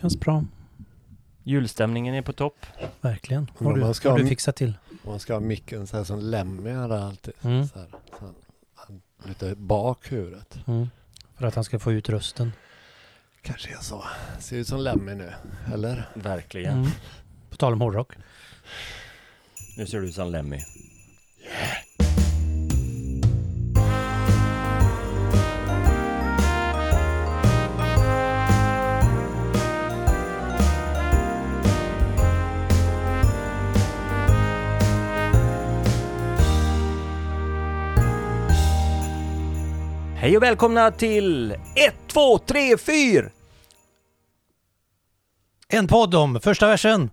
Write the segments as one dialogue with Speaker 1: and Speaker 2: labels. Speaker 1: Känns bra,
Speaker 2: Julstämningen är på topp.
Speaker 1: verkligen.
Speaker 3: Men
Speaker 1: Har du,
Speaker 3: man ska
Speaker 1: har du
Speaker 3: ha-
Speaker 1: fixat till.
Speaker 3: Man ska ha micken så här som Lemmy hade alltid.
Speaker 1: Mm.
Speaker 3: Så här, så han, han, lite bak huvudet.
Speaker 1: Mm. För att han ska få ut rösten.
Speaker 3: Kanske jag sa. Ser ut som Lemmy nu. Eller?
Speaker 2: Verkligen.
Speaker 1: Mm. På tal om hårdrock.
Speaker 2: Nu ser du ut som Lemmy. Hej och välkomna till 1, 2, 3, 4!
Speaker 1: En podd om första versen.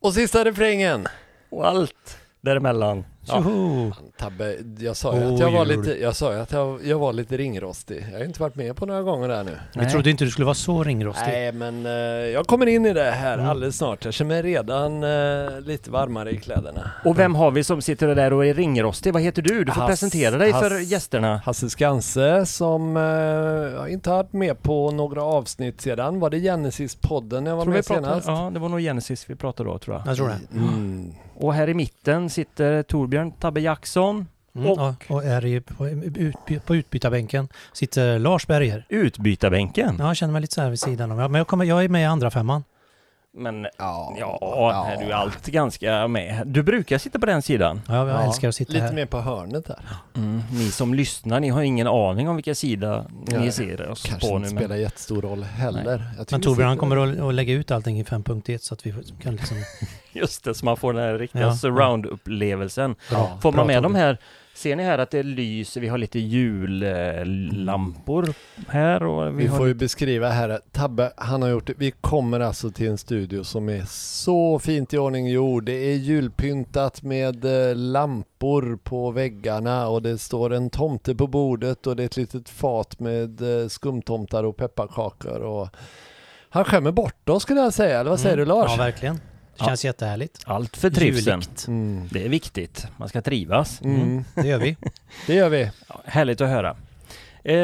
Speaker 3: Och sista refrängen.
Speaker 2: Och allt däremellan. Ja.
Speaker 1: Tjoho!
Speaker 3: Tabbe, jag sa ju
Speaker 1: Oh,
Speaker 3: att jag var
Speaker 1: jul.
Speaker 3: lite, jag sa ju att jag, jag var lite ringrostig. Jag har inte varit med på några gånger där nu.
Speaker 1: Vi trodde inte du skulle vara så ringrostig.
Speaker 3: Nej, men eh, jag kommer in i det här
Speaker 1: Mm.
Speaker 3: alldeles snart. Jag känner mig redan eh, lite varmare i kläderna.
Speaker 2: Och vem har vi som sitter där och är ringrostig? Vad heter du? Du får
Speaker 3: Hass-
Speaker 2: presentera dig för
Speaker 3: Hass-
Speaker 2: gästerna.
Speaker 3: Hasse Skanse som eh, jag inte har varit med på några avsnitt sedan. Var det Genesis-podden jag var
Speaker 2: Tror vi
Speaker 3: med
Speaker 2: pratade,
Speaker 3: senast?
Speaker 2: ja, det var nog Genesis vi pratade då tror jag.
Speaker 1: Jag tror det.
Speaker 3: Mm.
Speaker 2: Och här i mitten sitter Torbjörn Tabbe Jackson,
Speaker 1: Mm,
Speaker 2: Och-
Speaker 1: ja, och är i, på, utby, på utbytarbänken sitter Lars Berger.
Speaker 2: utbytarbänken.
Speaker 1: Ja, jag känner mig lite så här vid sidan om. Ja, Men jag, kommer, jag är med i andra femman.
Speaker 2: Men
Speaker 3: Ja,
Speaker 2: ja, här är du allt ganska med. Du brukar sitta på den sidan.
Speaker 1: Ja, jag älskar att sitta
Speaker 3: lite
Speaker 1: här.
Speaker 3: mer på hörnet där.
Speaker 2: Ni som lyssnar, ni har ingen aning om vilken sida ni
Speaker 3: Nej,
Speaker 2: ser oss
Speaker 3: Kanske
Speaker 2: på
Speaker 3: inte
Speaker 2: nu. Men
Speaker 3: spelar jättestor roll heller. Jag tycker
Speaker 1: Men
Speaker 3: vi
Speaker 1: Torbjörn han
Speaker 3: sitter-
Speaker 1: kommer att, att lägga ut allting i 5.1 så att vi kan liksom...
Speaker 2: just det, så man får den här riktiga
Speaker 1: Ja.
Speaker 2: surround-upplevelsen.
Speaker 3: Ja.
Speaker 2: Får
Speaker 1: Bra,
Speaker 2: man med de
Speaker 1: Torbjörn.
Speaker 2: här, ser ni här att det lyser, vi har lite jullampor här och vi,
Speaker 3: Vi
Speaker 2: har
Speaker 3: får ju beskriva här, Tabbe, han har gjort det. Vi kommer alltså till en studio som är så fint i ordning gjord. Det är julpyntat med eh, lampor på väggarna och det står en tomte på bordet och det är ett litet fat med eh, skumtomtar och pepparkakor. Och... Han skämmer bort oss skulle jag säga, eller vad säger
Speaker 1: Mm.
Speaker 3: du Lars?
Speaker 1: Ja, verkligen. Det
Speaker 2: Ja.
Speaker 1: känns jättehärligt.
Speaker 2: allt för trivseln.
Speaker 1: Juligt.
Speaker 3: Mm.
Speaker 2: Det är viktigt, man ska trivas.
Speaker 3: Mm.
Speaker 1: Det gör vi.
Speaker 3: Det gör vi.
Speaker 2: Ja, härligt att höra. Eh,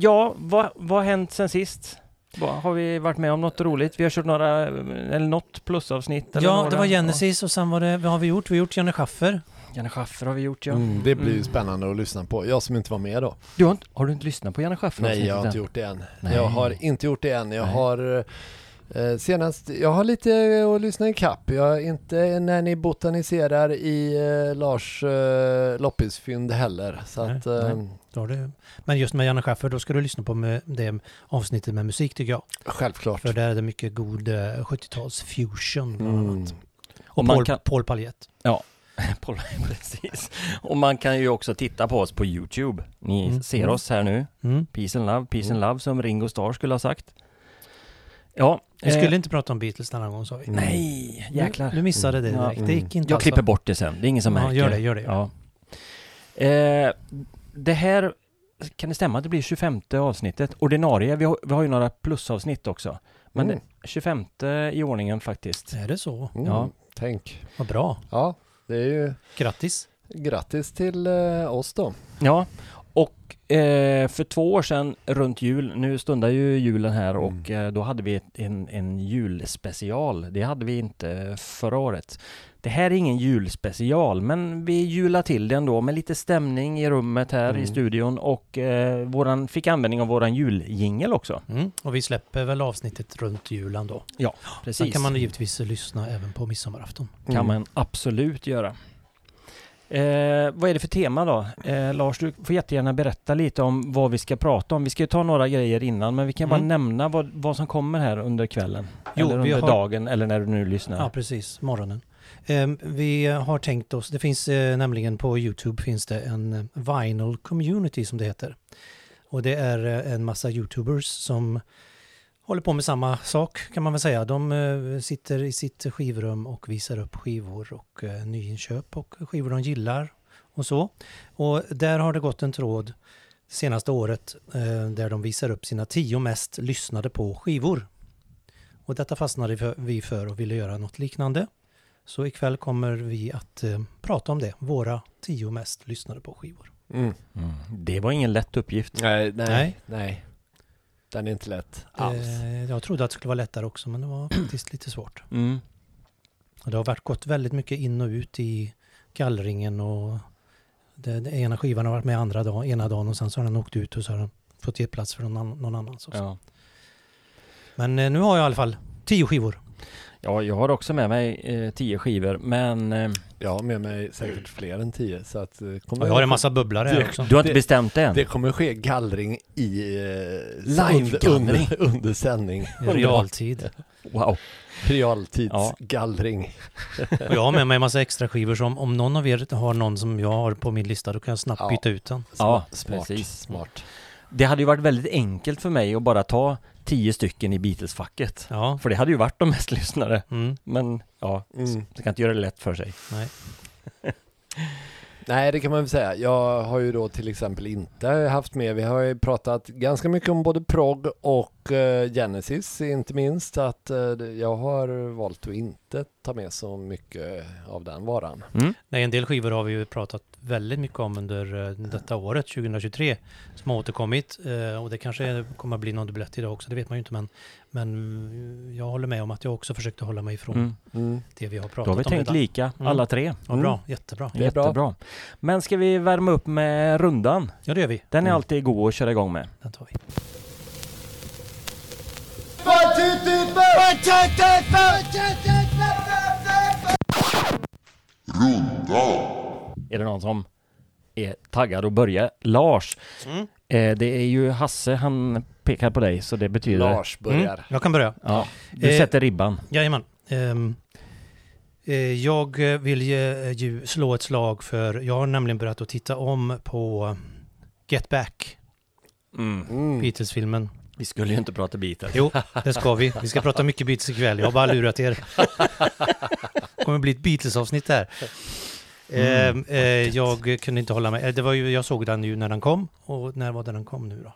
Speaker 2: ja, vad, vad har hänt sen sist? Vad- Har vi varit med om något roligt? Vi har kört några, eller något plusavsnitt? Eller
Speaker 1: Ja,
Speaker 2: några.
Speaker 1: det var Genesis och sen var det, vad har vi gjort? Vi har gjort Janne Schaffer.
Speaker 2: Ja, Janne Schaffer har vi gjort ja.
Speaker 3: Mm. Det blir ju
Speaker 2: Mm.
Speaker 3: spännande att lyssna på. Jag som inte var med då.
Speaker 2: Du har, inte, har du inte lyssnat på Janne Schaffer?
Speaker 3: Nej, jag har inte
Speaker 2: avsnittet
Speaker 3: gjort det än.
Speaker 2: Nej.
Speaker 3: Jag har inte gjort det än. Jag
Speaker 2: Nej.
Speaker 3: har eh, senast, jag har lite eh, att lyssna ikapp. Jag är inte när ni botaniserar i eh, Lars eh, loppisfynd heller. Så
Speaker 1: Nej,
Speaker 3: att, eh,
Speaker 1: Då har det. Men just med Janne Schaffer, då ska du lyssna på med- det avsnittet med musik tycker jag.
Speaker 3: självklart.
Speaker 1: För där är det mycket god eh, 70-tals fusion bland annat.
Speaker 3: Mm.
Speaker 1: Och
Speaker 2: man
Speaker 1: Paul,
Speaker 2: kan-
Speaker 1: Paul Paljett.
Speaker 2: än. Precis. Och man kan ju också titta på oss på Youtube. Ni
Speaker 1: Mm.
Speaker 2: ser
Speaker 1: Mm.
Speaker 2: oss här nu.
Speaker 1: Mm.
Speaker 2: Peace and love, peace and love som Ringo Starr skulle ha sagt. Ja.
Speaker 1: Vi
Speaker 2: eh,
Speaker 1: skulle inte prata om Beatles den här gången sa vi.
Speaker 2: Nej,
Speaker 1: Nu-
Speaker 2: jäklar.
Speaker 1: Du missade det
Speaker 2: Ja.
Speaker 1: direkt. Det gick inte
Speaker 2: Jag
Speaker 1: alls.
Speaker 2: klipper bort det sen, det är ingen som
Speaker 1: Ja,
Speaker 2: märker.
Speaker 1: gör det, gör det, gör
Speaker 2: Ja. Eh, det här, kan det stämma att det blir 25 avsnittet? Ordinarie, vi har, vi har ju några plusavsnitt också. Men
Speaker 3: Mm.
Speaker 2: 25 i ordningen faktiskt.
Speaker 1: Är det så?
Speaker 3: Mm.
Speaker 2: Ja.
Speaker 3: Tänk.
Speaker 1: Vad bra.
Speaker 3: Ja, det är ju
Speaker 1: Grattis.
Speaker 3: grattis till eh, oss då.
Speaker 2: Ja, och eh, för två år sedan runt jul, nu stundar ju julen här
Speaker 3: Mm.
Speaker 2: och eh, då hade vi ett- en, en julspecial. Det hade vi inte förra året. Det här är ingen julspecial, men vi jular till det ändå med lite stämning i rummet här i
Speaker 3: Mm.
Speaker 2: studion och eh, våran, fick användning av våran juljingel också.
Speaker 1: Mm. Och vi släpper väl avsnittet runt julen då.
Speaker 2: Precis,
Speaker 1: Sen kan man givetvis lyssna även på midsommarafton.
Speaker 3: Mm.
Speaker 2: absolut göra. Eh, vad är det för tema då? Eh, Lars, du får jättegärna berätta lite om vad vi ska prata om. Vi ska ju ta några grejer innan, men vi kan bara
Speaker 1: Mm.
Speaker 2: nämna vad, vad som kommer här under kvällen.
Speaker 1: Jo,
Speaker 2: eller
Speaker 1: vi
Speaker 2: under
Speaker 1: har-
Speaker 2: dagen, eller när du nu lyssnar.
Speaker 1: Ja, precis. Morgonen. Ehm, Vi har tänkt oss, det finns eh, nämligen på Youtube finns det en eh, vinyl community som det heter. Och det är eh, en massa Youtubers som håller på med samma sak kan man väl säga. De eh, sitter i sitt skivrum och visar upp skivor och eh, nyinköp och skivor de gillar och så. Och där har det gått en tråd senaste året eh, där de visar upp sina tio mest lyssnade på skivor. Och detta fastnade för- vi för och ville göra något liknande. Så ikväll kommer vi att eh, prata om det, våra tio mest lyssnade på skivor.
Speaker 3: Mm.
Speaker 2: Mm. Det var ingen lätt uppgift.
Speaker 3: Nej, nej,
Speaker 1: Nej.
Speaker 3: nej. Den är inte lätt alls.
Speaker 1: Eh, Jag trodde att det skulle vara lättare också, men det var faktiskt lite svårt.
Speaker 2: Mm.
Speaker 1: Och det har varit, gått väldigt mycket in och ut i gallringen och det, det ena skivan har varit med andra dag, ena dagen och sen så har den åkt ut och så har den fått ge plats för någon, annan- någon annan. Så.
Speaker 2: Ja.
Speaker 1: Men eh, nu har jag i alla fall tio skivor.
Speaker 2: ja, jag har också med mig eh, tio skivor men eh,
Speaker 3: Jag har med mig säkert fler än tio så att eh, kommer
Speaker 1: Och jag har en massa bubblare här
Speaker 3: Det-
Speaker 1: också.
Speaker 2: du har inte
Speaker 3: Det-
Speaker 2: bestämt det än?
Speaker 3: Det kommer ske gallring i eh,
Speaker 2: Live-gallring.
Speaker 3: under, under sändning.
Speaker 1: I realtid.
Speaker 2: Wow.
Speaker 3: Realtidsgallring.
Speaker 1: Och jag har med mig en massa extra skivor som om någon av er har någon som jag har på min lista då kan jag snabbt
Speaker 3: Ja.
Speaker 1: byta ut den.
Speaker 2: Ja,
Speaker 3: smart.
Speaker 2: precis.
Speaker 3: Smart.
Speaker 2: Det hade ju varit väldigt enkelt för mig att bara ta tio stycken i Beatles-facket.
Speaker 1: Ja.
Speaker 2: För det hade ju varit de mest lyssnade.
Speaker 1: Mm,
Speaker 2: Men ja,
Speaker 3: Mm.
Speaker 2: man kan inte göra det lätt för sig.
Speaker 1: nej.
Speaker 3: Nej, det kan man väl säga. Jag har ju då till exempel inte haft med, vi har ju pratat ganska mycket om både prog och eh, Genesis, inte minst, att eh, det- jag har valt att inte ta med så mycket av den varan.
Speaker 2: Mm.
Speaker 1: Nej, en del skivor har vi ju pratat väldigt mycket om under eh, detta året, 2023, som har återkommit. Eh, Och det kanske är- kommer att bli någon dubblett idag också, det vet man ju inte. Men, men mm, jag håller med om att jag också försökte hålla mig ifrån
Speaker 2: Mm.
Speaker 3: Mm.
Speaker 1: det vi har pratat
Speaker 2: Då har vi
Speaker 1: om
Speaker 2: tänkt
Speaker 1: redan.
Speaker 2: lika,
Speaker 1: Mm.
Speaker 2: alla tre.
Speaker 1: Ja, bra, jättebra.
Speaker 3: Det är bra.
Speaker 2: Jättebra. Men ska vi värma upp med rundan?
Speaker 1: Ja, det gör vi.
Speaker 2: Den är
Speaker 3: Mm.
Speaker 2: alltid god att köra igång med.
Speaker 1: Den tar vi.
Speaker 2: Är det någon som är taggad att börja? Lars, eh, det är ju Hasse, han pekar på dig, så det betyder...
Speaker 3: Lars börjar.
Speaker 1: Mm, jag kan börja.
Speaker 2: Ja, du
Speaker 1: Eh,
Speaker 2: sätter ribban.
Speaker 1: Jajamän. Ehm, eh, jag eh, vill ju, ju slå ett slag för, jag har nämligen börjat att titta om på Get Back,
Speaker 3: Mm.
Speaker 1: Beatles-filmen.
Speaker 2: Vi skulle ju inte prata Beatles.
Speaker 1: Jo, det ska vi. Vi ska prata mycket Beatles ikväll. Jag har bara lurat er. Det kommer bli ett Beatles-avsnitt här.
Speaker 2: Mm,
Speaker 1: Eh, eh, jag kunde inte hålla mig. Eh, Det var ju, jag såg den ju när den kom. Och när var det den kom nu då?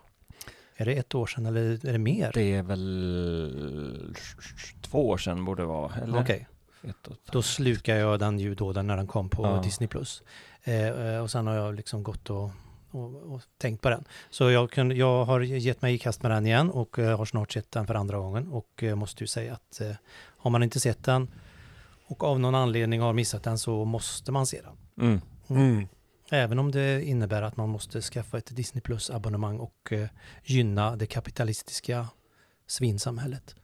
Speaker 1: Är det ett år sedan eller är det mer?
Speaker 2: Det är väl två år sedan borde det vara, eller?
Speaker 1: Okej,
Speaker 2: Ett och ett
Speaker 1: då slukar jag den ju då den när den kom på
Speaker 2: Ja.
Speaker 1: Disney+. Plus. Eh, eh, och sen har jag liksom gått och, och, och tänkt på den. Så jag, kunde, jag har gett mig i kast med den igen och eh, har snart sett den för andra gången. Och eh, måste ju säga att eh, har man inte sett den och av någon anledning har missat den så måste man se den.
Speaker 2: Mm.
Speaker 3: Mm.
Speaker 1: Även om det innebär att man måste skaffa ett Disney Plus abonnemang och eh, gynna det kapitalistiska svinsamhället.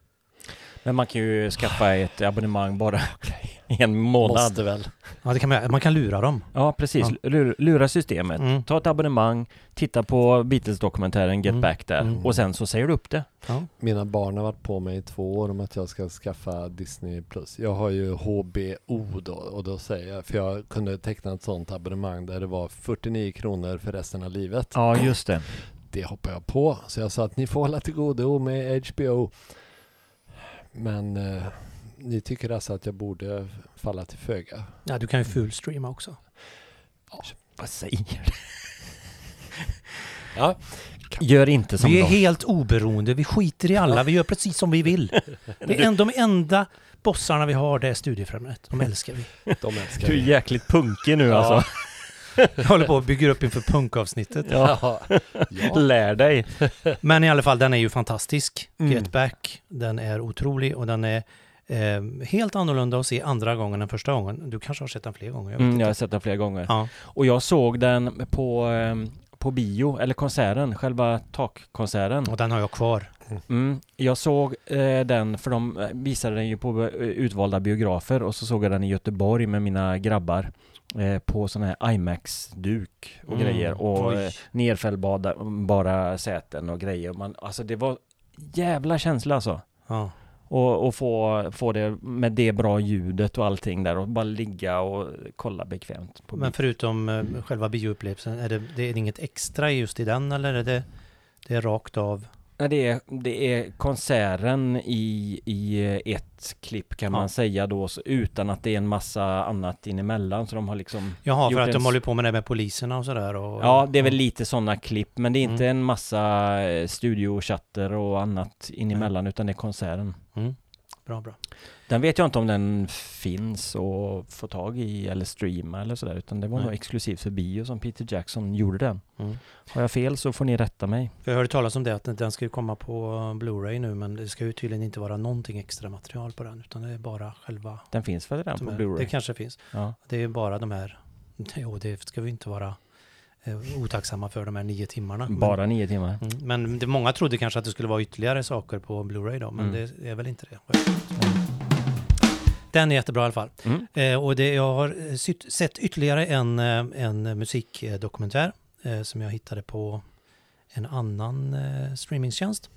Speaker 2: Men man kan ju skaffa ett abonnemang bara i en månad.
Speaker 3: Måste väl.
Speaker 1: Ja, det kan man, man kan lura dem.
Speaker 2: Ja, precis. Lur- Lura systemet.
Speaker 1: Mm.
Speaker 2: Ta ett abonnemang, titta på Beatles-dokumentären Get
Speaker 1: Mm.
Speaker 2: Back där
Speaker 1: Mm.
Speaker 2: och sen så säger du upp det.
Speaker 1: Ja.
Speaker 3: Mina barn har varit på mig i två år om att jag ska skaffa Disney+. Plus. Jag har ju HBO då och då säger jag, för jag kunde teckna ett sånt abonnemang där det var 49 kronor för resten av livet.
Speaker 2: Ja, just det.
Speaker 3: Det hoppar jag på. Så jag sa att ni får hålla till godo med HBO. Men eh, ni tycker alltså att jag borde falla till föga.
Speaker 1: ja, du kan ju fullstreama också.
Speaker 2: Vad säger du?
Speaker 3: Ja.
Speaker 2: Gör inte som
Speaker 1: Vi är
Speaker 2: dem.
Speaker 1: helt oberoende, vi skiter i alla, vi gör precis som vi vill. Det är en, de enda bossarna vi har, det är studiefrämjandet. De älskar vi.
Speaker 3: De älskar
Speaker 2: Du är
Speaker 3: det.
Speaker 2: jäkligt punkig nu alltså.
Speaker 1: Jag håller på och bygger upp inför punkavsnittet.
Speaker 3: Ja. ja.
Speaker 2: Lär dig.
Speaker 1: Men i alla fall, den är ju fantastisk.
Speaker 3: Mm.
Speaker 1: Get Back, den är otrolig och den är eh, helt annorlunda att se andra gången än första gången. Du kanske har sett den fler gånger? jag vet
Speaker 2: Mm,
Speaker 1: inte.
Speaker 2: jag har sett den flera gånger.
Speaker 1: Ja.
Speaker 2: Och jag såg den på, ehm, på bio, eller konserten, själva takkonserten.
Speaker 1: Och den har jag kvar.
Speaker 2: Mm, jag såg eh, den, för de eh, visade den ju på eh, utvalda biografer och så såg jag den i Göteborg med mina grabbar eh, på sån här IMAX-duk och
Speaker 1: Mm,
Speaker 2: grejer och
Speaker 1: oj.
Speaker 2: eh, nerfällbara bara säten och grejer. Man, alltså det var jävla känsla alltså.
Speaker 1: Ja.
Speaker 2: Och, och få, få det med det bra ljudet och allting där och bara ligga och kolla bekvämt. På
Speaker 1: Men
Speaker 2: Men
Speaker 1: förutom eh, själva bioupplevelsen, är det, det är inget extra just i den eller är det, det är rakt av?
Speaker 2: det, är, det är konserten i, i eh, ett klipp kan
Speaker 1: Ja.
Speaker 2: man säga då, så utan att det är en massa annat inemellan. Så de har liksom
Speaker 1: Jaha, för
Speaker 2: Gjort
Speaker 1: att de
Speaker 2: en-
Speaker 1: håller på med det här med poliserna och sådär? Och,
Speaker 2: Ja, det är väl lite sådana klipp, men det är inte
Speaker 1: Mm.
Speaker 2: en massa eh, studiochatter och annat in emellan, utan det är konserten.
Speaker 1: Mm. bra, bra.
Speaker 2: Den vet jag inte om den finns att få tag i eller streama eller sådär, utan det var
Speaker 1: Nej.
Speaker 2: nog exklusivt för bio som Peter Jackson gjorde den.
Speaker 1: Mm.
Speaker 2: Har jag fel så får ni rätta mig.
Speaker 1: För Jag hörde talas om det, att den ska ju komma på Blu-ray nu, men det ska ju tydligen inte vara någonting extra material på den, utan det är bara själva...
Speaker 2: Den finns väl redan
Speaker 1: de
Speaker 2: på
Speaker 1: här-
Speaker 2: Blu-ray?
Speaker 1: Det kanske finns.
Speaker 2: Ja.
Speaker 1: Det är bara de här... Jo, det ska vi inte vara eh, otacksamma för, de här nio timmarna. Men-
Speaker 2: Bara nio timmar.
Speaker 1: Mm, Men det, många trodde kanske att det skulle vara ytterligare saker på Blu-ray då, men
Speaker 2: Mm.
Speaker 1: det är väl inte det. Den är jättebra i alla fall.
Speaker 2: Mm.
Speaker 1: Eh, och det, jag har eh, sytt- sett ytterligare en, eh, en musikdokumentär eh, som jag hittade på en annan eh, streamingtjänst.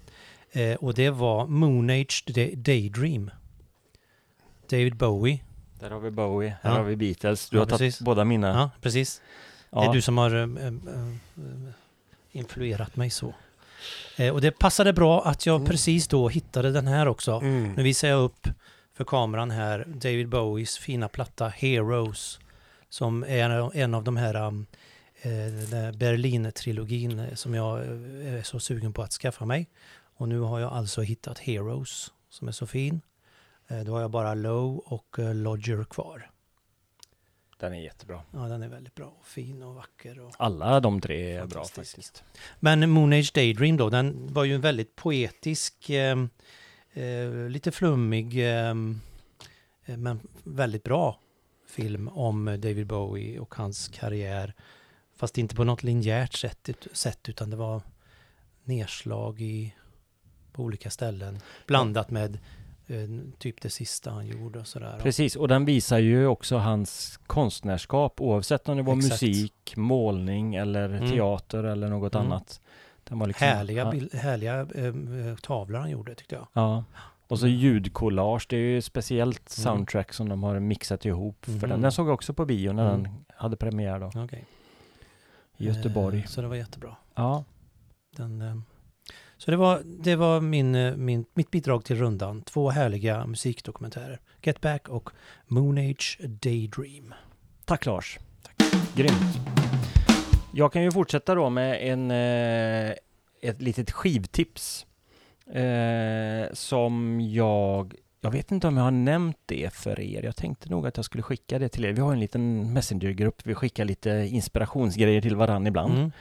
Speaker 1: Eh, och det var Moon Age Day- Daydream. David Bowie.
Speaker 2: Där har vi Bowie, här
Speaker 1: Ja.
Speaker 2: har vi Beatles. Du
Speaker 1: Ja,
Speaker 2: har tagit
Speaker 1: precis.
Speaker 2: båda mina.
Speaker 1: Ja, precis. Det är
Speaker 2: Ja.
Speaker 1: du som har eh, eh, eh, influerat mig så. Eh, och det passade bra att jag
Speaker 3: Mm.
Speaker 1: precis då hittade den här också. Nu
Speaker 3: Mm.
Speaker 1: visar jag upp för kameran här David Bowies fina platta Heroes. Som är en av de här um, eh, den där Berlin-trilogin eh, som jag eh, är så sugen på att skaffa mig. Och nu har jag alltså hittat Heroes som är så fin. Eh, Då har jag bara Low och eh, Lodger kvar.
Speaker 2: Den är jättebra.
Speaker 1: Ja, den är väldigt bra och fin och vacker. Och...
Speaker 2: Alla de tre är bra
Speaker 1: Fantastisk.
Speaker 2: faktiskt.
Speaker 1: Men Moon Age Daydream då, den var ju en väldigt poetisk, eh, eh, lite flummig, eh, eh, men väldigt bra film om David Bowie och hans karriär. Fast inte på något linjärt sätt, ut- sätt utan det var nedslag i, på olika ställen. Blandat med eh, typ det sista han gjorde och sådär.
Speaker 2: Precis, och den visar ju också hans konstnärskap oavsett om det var
Speaker 1: Exakt.
Speaker 2: musik, målning eller
Speaker 1: Mm.
Speaker 2: teater eller något
Speaker 1: Mm.
Speaker 2: annat. Den var liksom,
Speaker 1: härliga
Speaker 2: ja,
Speaker 1: bil, härliga eh, tavlor han gjorde tyckte jag.
Speaker 2: Ja. Och så ljudkollage, det är ju ett speciellt
Speaker 1: Mm.
Speaker 2: soundtrack som de har mixat ihop. För
Speaker 1: Mhm.
Speaker 2: den. den såg jag också på bio när
Speaker 1: Mm.
Speaker 2: den hade premiär då,
Speaker 1: Okej.
Speaker 2: i Göteborg.
Speaker 1: Eh, så det var jättebra.
Speaker 2: Ja,
Speaker 1: Den, eh, så det var, det var min, eh, min, mitt bidrag till rundan. Två härliga musikdokumentärer. Get Back och Moon Age Daydream.
Speaker 2: tack Lars. Grymt. Jag kan ju fortsätta då med en, eh, ett litet skivtips. Eh, som jag, jag vet inte om jag har nämnt det för er. Jag tänkte nog att jag skulle skicka det till er. Vi har en liten messengergrupp. Vi skickar lite inspirationsgrejer till varandra ibland.
Speaker 1: Mm.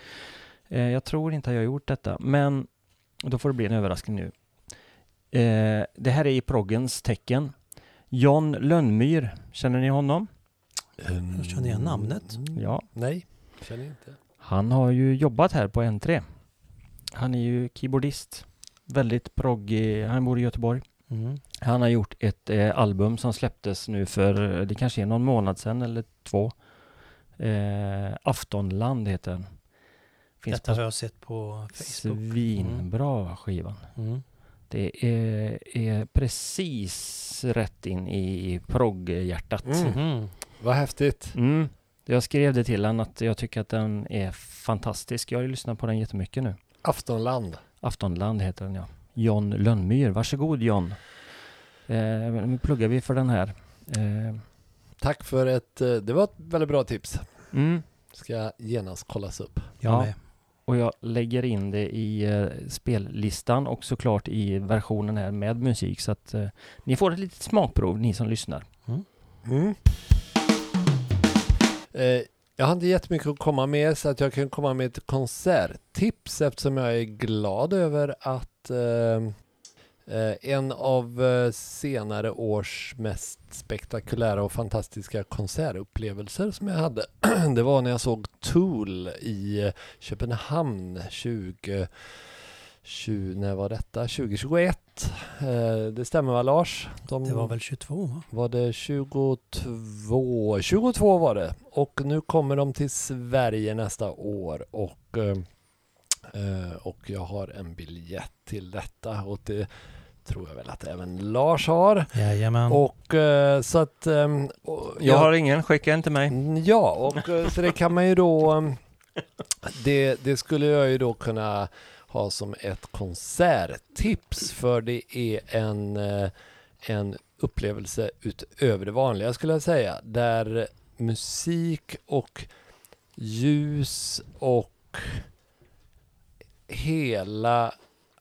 Speaker 2: Eh, jag tror inte att jag har gjort detta, men då får det bli en överraskning nu. Eh, det här är i proggens tecken. John Lönnmyr, känner ni honom?
Speaker 1: Jag känner igen namnet.
Speaker 2: Ja.
Speaker 3: Mm. Nej, känner inte.
Speaker 2: Han har ju jobbat här på N3. Han är ju keyboardist. Väldigt proggig. Han bor i Göteborg.
Speaker 1: Mm.
Speaker 2: Han har gjort ett eh, album som släpptes nu för, eh, det kanske är någon månad sedan eller två. Eh, Aftonland heter den. Finns
Speaker 1: Detta har
Speaker 2: på
Speaker 1: jag sett på Facebook.
Speaker 2: svinbra skivan.
Speaker 1: Mm.
Speaker 2: Det är, är precis rätt in i progghjärtat.
Speaker 3: Mm.
Speaker 1: Mhm.
Speaker 3: Vad häftigt.
Speaker 2: Mm. Jag skrev det till honom att jag tycker att den är fantastisk. Jag har ju lyssnat på den jättemycket nu.
Speaker 3: Aftonland.
Speaker 2: Aftonland heter den ja. John Lönnmyr. Varsågod John. Eh, nu pluggar vi för den här. Eh,
Speaker 3: Tack för ett, eh, det var ett väldigt bra tips.
Speaker 2: mm.
Speaker 3: Ska genast kollas upp.
Speaker 1: Jag
Speaker 2: Ja.
Speaker 1: med.
Speaker 2: Och jag lägger in det i eh, spellistan och såklart i versionen här med musik så att eh, ni får ett litet smakprov ni som lyssnar.
Speaker 3: Mm. Eh, jag har inte jättemycket att komma med så att jag kan komma med ett konserttips eftersom jag är glad över att eh, eh, en av eh, senare års mest spektakulära och fantastiska konsertupplevelser som jag hade det var när jag såg Tool i Köpenhamn 20 20, när var detta? 2021? Eh, det stämmer va Lars? De-
Speaker 1: Det var väl 22 va?
Speaker 3: var det 22? 22 var det. Och nu kommer de till Sverige nästa år och, eh, eh, och jag har en biljett till detta och det tror jag väl att även Lars har.
Speaker 1: Jajamän.
Speaker 3: Och eh, så att... ehm, och
Speaker 2: ingen, skicka en till mig.
Speaker 3: Mm, Ja, och eh, så det kan man ju då... ehm, Det, det skulle jag ju då kunna ha som ett konserttips för det är en, eh, en upplevelse utöver det vanliga skulle jag säga. Där musik och ljus och hela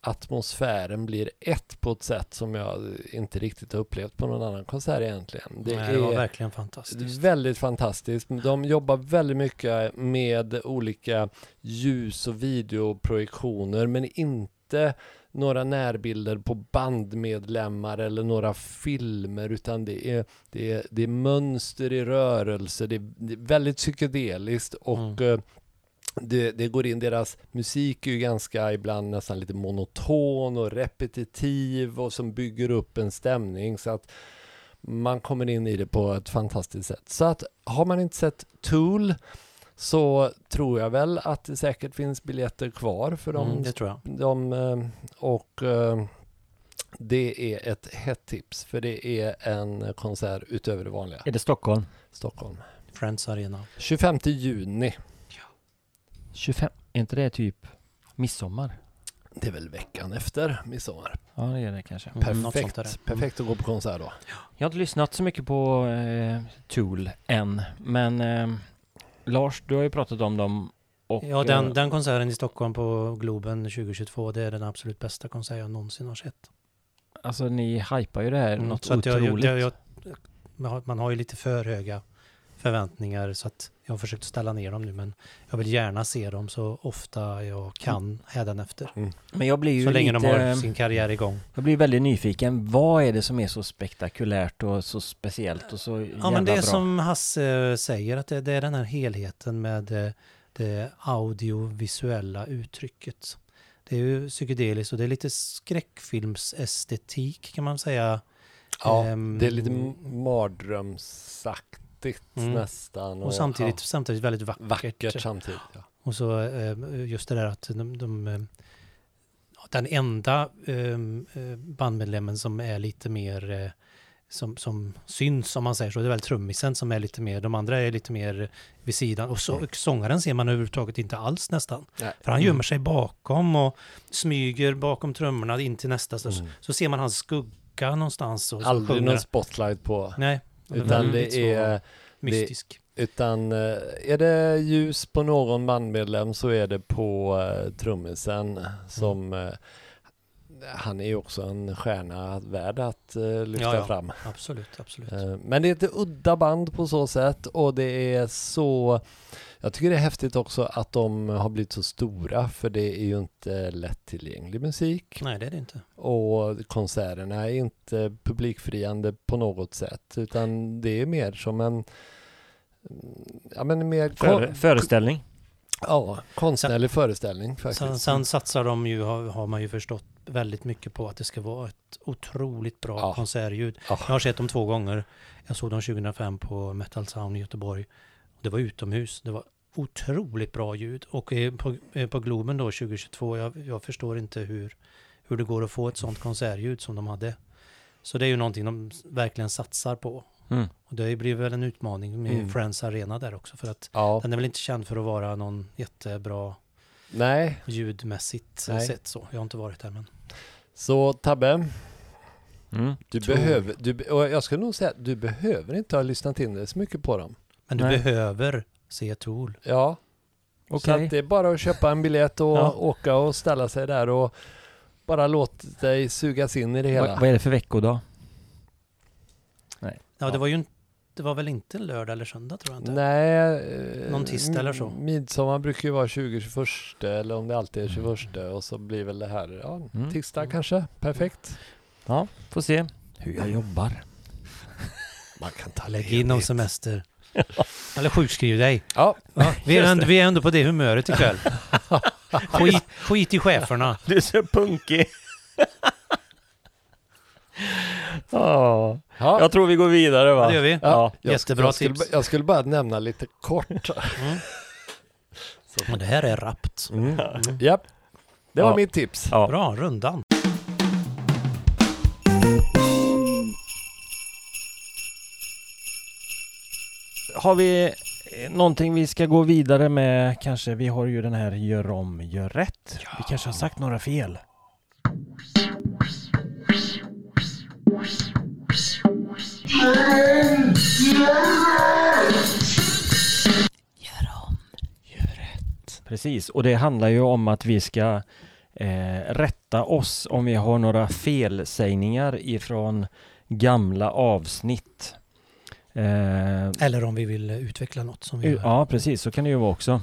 Speaker 3: atmosfären blir ett på ett sätt som jag inte riktigt har upplevt på någon annan konsert egentligen.
Speaker 1: Det, Nej, det var verkligen fantastiskt.
Speaker 3: Väldigt fantastiskt. De jobbar väldigt mycket med olika ljus och videoprojektioner men inte några närbilder på bandmedlemmar eller några filmer utan det är, det är, det är mönster i rörelse, det är, det är väldigt psykedeliskt och mm. Det, det, går in, deras musik är ju ganska ibland nästan lite monoton och repetitiv och som bygger upp en stämning så att man kommer in i det på ett fantastiskt sätt. Så att har man inte sett Tool så tror jag väl att det säkert finns biljetter kvar för dem.
Speaker 1: Mm, det tror jag.
Speaker 3: De, eh, och eh, det är ett hett tips för det är en konsert utöver det vanliga.
Speaker 2: Är det Stockholm?
Speaker 3: Stockholm.
Speaker 1: Friends Arena.
Speaker 3: 25 juni.
Speaker 2: 25, är inte det typ midsommar?
Speaker 3: Det är väl veckan efter
Speaker 1: Mm,
Speaker 3: midsommar.
Speaker 2: Ja, det är det kanske.
Speaker 3: Perfekt, mm, perfekt att gå på konsert då.
Speaker 2: Jag har inte lyssnat så mycket på eh, Tool än, men eh, Lars, du har ju pratat om dem. Och, eh,
Speaker 1: ja, den, den konserten i Stockholm på Globen 2022, det är den absolut bästa konsert jag någonsin har sett.
Speaker 2: Alltså ni hypar ju det här mm, något otroligt.
Speaker 1: Jag, jag, jag, man har ju lite för höga förväntningar så att jag har försökt ställa ner dem nu men jag vill gärna se dem så ofta jag kan hädanefter. Mm.
Speaker 2: Men jag blir ju
Speaker 1: så länge
Speaker 2: lite, eh,
Speaker 1: de har sin karriär igång.
Speaker 2: Jag blir väldigt nyfiken. Vad är det som är så spektakulärt och så speciellt och så jävla
Speaker 1: Ja men det
Speaker 2: är bra?
Speaker 1: som Hasse eh, säger att det, det, är den här helheten med eh, det audiovisuella uttrycket. Det är ju psykedeliskt och det är lite skräckfilmsestetik kan man säga.
Speaker 3: Ja, ehm, det är lite mardrömsakt Mm. nästan.
Speaker 1: Och, och samtidigt, ja. samtidigt väldigt vackert.
Speaker 3: Vackert samtidigt, ja.
Speaker 1: Och så eh, just det där att de, de, den enda eh, bandmedlemmen som är lite mer eh, som, som syns om man säger så, det är väl trummisen som är lite mer, de andra är lite mer vid sidan och, så, mm. och sångaren ser man överhuvudtaget inte alls nästan. Nej. För han gömmer mm. sig bakom och smyger bakom trummorna in till nästa, så, så ser man hans skugga någonstans. Och
Speaker 3: Mm. Aldrig någon spotlight på.
Speaker 1: Nej, Mm.
Speaker 3: utan det är...
Speaker 1: Mystisk.
Speaker 3: Det, utan eh, är det ljus på någon bandmedlem så är det på uh, trummisen som... Mm. Uh, han är ju också en stjärna värd att uh, lyfta ja, ja. fram. Eh,
Speaker 1: Absolut, absolut.
Speaker 3: men det är ett udda band på så sätt och det är så... Jag tycker det är häftigt också att de har blivit så stora för det är ju inte lättillgänglig musik.
Speaker 1: Nej, det är det inte.
Speaker 3: Och konserterna är inte publikfriande på något sätt utan det är mer som en... Ja, men mer...
Speaker 2: Före, föreställning.
Speaker 3: Ja, konstnärlig sen, föreställning faktiskt.
Speaker 1: Sen, sen, satsar de ju, har, har, man ju förstått, väldigt mycket på att det ska vara ett otroligt bra ja. konsertljud. Ja. Jag har sett dem två gånger. Jag såg dem 2005 på Metal Sound i Göteborg. Det var utomhus. Det var otroligt bra ljud. Och eh, på, på Globen då 2022, jag, jag, förstår inte hur, hur det går att få ett sånt konsertljud som de hade. Så det är ju någonting de verkligen satsar på. Mm. Och det blir väl en utmaning med mm. Friends Arena där också för att ja. den är väl inte känd för att vara någon jättebra
Speaker 3: Nej.
Speaker 1: ljudmässigt Nej. sett så. Jag har inte varit där men.
Speaker 3: Så Tabbe, mm. du Tror. behöver, du, och jag skulle nog säga att du behöver inte ha lyssnat in dig så mycket på dem.
Speaker 1: Men du Nej. behöver se Tool.
Speaker 3: Ja. Okay. Så att det är bara att köpa en biljett och ja. åka och ställa sig där och bara låt dig sugas in i det hela.
Speaker 2: Vad, vad är det för veckodag?
Speaker 1: Nej. Ja, ja, det var ju det var väl inte lördag eller söndag tror jag inte?
Speaker 3: Nej. eh,
Speaker 1: Någon tisdag eller så?
Speaker 3: Midsommar brukar ju vara 20-21 eller om det alltid är 21 mm. och så blir väl det här, ja, mm. tisdag mm. kanske. Perfekt.
Speaker 2: Ja, får se hur jag jobbar.
Speaker 3: Man kan ta
Speaker 1: Lägg in någon semester. Eller sjukskriv dig.
Speaker 3: Ja.
Speaker 1: ja vi, är ändå, vi är ändå på det humöret ikväll. skit, skit i cheferna.
Speaker 2: Du är så punkig. oh. Ja. Jag tror vi går vidare va?
Speaker 1: Ja, det gör vi. Ja. Jättebra
Speaker 3: jag
Speaker 1: tips.
Speaker 3: Skulle, jag skulle bara nämna lite kort. Mm.
Speaker 1: Men det här är rappt.
Speaker 3: Mm. Mm. Ja, det var ja. mitt tips.
Speaker 1: Ja. Bra, rundan.
Speaker 2: har vi eh, någonting vi ska gå vidare med kanske? Vi har ju den här gör om, gör rätt. Ja. Vi kanske har sagt några fel.
Speaker 4: Gör om,
Speaker 2: gör rätt. Precis, och det handlar ju om att vi ska eh, rätta oss om vi har några felsägningar ifrån gamla avsnitt. Eh,
Speaker 1: Eller om vi vill eh, utveckla något som vi
Speaker 2: U-
Speaker 1: gör.
Speaker 2: Ja, precis. Så kan det ju vara också.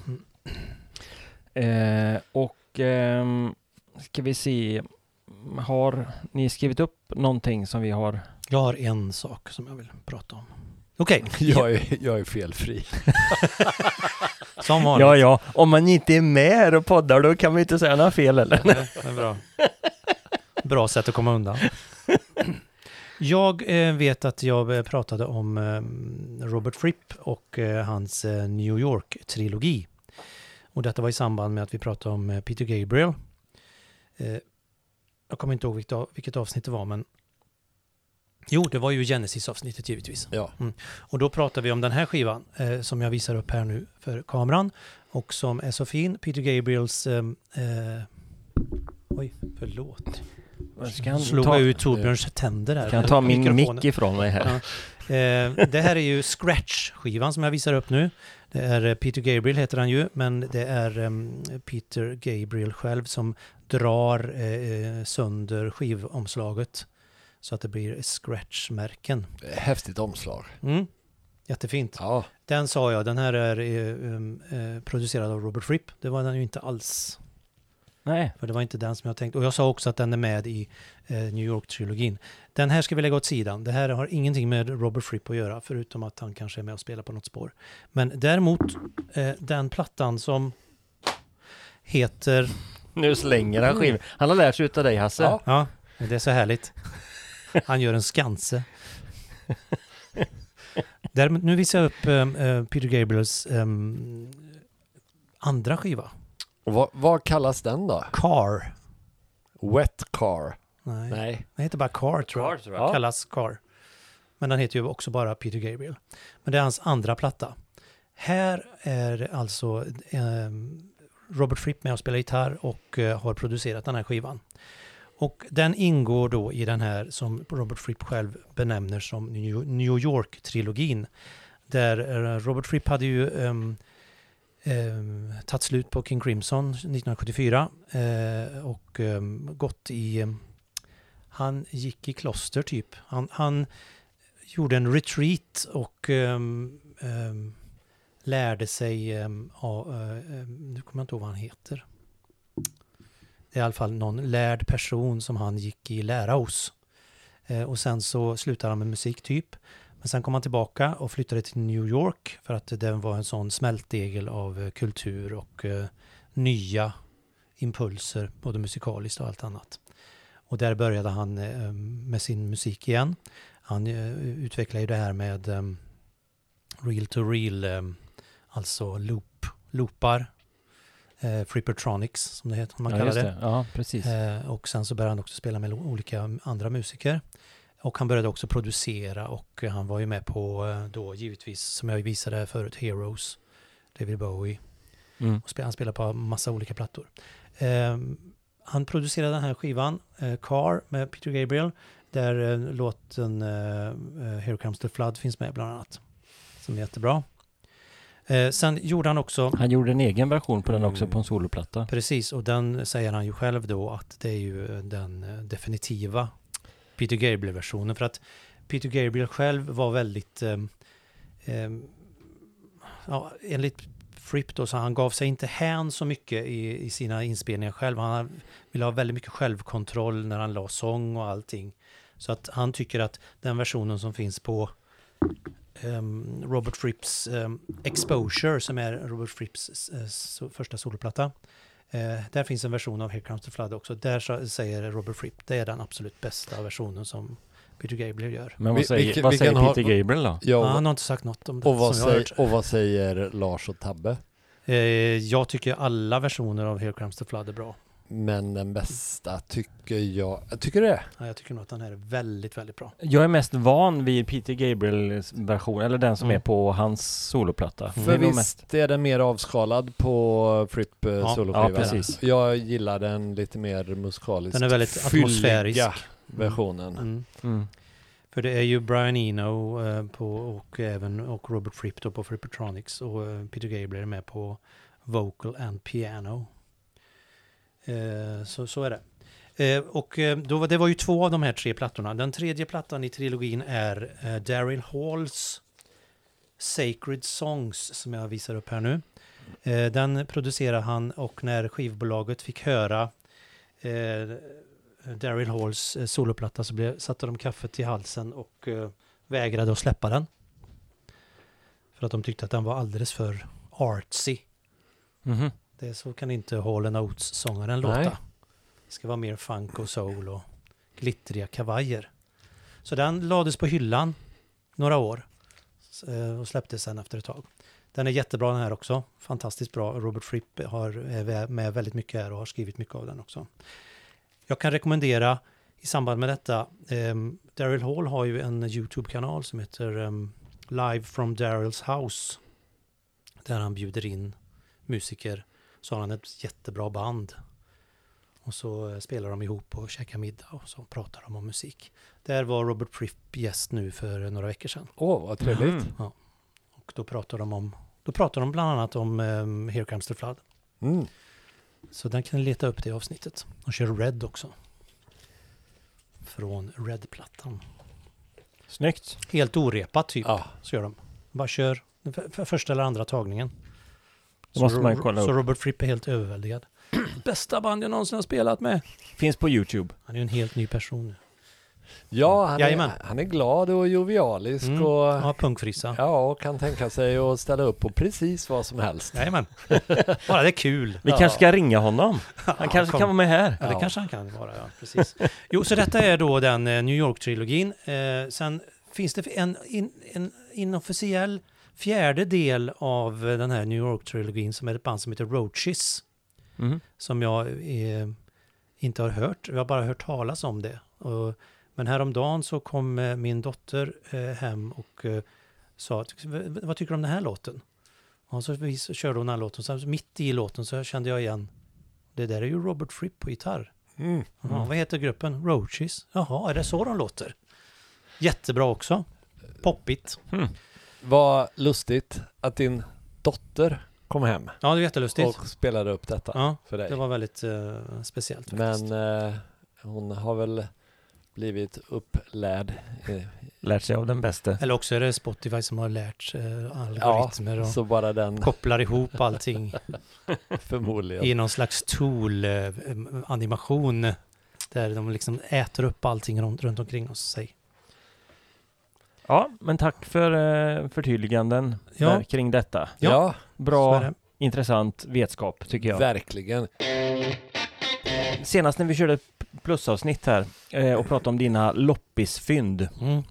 Speaker 2: Eh, och ehm, ska vi se. Har ni skrivit upp någonting som vi har?
Speaker 1: Jag har en sak som jag vill prata om. Okej,
Speaker 3: Jag är, jag är felfri.
Speaker 1: som vanligt.
Speaker 2: ja. Om man inte är med och poddar då kan man inte säga några fel eller?
Speaker 1: Nej, bra. bra sätt att komma undan. Jag eh, vet att jag eh, pratade om eh, Robert Fripp och eh, hans eh, New York-trilogi. Och detta var i samband med att vi pratade om eh, Peter Gabriel. Eh, jag kommer inte ihåg vilket, av, vilket avsnitt det var, men... Jo, det var ju Genesis-avsnittet givetvis.
Speaker 3: Ja.
Speaker 1: Och då pratar vi om den här skivan eh, som jag visar upp här nu för kameran och som är så fin. Peter Gabriels... Eh, eh, oj, förlåt.
Speaker 2: Ska han
Speaker 1: Slog
Speaker 2: ta,
Speaker 1: jag ut Torbjörns tänder här.
Speaker 2: kan jag ta min
Speaker 1: Mikrofonen.
Speaker 2: mick ifrån mig här?
Speaker 1: Ja. Eh, det här är ju Scratch-skivan som jag visar upp nu. Det är eh, Peter Gabriel heter han ju, men det är em, Peter Gabriel själv som drar eh, sönder skivomslaget så att det blir scratch-märken.
Speaker 3: Häftigt omslag.
Speaker 1: Mm. Jättefint.
Speaker 3: Ja.
Speaker 1: Den sa jag, den här är eh, um, eh, producerad av Robert Fripp. Det var den ju inte alls.
Speaker 2: Nej.
Speaker 1: För det var inte den som jag tänkte. Och jag sa också att den är med i eh, New York-trilogin. Den här ska vi lägga åt sidan. Det här har ingenting med Robert Fripp att göra. Förutom att han kanske är med och spelar på något spår. Men däremot eh, den plattan som heter...
Speaker 2: Nu slänger han skiv. Han har lärt sig utav dig Hasse.
Speaker 3: Ja.
Speaker 1: Ja, det är så härligt. Han gör en skanse. Däremot, nu visar jag upp em, eh, Peter Gabriels em, andra skiva.
Speaker 3: Och vad, vad kallas den då?
Speaker 1: Car.
Speaker 3: Wet car?
Speaker 1: Nej,
Speaker 3: Nej.
Speaker 1: den heter bara Car tror jag.
Speaker 2: Car, tror jag. Ja.
Speaker 1: Kallas Car. Men den heter ju också bara Peter Gabriel. Men det är hans andra platta. Här är alltså eh, Robert Fripp med och spelar gitarr och eh, har producerat den här skivan. Och den ingår då i den här som Robert Fripp själv benämner som New New York-trilogin. Där eh, Robert Fripp hade ju ehm, ehm, tagit slut på King Crimson 1974 eh, och ehm, gått i... ehm, han gick i kloster typ. Han, han gjorde en retreat och ehm, ehm, lärde sig... ehm, ja, eh, ehm, nu kommer jag inte ihåg vad han heter. Det är i alla fall någon lärd person som han gick i lära hos. Eh, och sen så slutade han med musik typ. Men sen kom han tillbaka och flyttade till New York för att den var en sån smältdegel av eh, kultur och eh, nya impulser, både musikaliskt och allt annat. Och där började han eh, med sin musik igen. Han eh, utvecklade ju det här med eh, reel to reel, eh, alltså loop, loopar, eh, frippertronics som det heter, man
Speaker 2: Ja,
Speaker 1: kallar
Speaker 2: just
Speaker 1: det.
Speaker 2: det. Ja, precis.
Speaker 1: Eh, och sen så började han också spela med lo- olika andra musiker. Och han började också producera och eh, han var ju med på eh, då givetvis, som jag visade här förut, Heroes, David Bowie.
Speaker 2: Mm.
Speaker 1: Och spel, han spelar på massa olika plattor. Ehm, han producerade den här skivan, eh, Car med Peter Gabriel, där eh, låten eh, eh, Here Comes the Flood finns med bland annat. Som är jättebra. Eh, sen gjorde han också
Speaker 2: Han gjorde en egen version på den också
Speaker 3: Mm.
Speaker 2: på en soloplatta.
Speaker 1: Precis, och den säger han ju själv då att det är ju den eh, definitiva Peter Gabriel-versionen. För att Peter Gabriel själv var väldigt, eh, eh, ja, enligt Fripp då, så han gav sig inte hän så mycket i, i sina inspelningar själv. Han ville ha väldigt mycket självkontroll när han la sång och allting. Så att han tycker att den versionen som finns på ehm, Robert Fripps ehm, Exposure, som är Robert Fripps eh, so- första soloplatta, Eh, där finns en version av Here Comes the Flood också. Där så, säger Robert Fripp, det är den absolut bästa versionen som Peter Gabriel gör.
Speaker 2: Men
Speaker 3: Vi-
Speaker 2: vad säger,
Speaker 3: vilken-
Speaker 2: vad
Speaker 3: vilken
Speaker 2: säger
Speaker 3: har-
Speaker 2: Peter Gabriel då?
Speaker 3: Ja,
Speaker 1: Ja,
Speaker 3: och,
Speaker 1: han har inte sagt något om det
Speaker 3: och, vad
Speaker 1: som jag har
Speaker 3: säger,
Speaker 1: hört.
Speaker 3: och vad säger Lars och Tabbe?
Speaker 1: Eh, jag tycker alla versioner av Here Comes the Flood är bra.
Speaker 3: Men den bästa tycker jag... jag Tycker du det?
Speaker 1: Ja, jag tycker nog att den här är väldigt, väldigt bra.
Speaker 2: Jag är mest van vid Peter Gabriels version, eller den som
Speaker 1: Mm.
Speaker 2: är på hans soloplatta. Det
Speaker 3: För
Speaker 2: är nog mest-
Speaker 3: visst är den mer avskalad på Fripp eh,
Speaker 1: Ja,
Speaker 3: soloskivan?
Speaker 2: ja, precis.
Speaker 3: Jag gillar den lite mer musikaliskt
Speaker 1: Den är väldigt
Speaker 3: fylliga
Speaker 1: atmosfärisk.
Speaker 3: versionen.
Speaker 1: Mm.
Speaker 2: Mm.
Speaker 1: För det är ju Brian Eno eh, på, och även och Robert Fripp då på Frippertronics och eh, Peter Gabriel är med på Vocal and Piano. Eh, så, så är det. Eh, och eh, då, var- det var ju två av de här tre plattorna. Den tredje plattan i trilogin är eh, Daryl Halls Sacred Songs som jag visar upp här nu. Eh, den producerade han och när skivbolaget fick höra eh, Daryl Halls eh, soloplatta så blev, satte de kaffet i halsen och eh, vägrade att släppa den. För att de tyckte att den var alldeles för artsy.
Speaker 2: Mhm.
Speaker 1: Det så kan inte Hall Oates-sångaren
Speaker 3: Nej.
Speaker 1: låta. Det ska vara mer funk och soul och glittriga kavajer. Så den lades på hyllan några år s- eh, och släpptes sen efter ett tag. Den är jättebra den här också. Fantastiskt bra. Robert Fripp har, är vä- med väldigt mycket här och har skrivit mycket av den också. Jag kan rekommendera i samband med detta, ehm, Daryl Hall har ju en YouTube-kanal som heter ehm, Live from Daryl's House. Där han bjuder in musiker så har han ett jättebra band. Och så eh, spelar de ihop och käkar middag och så pratar de om musik. Där var Robert Fripp gäst nu för eh, några veckor sedan.
Speaker 3: Åh, vad trevligt.
Speaker 2: Mhm.
Speaker 1: Och då pratar de om, då pratar de bland annat om ehm, Here Comes the Flood.
Speaker 3: Mm.
Speaker 1: Typ. Så den kan ni leta upp det avsnittet. De kör Red också. Från Red-plattan.
Speaker 2: Snyggt.
Speaker 1: Helt orepat typ,
Speaker 3: Ja.
Speaker 1: så gör de. Bara kör för, för första eller andra tagningen.
Speaker 2: Det måste
Speaker 1: så,
Speaker 2: man
Speaker 1: Ro-
Speaker 2: kolla
Speaker 1: Så
Speaker 2: upp.
Speaker 1: Robert Fripp är helt överväldigad. Bästa band jag någonsin har spelat med.
Speaker 2: Finns på YouTube.
Speaker 1: Han är ju en helt ny person nu.
Speaker 3: Ja, han
Speaker 1: Jajamän.
Speaker 3: är, han är glad och jovialisk
Speaker 1: Mm.
Speaker 3: och,
Speaker 1: Ja, punkfrissa.
Speaker 3: ja, och kan tänka sig att ställa upp på precis vad som helst.
Speaker 1: Jajamän. Bara det är kul.
Speaker 2: Vi
Speaker 3: Ja.
Speaker 2: kanske ska ringa honom. Han kanske
Speaker 1: kom.
Speaker 2: kan vara med här.
Speaker 1: Ja, det
Speaker 3: Ja.
Speaker 1: kanske han kan vara, ja. Precis. Jo, så detta är då den eh, New York-trilogin. Eh, sen finns det en, in, en inofficiell fjärde del av eh, den här New York-trilogin som är ett band som heter Roaches,
Speaker 2: Mhm.
Speaker 1: som jag eh, inte har hört. Jag har bara hört talas om det. Och, men häromdagen så kom eh, min dotter eh, hem och eh, sa, "Ty- v- v- vad tycker du om den här låten? Och så vis- körde hon den här låten, så mitt i låten så kände jag igen, det där är ju Robert Fripp på gitarr.
Speaker 3: Mm.
Speaker 1: Jaha, Vad heter gruppen? Roaches. Jaha, är det så de låter? Jättebra också. Poppigt.
Speaker 3: Vad lustigt att din dotter kom hem
Speaker 1: Ja, det är jättelustigt.
Speaker 3: och spelade upp detta
Speaker 1: Ja,
Speaker 3: för dig.
Speaker 1: det var väldigt eh, speciellt faktiskt.
Speaker 3: Men eh, hon har väl blivit upplärd. eh,
Speaker 2: Lärt sig av den bästa.
Speaker 1: Eller också är det Spotify som har lärt eh, algoritmer och
Speaker 3: Så bara den
Speaker 1: kopplar ihop allting
Speaker 3: förmodligen.
Speaker 1: i någon slags tool-animation. där de liksom äter upp allting runt, runt omkring oss. Sig.
Speaker 2: Ja, men tack för eh, förtydliganden
Speaker 1: Ja.
Speaker 2: där, kring detta.
Speaker 1: Ja,
Speaker 3: Ja,
Speaker 1: Så är
Speaker 2: Bra,
Speaker 1: det.
Speaker 2: intressant vetskap tycker jag.
Speaker 3: verkligen.
Speaker 2: Senast när vi körde ett plusavsnitt här eh, och pratade om dina loppisfynd,
Speaker 1: Mm.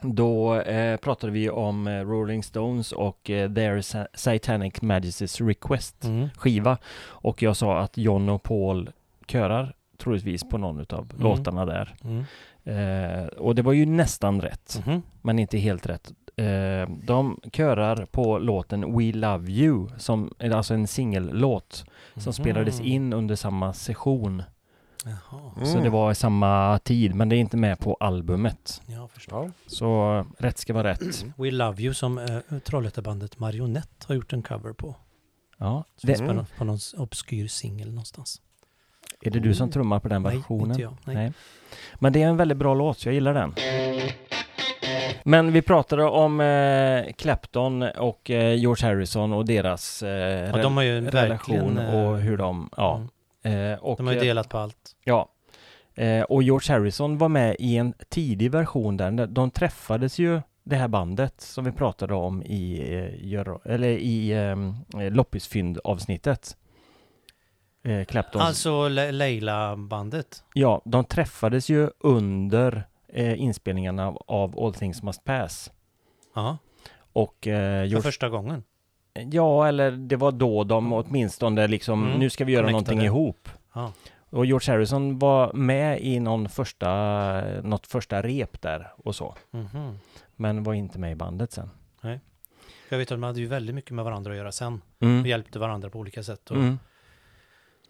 Speaker 2: då eh, pratade vi om eh, Rolling Stones och eh, Their Sa- Satanic Majesty's Request
Speaker 1: Mm.
Speaker 2: skiva och jag sa att John och Paul körar troligtvis på någon utav
Speaker 1: Mm.
Speaker 2: låtarna där.
Speaker 1: Mm.
Speaker 2: Eh, och det var ju nästan rätt,
Speaker 1: Mhm.
Speaker 2: men inte helt rätt. Eh, de körar på låten We Love You, som är alltså en singellåt som spelades
Speaker 1: Mhm.
Speaker 2: in under samma session.
Speaker 1: Jaha,
Speaker 2: Så
Speaker 3: Mm.
Speaker 2: det var i samma tid, men det är inte med på albumet.
Speaker 1: jag förstår.
Speaker 3: Ja.
Speaker 2: Så eh, rätt ska vara rätt.
Speaker 1: Mm. We Love You som eh, Trollhättebandet Marionette har gjort en cover på.
Speaker 2: Ja,
Speaker 1: Som
Speaker 2: det,
Speaker 1: finns på, någon, på någon obskyr singel någonstans.
Speaker 2: är det du som trummar på den
Speaker 1: Mm. Nej,
Speaker 2: versionen?
Speaker 1: inte jag. Nej.
Speaker 2: Nej. Men det är en väldigt bra låt, så jag gillar den. Men vi pratade om eh, Clapton och eh, George Harrison och deras eh,
Speaker 1: Ja, de har ju
Speaker 2: rel-
Speaker 1: verkligen...
Speaker 2: relation
Speaker 1: eh,
Speaker 2: och hur de, ja.
Speaker 1: mm.
Speaker 2: Eh, och,
Speaker 1: De har ju
Speaker 2: eh,
Speaker 1: delat på allt.
Speaker 2: Ja. Eh, och George Harrison var med i en tidig version där. De- De träffades ju, det här bandet som vi pratade om i, eh, Gör- eller i eh, Loppisfynd-avsnittet. Eh, Clapton.
Speaker 1: Alltså Le- Leila-bandet.
Speaker 2: Ja, de träffades ju under eh, inspelningarna av, av All Things Must Pass.
Speaker 1: Ja,
Speaker 2: Och eh,
Speaker 1: för
Speaker 2: George,
Speaker 1: första gången.
Speaker 2: ja, eller det var då de åtminstone liksom,
Speaker 1: Mm,
Speaker 2: nu ska vi göra
Speaker 1: connectade.
Speaker 2: någonting ihop.
Speaker 1: Ja.
Speaker 2: Och George Harrison var med i någon första, något första rep där och så.
Speaker 1: Mhm.
Speaker 2: Men var inte med i bandet sen.
Speaker 1: Jag vet att de hade ju väldigt mycket med varandra att göra sen. De
Speaker 2: Mm.
Speaker 1: hjälpte varandra på olika sätt. Och
Speaker 2: Mm.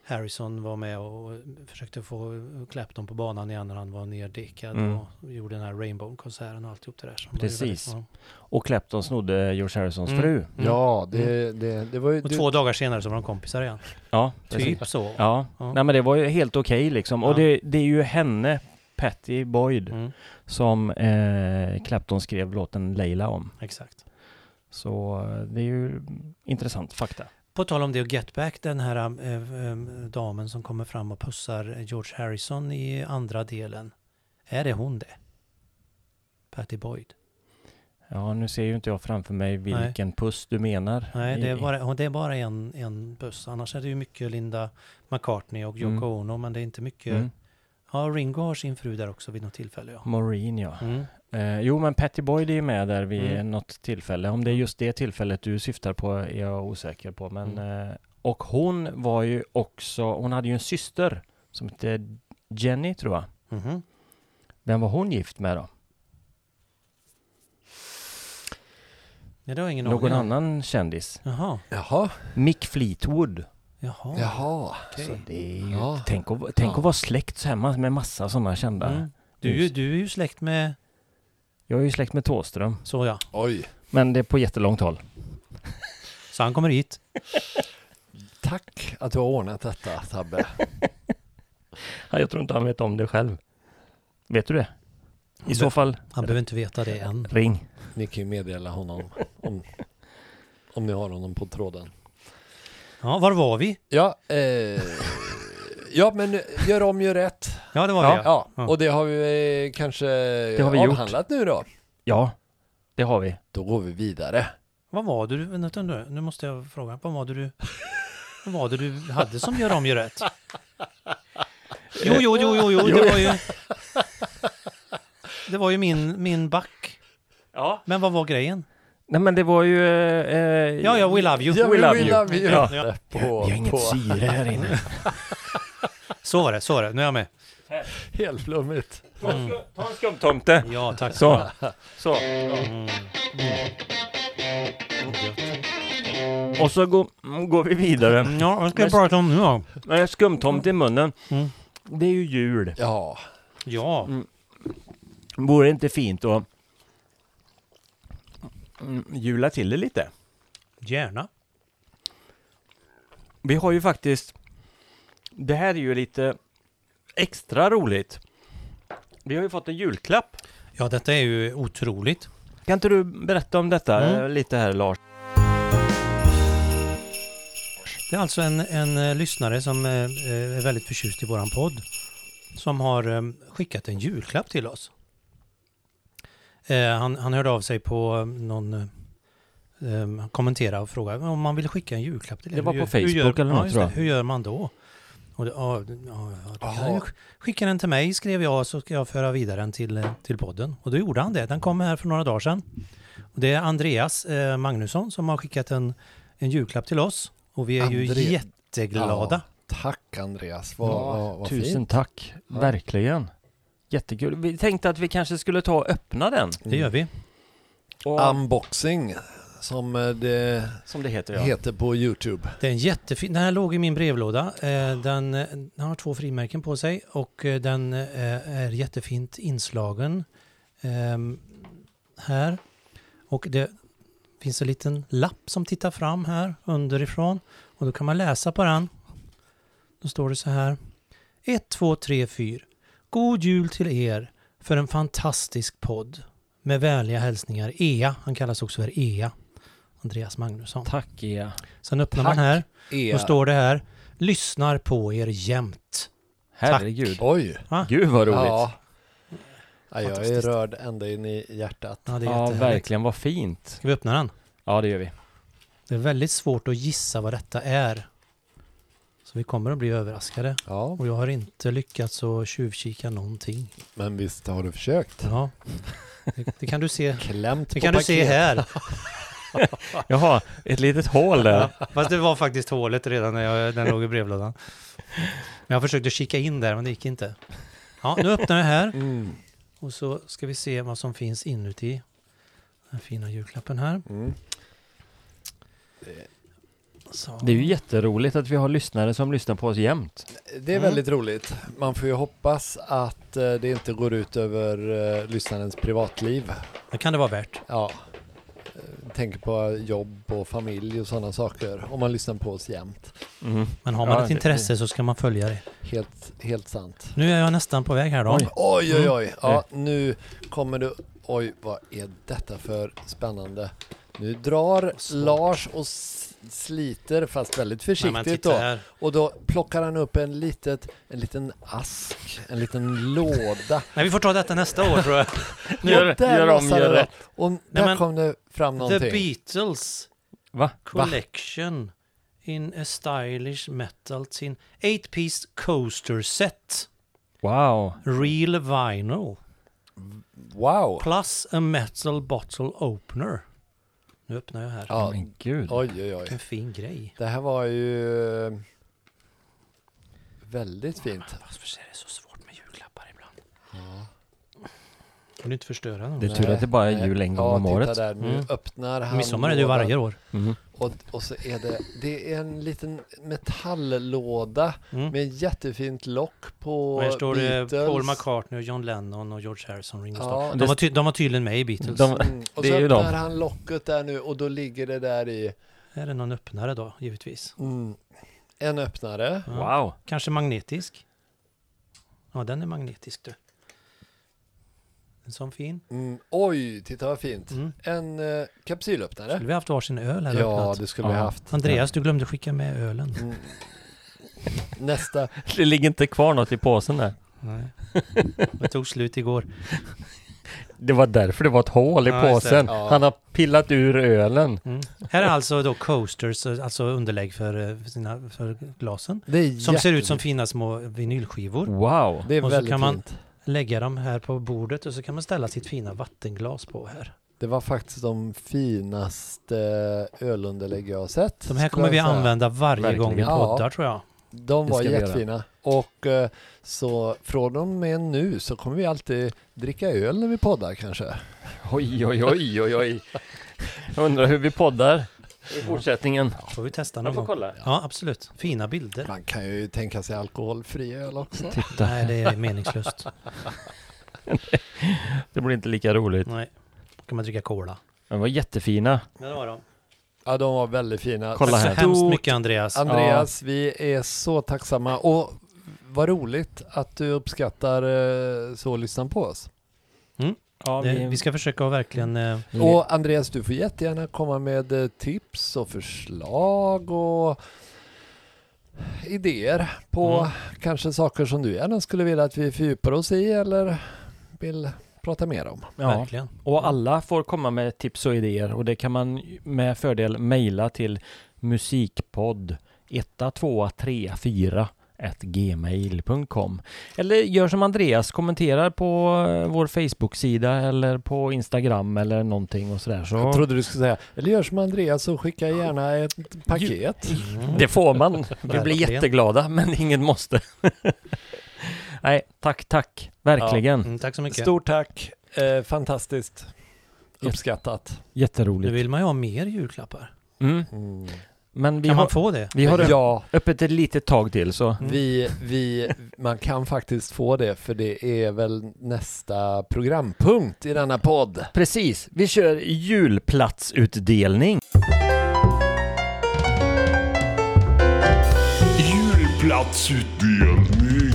Speaker 1: Harrison var med och försökte få Clapton på banan igen när han var nerdickad
Speaker 2: Mm.
Speaker 1: och gjorde den här Rainbow-konserten och alltihop det där. som var ju
Speaker 2: Precis.
Speaker 1: väldigt bra.
Speaker 2: Och Clapton snodde George Harrisons
Speaker 1: Mm.
Speaker 2: fru.
Speaker 1: Mm.
Speaker 3: Ja, det, det, det var ju...
Speaker 1: Och
Speaker 3: du-
Speaker 1: två dagar senare så var de kompisar igen.
Speaker 2: Ja, precis.
Speaker 1: Typ så.
Speaker 2: Ja.
Speaker 1: Ja.
Speaker 2: nej men det var ju helt okej liksom. Och
Speaker 1: Ja.
Speaker 2: det, det är ju henne, Patty Boyd,
Speaker 1: Mm,
Speaker 2: som eh, Clapton skrev låten Leila om.
Speaker 1: exakt.
Speaker 2: Så eh, det är ju intressant fakta.
Speaker 1: På tal om det och Get Back, den här eh, eh, damen som kommer fram och pussar George Harrison i andra delen. Är det hon det? Patty Boyd?
Speaker 2: Ja, nu ser ju inte jag framför mig vilken puss du menar.
Speaker 1: Nej, det är
Speaker 2: I-
Speaker 1: bara, och det är bara en, en puss. Annars är det ju mycket Linda McCartney och Yoko
Speaker 2: Mm.
Speaker 1: Ono, men det är inte mycket.
Speaker 2: Mm.
Speaker 1: Ja, Ringo har sin fru där också vid något tillfälle. Ja.
Speaker 2: Maureen, ja.
Speaker 1: Mm.
Speaker 2: Eh, jo, men Patty Boyd är ju med där vid
Speaker 1: Mm.
Speaker 2: något tillfälle. Om det är just det tillfället du syftar på är jag osäker på. Men,
Speaker 1: Mm.
Speaker 2: eh, och hon var ju också, hon hade ju en syster som hette Jenny, tror jag.
Speaker 1: Mhm.
Speaker 2: Vem var hon gift med då?
Speaker 1: Nej, det har jag ingen
Speaker 2: Någon
Speaker 1: aning om.
Speaker 2: annan kändis?
Speaker 1: Jaha,
Speaker 3: Jaha,
Speaker 2: Mick Fleetwood.
Speaker 1: jaha.
Speaker 3: jaha.
Speaker 1: okej.
Speaker 2: Så det är ju,
Speaker 3: Ja.
Speaker 2: tänk, att, tänk
Speaker 3: Ja.
Speaker 2: att vara släkt så här ma- med massa sådana kända.
Speaker 1: Mm. Du, är ju- du är ju släkt med...
Speaker 2: Jag är ju släkt med Thåström,
Speaker 1: Så ja,
Speaker 3: Oj.
Speaker 2: men det är på jättelångt håll.
Speaker 1: så han kommer hit.
Speaker 3: Tack att du har ordnat detta, Tabbe.
Speaker 2: Ja, Jag tror inte han vet om det själv. Vet du det? I så fall,
Speaker 1: Han behöver inte veta det än.
Speaker 2: ring.
Speaker 3: Ni kan ju meddela honom om, om ni har honom på tråden.
Speaker 1: Ja, var var vi?
Speaker 3: Ja, eh, ja men gör om, gör rätt.
Speaker 1: Ja, det var vi. Ja.
Speaker 3: Ja,
Speaker 1: Ja.
Speaker 3: och det har vi eh, kanske
Speaker 2: har vi gjort.
Speaker 3: avhandlat nu då.
Speaker 2: Ja, det har vi.
Speaker 3: Då går vi vidare.
Speaker 1: Vad var det du, vänta nu, nu måste jag fråga, vad var det du, vad var det du hade som gör om gör rätt? Jo, jo, jo, jo, jo, det var ju, det var ju min, min back.
Speaker 2: Ja.
Speaker 1: Men vad var grejen?
Speaker 2: Nej men det var ju... Eh, eh,
Speaker 1: Ja, ja, we love you.
Speaker 3: Ja,
Speaker 2: We love you.
Speaker 3: Ja.
Speaker 1: Ja.
Speaker 3: På,
Speaker 2: Vi har
Speaker 3: på
Speaker 2: inget syre här inne.
Speaker 1: Så var det, så var det, nu är jag med.
Speaker 3: helt flummigt.
Speaker 1: Mm.
Speaker 2: Ta en skumtomte.
Speaker 1: Ja, tack.
Speaker 2: Så, så.
Speaker 1: Mm.
Speaker 2: Och så går, går vi vidare.
Speaker 1: Mm. Ja, vad ska jag prata om nu då?
Speaker 2: Eh, Skumtomte i munnen.
Speaker 1: Mm.
Speaker 2: Det är ju jul.
Speaker 3: Ja,
Speaker 1: Ja,
Speaker 2: Vore det inte fint att mm, jula till det lite?
Speaker 1: gärna.
Speaker 2: Vi har ju faktiskt... Det här är ju lite extra roligt. Vi har ju fått en julklapp.
Speaker 1: Ja, detta är ju otroligt.
Speaker 2: Kan inte du berätta om detta
Speaker 1: Mm.
Speaker 2: eh, lite här Lars?
Speaker 1: Det är alltså en, en eh, lyssnare som eh, eh, är väldigt förtjust i våran podd som har eh, skickat en julklapp till oss. Eh, han, han hörde av sig på eh, någon eh, eh, kommentera och fråga om man vill skicka en julklapp till
Speaker 2: Det
Speaker 1: er.
Speaker 2: var
Speaker 1: Hur
Speaker 2: på
Speaker 1: gör- hur
Speaker 2: Facebook
Speaker 1: gör,
Speaker 2: eller något,
Speaker 1: ja, just
Speaker 2: tror
Speaker 1: det.
Speaker 2: jag.
Speaker 1: Hur gör man då? Och det, ja, det- ja, ja, det kan
Speaker 3: Jaha.
Speaker 1: jag ju- skicka den till mig skrev jag så ska jag föra vidare den till, eh, till podden. Och då gjorde han det. Den kom här för några dagar sedan. Och det är Andreas eh, Magnusson som har skickat en, en julklapp till oss. Och vi är ju
Speaker 3: André-
Speaker 1: jätteglada.
Speaker 3: tack Andreas. Vad, vad, vad
Speaker 2: Tusen
Speaker 3: fint.
Speaker 2: tack,
Speaker 3: Ja.
Speaker 2: verkligen. Jättekul. Vi tänkte att vi kanske skulle ta och öppna den.
Speaker 1: Det gör vi.
Speaker 2: Och,
Speaker 3: Unboxing, som eh, det
Speaker 2: som det heter ja.
Speaker 3: heter på YouTube.
Speaker 1: Det är en jättefin. Den här låg i min brevlåda. Eh, Den, eh, den har två frimärken på sig och eh, den eh, är jättefint inslagen ehm, här. Och det finns en liten lapp som tittar fram här underifrån och då kan man läsa på den. Då står det så här. 1, 2, 3, 4. God jul till er för en fantastisk podd. Med vänliga hälsningar Ea. Han kallas också för Ea. Andreas Magnusson.
Speaker 2: Tack Ia.
Speaker 1: Sen öppnar
Speaker 3: Tack.
Speaker 1: man här.
Speaker 3: Er.
Speaker 1: Då står det här, lyssnar på er jämt.
Speaker 2: Herregud.
Speaker 3: Oj.
Speaker 2: Gud vad roligt.
Speaker 3: Ja. Ja, jag är
Speaker 1: Fantastiskt.
Speaker 3: rörd ända in i hjärtat.
Speaker 1: Ja, det är
Speaker 2: Ja,
Speaker 1: jättehärligt.
Speaker 2: verkligen vad fint.
Speaker 1: Ska vi öppna den?
Speaker 2: Ja, det gör vi.
Speaker 1: Det är väldigt svårt att gissa vad detta är. Så vi kommer att bli överraskade.
Speaker 3: Ja,
Speaker 1: Och jag har inte lyckats att tjuvkika någonting.
Speaker 3: men visst har du försökt?
Speaker 1: Ja. Det, det kan du se.
Speaker 3: Klämt
Speaker 1: Det
Speaker 3: på
Speaker 1: kan du se
Speaker 3: paket.
Speaker 1: här.
Speaker 2: Jaha, ett litet hål där.
Speaker 1: Fast det var faktiskt hålet redan när jag, den låg i brevlådan. Men jag försökte kika in där, men det gick inte. Ja, nu öppnar jag här.
Speaker 3: Mm.
Speaker 1: Och så ska vi se vad som finns inuti den fina julklappen här.
Speaker 3: Mm.
Speaker 1: Så.
Speaker 2: Det är ju jätteroligt att vi har lyssnare som lyssnar på oss jämt.
Speaker 3: Det är
Speaker 1: Mm.
Speaker 3: väldigt roligt. Man får ju hoppas att eh, det inte går ut över eh, lyssnarens privatliv.
Speaker 1: Det kan det vara värt.
Speaker 3: Ja. Eh, Tänker på jobb och familj och sådana saker. Om man lyssnar på oss jämt.
Speaker 2: Mm.
Speaker 1: Men har man
Speaker 2: Ja,
Speaker 1: ett
Speaker 2: det-
Speaker 1: intresse så ska man följa det.
Speaker 3: Helt, helt sant. Mm.
Speaker 1: Nu är jag nästan på väg här då.
Speaker 2: Oj.
Speaker 3: Oj, oj, oj. Ja, nu kommer du... Oj, vad är detta för spännande? Nu drar Lars och s- sliter, fast väldigt
Speaker 1: Nej, men
Speaker 3: försiktigt
Speaker 1: titta
Speaker 3: då.
Speaker 1: här.
Speaker 3: Och då plockar han upp en, litet, en liten ask, en liten låda.
Speaker 1: Nej, vi får ta detta nästa år tror jag.
Speaker 3: Och
Speaker 2: Gör-
Speaker 3: där
Speaker 2: gör om,
Speaker 3: lossade
Speaker 2: gör
Speaker 3: det.
Speaker 2: rätt.
Speaker 3: Och där
Speaker 1: men-
Speaker 3: kom det fram
Speaker 1: The
Speaker 3: någonting.
Speaker 1: Beatles
Speaker 2: Va?
Speaker 1: Collection in a stylish metal tin. 8-piece coaster set.
Speaker 2: Wow.
Speaker 1: Real vinyl.
Speaker 3: Wow!
Speaker 1: Plus a metal bottle opener. Nu öppnar jag här.
Speaker 3: Ja,
Speaker 2: Men gud.
Speaker 3: oj, oj, oj.
Speaker 1: Vilken fin grej.
Speaker 3: Det här var ju eh, väldigt fint.
Speaker 1: Varför är det så svårt med julklappar ibland? Kan du inte förstöra någon?
Speaker 2: Det är tur att det bara är jul en gång
Speaker 3: Eh, ja,
Speaker 2: om
Speaker 3: titta
Speaker 2: året.
Speaker 3: Där, nu
Speaker 1: Mm.
Speaker 3: öppnar han
Speaker 1: Midsommar är det ju
Speaker 3: lådan.
Speaker 1: varje år.
Speaker 2: Mm.
Speaker 3: Och, och så är det, det är en liten metalllåda
Speaker 1: Mm.
Speaker 3: med jättefint lock på
Speaker 1: Och här står det
Speaker 3: Beatles.
Speaker 1: eh, Paul McCartney och John Lennon och George Harrison, Ringo Starr.
Speaker 3: Ja,
Speaker 1: De, var ty- de var tydligen med i Beatles.
Speaker 2: De,
Speaker 3: Mm, och
Speaker 2: Det
Speaker 3: så
Speaker 2: är ju dem.
Speaker 3: öppnar han locket där nu och då ligger det där i
Speaker 1: Här är någon öppnare då, givetvis.
Speaker 3: mm, en öppnare.
Speaker 1: Ja.
Speaker 2: wow.
Speaker 1: Kanske magnetisk? Ja, den är magnetisk du. En sån fin.
Speaker 3: Mm, oj, titta vad fint.
Speaker 1: Mm.
Speaker 3: En eh, kapsylöppnare.
Speaker 1: Skulle vi haft varsin öl här och
Speaker 3: Ja,
Speaker 1: öppnat?
Speaker 3: det skulle vi
Speaker 2: Ja.
Speaker 3: haft.
Speaker 1: Andreas, du glömde skicka med ölen.
Speaker 3: Mm. Nästa.
Speaker 2: Det ligger inte kvar något i påsen där.
Speaker 1: Nej. Det tog slut igår.
Speaker 2: Det var därför det var ett hål i
Speaker 1: Ja, just det.
Speaker 2: påsen.
Speaker 3: Ja.
Speaker 2: Han har pillat ur ölen.
Speaker 1: Mm. Här är alltså då coasters, alltså underlägg för, eh, för sina, för glasen.
Speaker 3: Det är
Speaker 1: Som ser ut som
Speaker 3: jättefint.
Speaker 1: fina små vinylskivor.
Speaker 2: Wow.
Speaker 3: Det är
Speaker 1: Och så
Speaker 3: väldigt
Speaker 1: kan man-
Speaker 3: fint.
Speaker 1: Lägga dem här på bordet och så kan man ställa sitt fina vattenglas på här.
Speaker 3: Det var faktiskt de finaste ölunderlägg jag har sett.
Speaker 1: De här
Speaker 3: skulle
Speaker 1: kommer vi
Speaker 3: jag säga.
Speaker 1: använda varje
Speaker 2: Verkligen.
Speaker 1: gång vi
Speaker 3: Ja.
Speaker 1: poddar tror jag.
Speaker 3: De
Speaker 2: Det
Speaker 3: var
Speaker 2: ska vi göra.
Speaker 3: jättefina. Och eh, så från och med nu så kommer vi alltid dricka öl när vi poddar kanske.
Speaker 2: Oj, oj, oj, oj, oj. Jag undrar hur vi poddar i fortsättningen.
Speaker 1: Får vi testa någon
Speaker 2: Jag får
Speaker 1: gång?
Speaker 2: kolla.
Speaker 1: Ja, absolut. Fina bilder.
Speaker 3: Man kan ju tänka sig alkoholfri öl också.
Speaker 2: Titta,
Speaker 1: Nej, det är meningslöst.
Speaker 2: det blir inte lika roligt.
Speaker 1: Nej. Då kan man dricka cola.
Speaker 2: De var jättefina.
Speaker 1: Ja, det var de.
Speaker 3: Ja, de var väldigt fina.
Speaker 2: Kolla
Speaker 1: Tack så
Speaker 2: här.
Speaker 1: hemskt
Speaker 3: Stort
Speaker 1: mycket Andreas.
Speaker 3: Andreas, vi är så tacksamma och vad roligt att du uppskattar eh, så att lyssna på oss.
Speaker 2: Ja,
Speaker 1: Det, Eh, vi ska försöka att verkligen... eh,
Speaker 3: Och Andreas, du får jättegärna komma med eh, tips och förslag och idéer på
Speaker 2: Mm.
Speaker 3: kanske saker som du gärna skulle vilja att vi fördjupar oss i eller vill prata mer om.
Speaker 2: ja.
Speaker 1: Verkligen.
Speaker 2: och alla får komma med tips och idéer och det kan man med fördel mejla till musikpodd 1234 gmail.com Eller gör som Andreas, kommenterar på eh, vår Facebook-sida eller på Instagram eller någonting och sådär. Så
Speaker 3: Jag trodde du skulle säga, eller gör som Andreas och skicka gärna ett paket.
Speaker 1: Mm.
Speaker 2: Det får man. Vi blir
Speaker 1: Verkligen.
Speaker 2: jätteglada, men inget måste. Nej, tack, tack. Verkligen.
Speaker 1: Mm, tack så mycket.
Speaker 3: Stort tack, eh, fantastiskt uppskattat.
Speaker 1: Nu
Speaker 2: Jätteroligt.
Speaker 1: vill man ju ha mer julklappar.
Speaker 2: Mm.
Speaker 3: Mm.
Speaker 2: Men vi
Speaker 1: Kan
Speaker 2: har,
Speaker 1: man få det?
Speaker 2: vi har ö-
Speaker 3: ja.
Speaker 2: öppet ett litet tag till, så
Speaker 1: Mm.
Speaker 3: Vi, vi, man kan faktiskt få det för det är väl nästa programpunkt i denna podd.
Speaker 2: precis. Vi kör julplatsutdelning.
Speaker 4: Julplatsutdelning.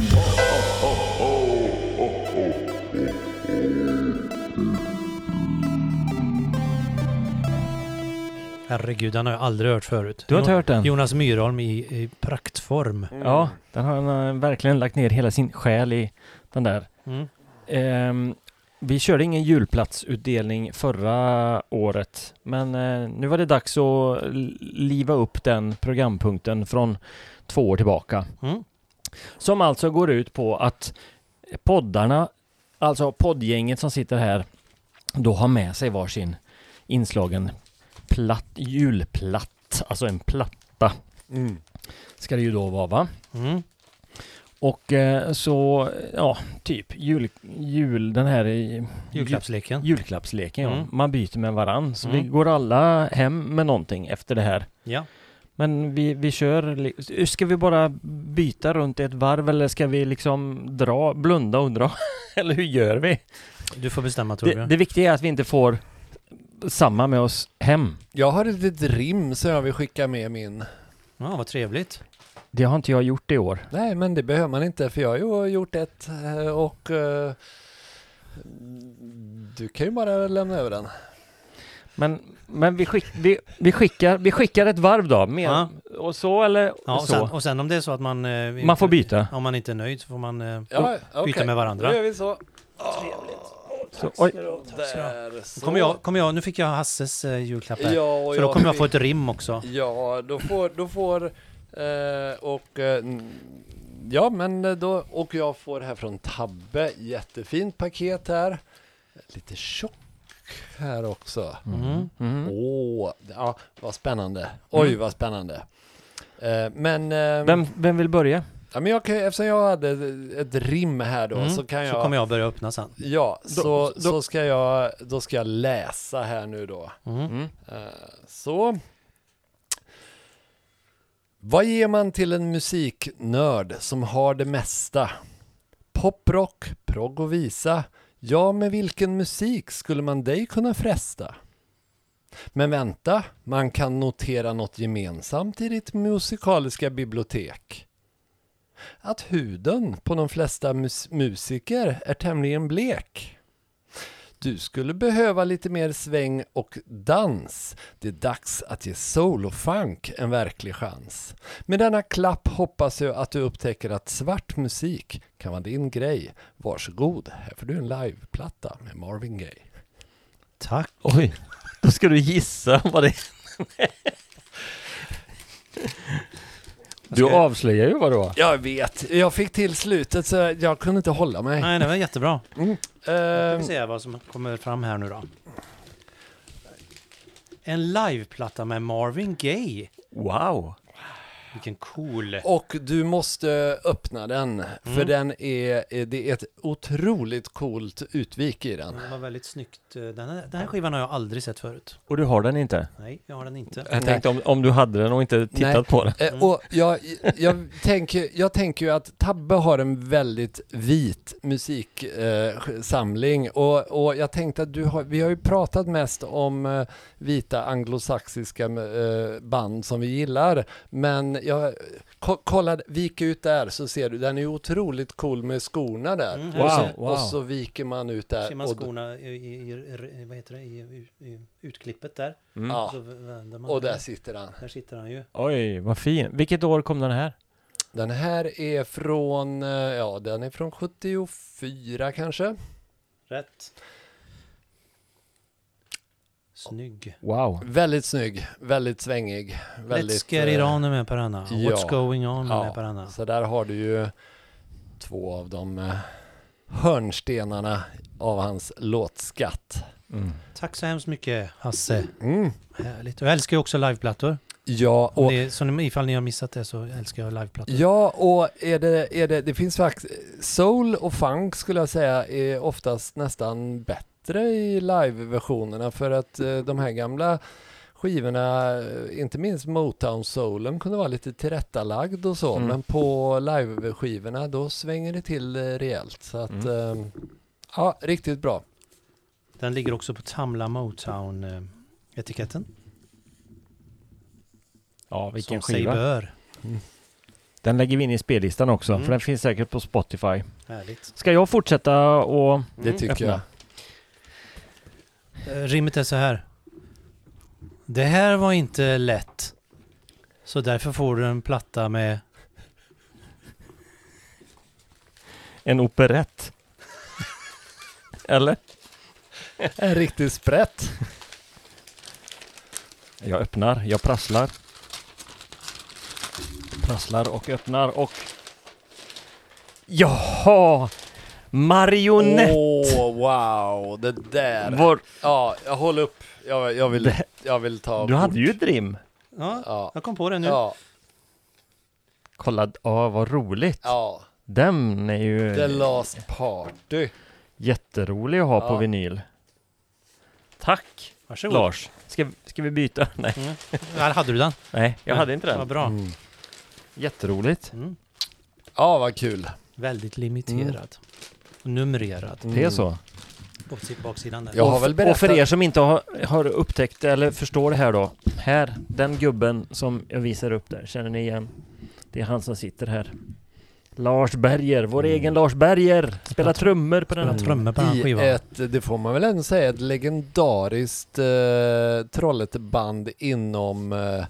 Speaker 1: Herregud, den har jag aldrig hört förut.
Speaker 2: Du har inte hört den?
Speaker 1: Jonas Myrholm i, i praktform.
Speaker 2: Ja, den har han eh, verkligen lagt ner hela sin själ i den där.
Speaker 1: Mm.
Speaker 2: Ehm, vi körde ingen julplatsutdelning förra året, men eh, nu var det dags att l- liva upp den programpunkten från två år tillbaka.
Speaker 1: Mm.
Speaker 2: Som alltså går ut på att poddarna, alltså poddgänget som sitter här, då har med sig varsin inslagen platt, julplatt, alltså en platta
Speaker 3: Mm.
Speaker 2: ska det ju då vara va?
Speaker 1: Mm.
Speaker 2: Och eh, så, ja, typ jul, jul den här i-
Speaker 1: Julklappsleken.
Speaker 2: julklappsleken, ja.
Speaker 1: Mm.
Speaker 2: man byter med varann. Så vi
Speaker 1: Mm.
Speaker 2: går alla hem med någonting efter det här.
Speaker 1: Ja.
Speaker 2: Men vi, vi kör, li- ska vi bara byta runt ett varv eller ska vi liksom dra, blunda och dra? eller hur gör vi?
Speaker 1: Du får bestämma tror
Speaker 2: Det,
Speaker 1: jag.
Speaker 2: det viktiga är att vi inte får samma med oss hem.
Speaker 3: Jag har ett litet rim som jag vill skicka med min.
Speaker 1: Ja, vad trevligt.
Speaker 2: Det har inte jag gjort i år.
Speaker 3: Nej, men det behöver man inte för jag har ju gjort ett eh, och eh, du kan ju bara lämna över den.
Speaker 2: Men, men vi, skick, vi, vi, skickar, vi skickar ett varv då. Med,
Speaker 1: Ja.
Speaker 2: Och så eller
Speaker 1: Ja, och,
Speaker 2: så.
Speaker 1: sen, och sen om det är så att man... eh, inte-
Speaker 2: Man får byta.
Speaker 1: Om man inte är nöjd så får man... eh,
Speaker 3: Ja,
Speaker 1: byta
Speaker 3: okej.
Speaker 1: med varandra.
Speaker 3: Då gör vi så.
Speaker 2: Så, oj,
Speaker 3: Där, så.
Speaker 1: Då kommer jag, kommer jag, nu fick jag Hasses eh, julklapp här.
Speaker 3: Ja, och
Speaker 1: så då kommer jag
Speaker 3: fick-
Speaker 1: få ett rim också.
Speaker 3: Ja, då får, då får eh, och eh, n- ja, men då och jag får här från Tabbe jättefint paket här. Lite tjock här också.
Speaker 1: Mm.
Speaker 2: mm.
Speaker 3: Åh, ja, vad spännande. Oj,
Speaker 2: Mm.
Speaker 3: vad spännande. Eh, men, eh,
Speaker 2: vem, vem vill börja?
Speaker 3: ja, men jag kan, eftersom jag hade ett rim här då
Speaker 1: Mm,
Speaker 3: så kan jag.
Speaker 1: Så kommer jag börja öppna sen.
Speaker 3: Ja, så,
Speaker 2: Då- då-
Speaker 3: så ska jag, då ska jag läsa här nu då.
Speaker 1: Mm.
Speaker 2: Mm.
Speaker 3: Eh, Så. Vad ger man till en musiknörd som har det mesta? Poprock, progg och visa. Ja, med vilken musik skulle man dig kunna fresta? Men vänta, man kan notera något gemensamt i ditt musikaliska bibliotek. Att huden på de flesta mus- musiker är tämligen blek. Du skulle behöva lite mer sväng och dans. Det är dags att ge soul och funk en verklig chans. Med denna klapp hoppas jag att du upptäcker att svart musik kan vara din grej. Varsågod, här får du en liveplatta med Marvin Gaye.
Speaker 1: Tack.
Speaker 2: Oj, då ska du gissa vad det är. Du
Speaker 1: Ska-
Speaker 2: avslöjar ju vad det var.
Speaker 3: Jag vet, jag fick till slutet så jag kunde inte hålla mig.
Speaker 1: Nej, det var jättebra. Ska
Speaker 3: Ehm,
Speaker 1: vi se vad som kommer fram här nu då. En liveplatta med Marvin Gaye.
Speaker 2: Wow!
Speaker 1: Vilken cool.
Speaker 3: och du måste öppna den, för
Speaker 1: Mm.
Speaker 3: den är, det är ett otroligt coolt utvik i den.
Speaker 1: Den Mm, var väldigt snyggt. Eh, Den här, den här skivan har jag aldrig sett förut.
Speaker 2: Och du har den inte?
Speaker 1: Nej, jag har den inte.
Speaker 2: Jag tänkte om, om du hade den och inte tittat
Speaker 3: Nej.
Speaker 2: på den.
Speaker 3: Eh,
Speaker 1: Mm.
Speaker 3: Och jag, jag, tänker, jag tänker ju att Tabbe har en väldigt vit musiksamling eh, samling. och, och jag tänkte att du har, vi har ju pratat mest om eh, vita anglosaxiska eh, band som vi gillar men jag ko, kolla, vik ut där så ser du, den är ju otroligt cool med skorna där.
Speaker 1: Mm,
Speaker 2: Wow,
Speaker 3: och, så,
Speaker 2: wow.
Speaker 3: och så viker man ut
Speaker 1: Ser
Speaker 3: där.
Speaker 1: man
Speaker 3: Eh, Och, d-
Speaker 1: skorna i, i, i, vad heter det, i, i, i utklippet där.
Speaker 2: Mm.
Speaker 3: ja,
Speaker 1: Så vänder man
Speaker 3: och där
Speaker 1: den.
Speaker 3: sitter han.
Speaker 1: Där sitter han ju.
Speaker 2: Oj, vad fin. Vilket år kom den här?
Speaker 3: Den här är från, eh, ja den är från 74 kanske.
Speaker 1: Rätt. Snygg.
Speaker 2: Wow.
Speaker 3: Väldigt snygg, väldigt svängig. Väldigt,
Speaker 1: Let's get it
Speaker 3: eh,
Speaker 1: on med Parana.
Speaker 3: ja.
Speaker 1: What's going on
Speaker 3: Ja.
Speaker 1: med Parana.
Speaker 3: Så där har du ju två av de eh, hörnstenarna av hans låtskatt.
Speaker 2: Mm.
Speaker 1: Tack så hemskt mycket Hasse.
Speaker 3: Mm.
Speaker 1: Härligt. Och jag älskar ju också liveplattor.
Speaker 3: Ja,
Speaker 1: Om
Speaker 3: och,
Speaker 1: ni- Så ni- ifall ni har missat det så älskar jag liveplattor.
Speaker 3: ja, och är det, är det, det finns faktiskt, soul och funk skulle jag säga är oftast nästan bättre i liveversionerna för att eh, de här gamla skivorna, eh, inte minst Motown-soulen kunde vara lite tillrättalagd och så,
Speaker 2: Mm.
Speaker 3: men på live-skivorna då svänger det till eh, rejält. Så att, eh, ja, riktigt bra.
Speaker 1: Den ligger också på Tamla eh, Motown-etiketten.
Speaker 2: Ja, vilken
Speaker 1: som sig
Speaker 2: skiva.
Speaker 1: bör.
Speaker 2: Den lägger vi in i spellistan också,
Speaker 1: Mm.
Speaker 2: för den finns säkert på Spotify.
Speaker 1: Härligt.
Speaker 2: Ska jag fortsätta och...
Speaker 3: Det tycker
Speaker 2: öppna.
Speaker 3: jag.
Speaker 1: Eh, Rimmet är så här. Det här var inte lätt. Så därför får du en platta med...
Speaker 2: En operett. Eller?
Speaker 3: En riktig sprätt.
Speaker 2: Jag öppnar, jag prasslar. Prasslar och öppnar och... Jaha! Marionett!
Speaker 3: Åh, wow, det där.
Speaker 2: Vår...
Speaker 3: Ja, jag håller upp. Jag, jag, vill, jag vill ta...
Speaker 2: Du hade ju ett rim.
Speaker 1: Ja,
Speaker 3: Ja,
Speaker 1: jag kom på det nu.
Speaker 3: ja,
Speaker 2: Kolla, ja vad roligt.
Speaker 3: ja.
Speaker 2: Den är ju
Speaker 3: The last party.
Speaker 2: jätterolig att ha på
Speaker 3: Ja.
Speaker 2: vinyl. Tack!
Speaker 1: Varsågod.
Speaker 2: Lars, ska, ska vi byta? Nej,
Speaker 1: Mm. Ja, hade du den?
Speaker 2: nej jag hade inte
Speaker 1: Vad
Speaker 2: den.
Speaker 1: bra.
Speaker 3: Mm.
Speaker 2: Jätteroligt.
Speaker 1: Mm.
Speaker 3: Ja, vad kul.
Speaker 1: Väldigt limiterad. Numrerad.
Speaker 3: Mm.
Speaker 2: Det är så.
Speaker 1: På si- baksidan där.
Speaker 3: Jag har
Speaker 2: och,
Speaker 3: väl
Speaker 2: f- och för
Speaker 3: berättat-
Speaker 2: er som inte har, har upptäckt eller förstår det här då. Här, den gubben som jag visar upp där, känner ni igen? Det är han som sitter här. Lars Berger, vår
Speaker 3: Mm.
Speaker 2: egen Lars Berger, spelar
Speaker 1: Spelar
Speaker 2: trummor på den här.
Speaker 1: Spelar trummor på den här
Speaker 3: I
Speaker 1: skivan.
Speaker 3: ett, det får man väl ändå säga, ett legendariskt eh, Trollhätteband inom eh,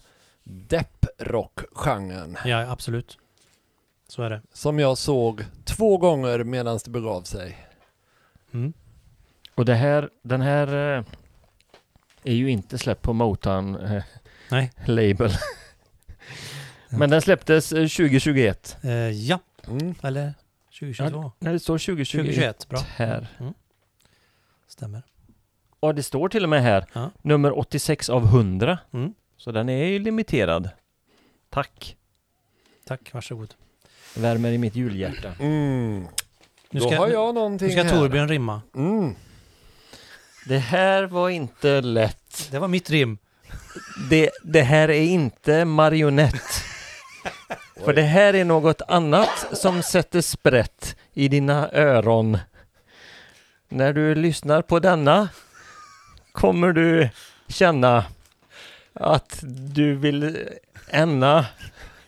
Speaker 3: depprock-genren.
Speaker 1: Ja, absolut. Så är det.
Speaker 3: Som jag såg två gånger medan det begav sig.
Speaker 1: Mm.
Speaker 2: Och det här, den här eh, är ju inte släppt på Motown eh,
Speaker 1: Nej.
Speaker 2: label. Men den släpptes eh, 2021.
Speaker 1: Eh, ja,
Speaker 3: Mm.
Speaker 1: eller 2022.
Speaker 2: Nej, det står 2021
Speaker 1: 2021, bra.
Speaker 2: här.
Speaker 1: Stämmer.
Speaker 2: Ja, det står till och med här.
Speaker 1: Ja.
Speaker 2: Nummer 86 av 100.
Speaker 1: Mm.
Speaker 2: Så den är ju limiterad. Tack.
Speaker 1: Tack, varsågod.
Speaker 2: Värmer i mitt julhjärta.
Speaker 3: Mm.
Speaker 1: Nu
Speaker 3: Då
Speaker 1: ska,
Speaker 3: har jag någonting
Speaker 1: nu ska
Speaker 3: här.
Speaker 1: Torbjörn rimma.
Speaker 3: Mm.
Speaker 2: Det här var inte lätt.
Speaker 1: Det var mitt rim.
Speaker 2: Det, det här är inte marionett. För det här är något annat som sätter sprätt i dina öron. När du lyssnar på denna kommer du känna att du vill änna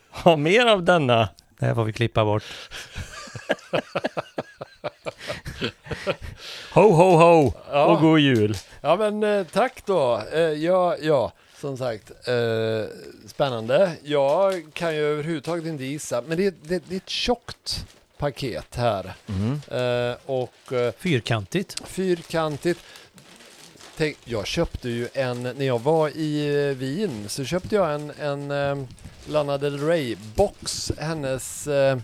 Speaker 2: ha mer av denna.
Speaker 1: Det här får vi klippa bort.
Speaker 2: Ho, ho, ho och
Speaker 3: Ja.
Speaker 2: god jul.
Speaker 3: ja, men eh, tack då. Eh, ja, ja, som sagt, eh, spännande. Jag kan ju överhuvudtaget inte gissa, men det, det, det är ett tjockt paket här.
Speaker 2: Mm.
Speaker 3: Eh, och eh,
Speaker 1: Fyrkantigt.
Speaker 3: fyrkantigt. Tänk, jag köpte ju en, när jag var i eh, Wien så köpte jag en, en eh, Lana Del Rey box. Hennes eh,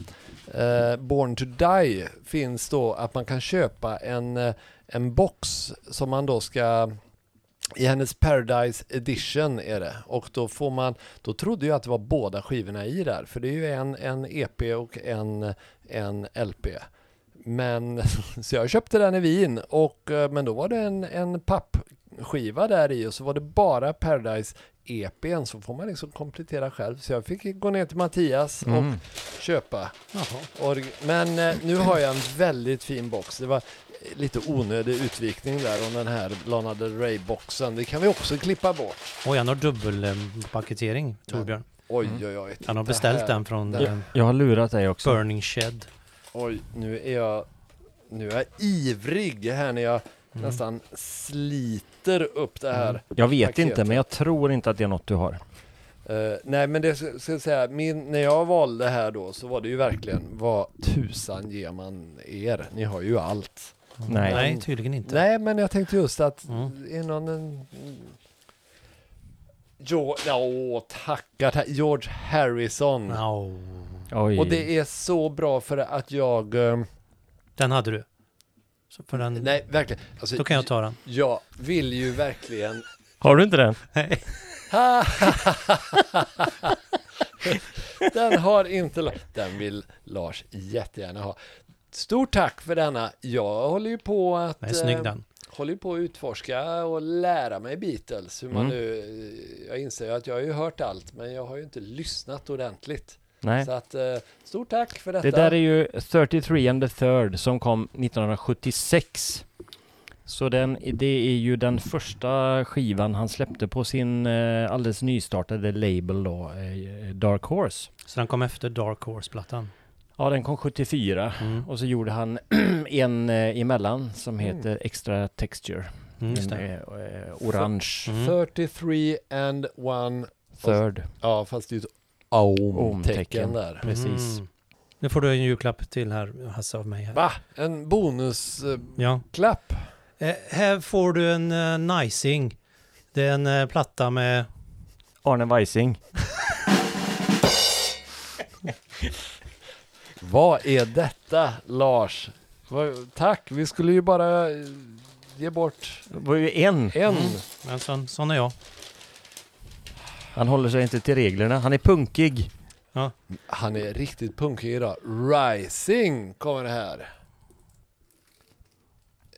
Speaker 3: eh, Born to Die finns då att man kan köpa en, eh, en box som man då ska i hennes Paradise Edition är det och då får man, då trodde jag att det var båda skivorna i där för det är ju en, en EP och en, en LP. Men så jag köpte den i Wien och eh, men då var det en, en pappskiva där i och så var det bara Paradise EPn så får man liksom komplettera själv. Så jag fick gå ner till Mattias
Speaker 2: Mm.
Speaker 3: och köpa.
Speaker 1: Jaha.
Speaker 3: Org- Men eh, nu har jag en väldigt fin box. Det var eh, lite onödig utvikning där om den här Lana Del Rey-boxen. Det kan vi också klippa bort.
Speaker 1: Oj, han har dubbelpaketering, Torbjörn.
Speaker 3: Oj,
Speaker 2: Mm.
Speaker 3: oj, oj.
Speaker 1: Han har
Speaker 3: titta
Speaker 1: beställt
Speaker 3: här.
Speaker 1: den från
Speaker 3: Där.
Speaker 1: eh,
Speaker 2: Jag har lurat dig också.
Speaker 1: Burning Shed.
Speaker 3: Oj, nu är jag, nu är jag ivrig här när jag Mm.
Speaker 1: Mm.
Speaker 3: nästan sliter upp det här.
Speaker 2: Jag vet
Speaker 3: Paket.
Speaker 2: inte, men jag tror inte att det är något du har.
Speaker 3: Eh, nej men det ska ska jag säga, min, när jag valde här då så var det ju verkligen vad tusan ger man er? Ni har ju allt.
Speaker 2: Nej.
Speaker 1: Mm. Nej, tydligen inte.
Speaker 3: Nej men jag tänkte just att
Speaker 1: Mm.
Speaker 3: är någon en... Jo, ja, tackar, tack, George Harrison.
Speaker 1: No.
Speaker 2: Oj.
Speaker 3: Och det är så bra för att jag...
Speaker 1: Mm.
Speaker 3: eh,
Speaker 1: Den hade du. Så för den,
Speaker 3: Nej, verkligen. Alltså,
Speaker 1: Då kan jag ta den.
Speaker 3: jag vill ju verkligen
Speaker 2: Har du inte den?
Speaker 1: Nej.
Speaker 3: Den har inte Lars. Den vill Lars jättegärna ha. Stort tack för denna. Jag håller ju på att,
Speaker 1: Nej, snygg
Speaker 3: eh,
Speaker 1: den.
Speaker 3: håller ju på att utforska och lära mig Beatles. Hur man
Speaker 2: Mm.
Speaker 3: nu, eh, jag inser ju att jag har ju hört allt, men jag har ju inte lyssnat ordentligt.
Speaker 2: Nej.
Speaker 3: Så att, eh, stort tack för
Speaker 2: Det
Speaker 3: detta.
Speaker 2: där är ju 33 and the third som kom 1976. Så den, det är ju den första skivan han släppte på sin eh, alldeles nystartade label då, eh, Dark Horse.
Speaker 1: Så den kom efter Dark Horse-plattan.
Speaker 2: Ja, den kom 74
Speaker 1: Mm.
Speaker 2: och så gjorde han en eh, emellan som heter Extra Texture.
Speaker 1: Mm, just
Speaker 2: en,
Speaker 1: det.
Speaker 2: eh, eh, orange
Speaker 1: Mm.
Speaker 3: 33 and one.
Speaker 2: third.
Speaker 3: Ja, fast det är ett
Speaker 2: Om-tecken.
Speaker 3: om-tecken där.
Speaker 2: Precis.
Speaker 1: Mm. Nu får du en julklapp till här, Hasse, av mig. Här.
Speaker 3: Va? En bonusklapp?
Speaker 1: Ja. Eh, här får du en uh, Nicing. Det är en eh, platta med...
Speaker 2: Arne Weising.
Speaker 3: Vad är detta Lars? Vad- Tack, vi skulle ju bara eh, ge bort
Speaker 2: Det var ju en.
Speaker 3: en.
Speaker 1: Men sån, sån är jag.
Speaker 2: Han håller sig inte till reglerna. Han är punkig.
Speaker 3: Han är riktigt punkig idag. Rising kommer det här.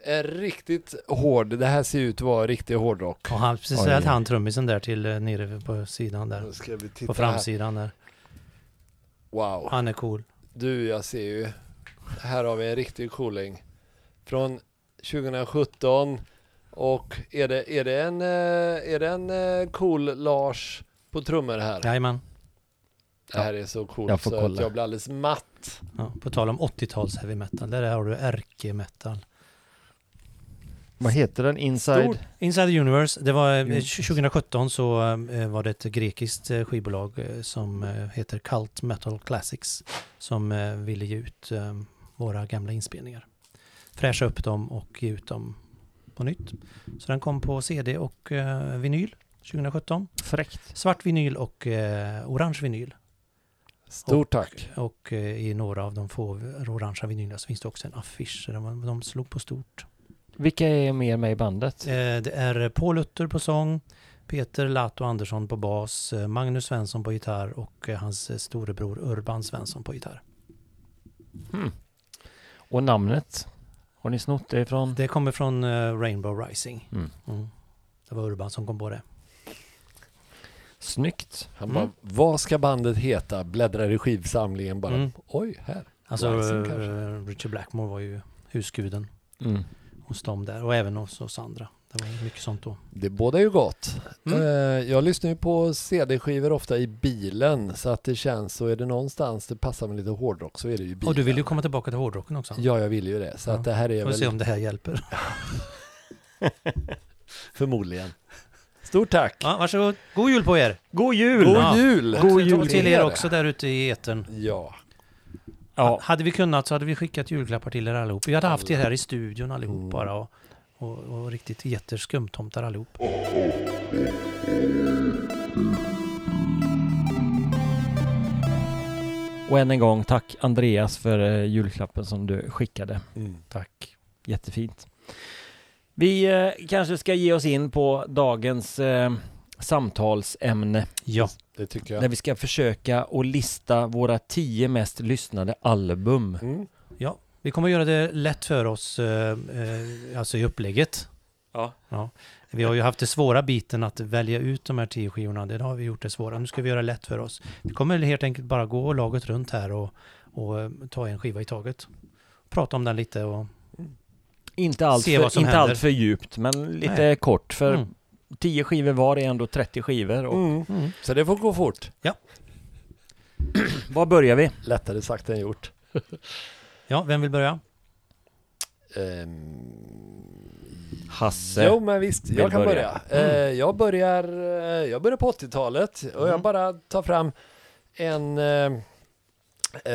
Speaker 3: är riktigt hård. Det här ser ut att vara riktig hårdrock.
Speaker 1: Och han, precis
Speaker 2: Oj.
Speaker 1: att han trummisen där till eh, nere på sidan där.
Speaker 3: Nu ska vi titta
Speaker 1: På
Speaker 3: här.
Speaker 1: framsidan där.
Speaker 3: Wow.
Speaker 1: Han är cool.
Speaker 3: Du, jag ser ju. Här har vi en riktig cooling. Från 2017. Och är det, är det, en, eh, är det en eh, cool Lars på trummor här?
Speaker 1: Jajamän.
Speaker 3: Det här är så coolt
Speaker 2: Jag får
Speaker 3: så att
Speaker 2: kolla.
Speaker 3: jag blir alldeles matt.
Speaker 1: Ja, på tal om 80-tals heavy metal, där har du ärke-metal.
Speaker 2: Vad heter den? Inside?
Speaker 1: Inside the Universe, det var eh,
Speaker 2: Mm.
Speaker 1: 2017 så eh, var det ett grekiskt eh, skivbolag eh, som eh, heter Cult Metal Classics som eh, ville ge ut eh, våra gamla inspelningar. Fräscha upp dem och ge ut dem på nytt. Så den kom på CD och eh, vinyl 2017.
Speaker 2: Fräckt.
Speaker 1: Svart vinyl och eh, orange vinyl.
Speaker 3: Stort tack.
Speaker 1: Och eh, i några av de få orangea vinylerna så finns det också en affisch. Så de, de slog på stort.
Speaker 2: Vilka är mer med i bandet?
Speaker 1: Eh, Det är Paul Utter på sång, Peter Lato Andersson på bas, eh, Magnus Svensson på gitarr och eh, hans eh, storebror Urban Svensson på gitarr.
Speaker 2: Och namnet? Har ni snott det ifrån?
Speaker 1: Det kommer från eh, Rainbow Rising.
Speaker 2: Mm.
Speaker 1: Mm. Det var Urban som kom på det.
Speaker 2: Snyggt.
Speaker 3: Han
Speaker 1: Mm.
Speaker 3: bara, vad ska bandet heta? Bläddrar i skivsamlingen bara.
Speaker 1: Mm.
Speaker 3: Oj, här.
Speaker 1: Alltså
Speaker 3: Rising
Speaker 1: eh,
Speaker 3: kanske.
Speaker 1: Richard Blackmore var ju husguden
Speaker 2: Mm.
Speaker 1: hos dem där och även hos, hos andra. Det var mycket sånt då.
Speaker 3: Det båda ju gott.
Speaker 1: Mm.
Speaker 3: Eh, Jag lyssnar ju på CD-skivor ofta i bilen så att det känns så är det någonstans det passar med lite hårdrock så är det ju bilen.
Speaker 1: Och du vill ju komma tillbaka till hårdrocken också.
Speaker 3: Ja, jag vill ju det. Så
Speaker 1: Ja.
Speaker 3: att det här är
Speaker 1: Får vi se
Speaker 3: väl
Speaker 1: om det här hjälper.
Speaker 3: förmodligen. Stort tack!
Speaker 1: Ja, varsågod. God jul på er!
Speaker 2: God jul!
Speaker 3: God
Speaker 1: Ja.
Speaker 3: jul!
Speaker 1: Och
Speaker 2: God jul
Speaker 1: till er också där ute i etern.
Speaker 3: Ja,
Speaker 2: Ja,
Speaker 1: Hade vi kunnat så hade vi skickat julklappar till er allihop. Vi hade haft er här i studion allihop
Speaker 3: Mm.
Speaker 1: bara och, och, och riktigt gett er skumtomtar allihop.
Speaker 2: och än en gång tack Andreas för eh, julklappen som du skickade.
Speaker 3: Mm.
Speaker 2: Tack. Jättefint. Vi eh, kanske ska ge oss in på dagens eh, samtalsämne
Speaker 1: Ja,
Speaker 3: det tycker jag.
Speaker 2: där vi ska försöka att lista våra tio mest lyssnade album.
Speaker 3: Mm.
Speaker 1: vi kommer göra det lätt för oss eh, eh, alltså i upplägget.
Speaker 2: Ja.
Speaker 1: Vi har ju haft det svåra biten att välja ut de här tio skivorna. Det har vi gjort det svåra. Nu ska vi göra det lätt för oss. Vi kommer helt enkelt bara gå laget runt här och, och eh, ta en skiva i taget. Prata om den lite och
Speaker 2: Inte allt,
Speaker 1: Se vad
Speaker 2: för,
Speaker 1: som
Speaker 2: inte
Speaker 1: händer.
Speaker 2: allt för djupt, men lite
Speaker 1: Nej.
Speaker 2: kort. För
Speaker 1: Mm.
Speaker 2: tio skivor var är ändå 30 skivor. Och
Speaker 3: Mm.
Speaker 1: Mm.
Speaker 3: Så det får gå fort.
Speaker 2: Var börjar vi?
Speaker 3: Lättare sagt än gjort.
Speaker 1: Ja, vem vill börja?
Speaker 3: Ehm,
Speaker 2: Hasse.
Speaker 3: Jo men visst,
Speaker 2: vill
Speaker 3: jag kan
Speaker 2: börja.
Speaker 3: börja.
Speaker 1: Mm.
Speaker 3: Eh, jag, börjar eh, jag börjar på 80-talet och jag
Speaker 1: Mm.
Speaker 3: bara tar fram en... Eh,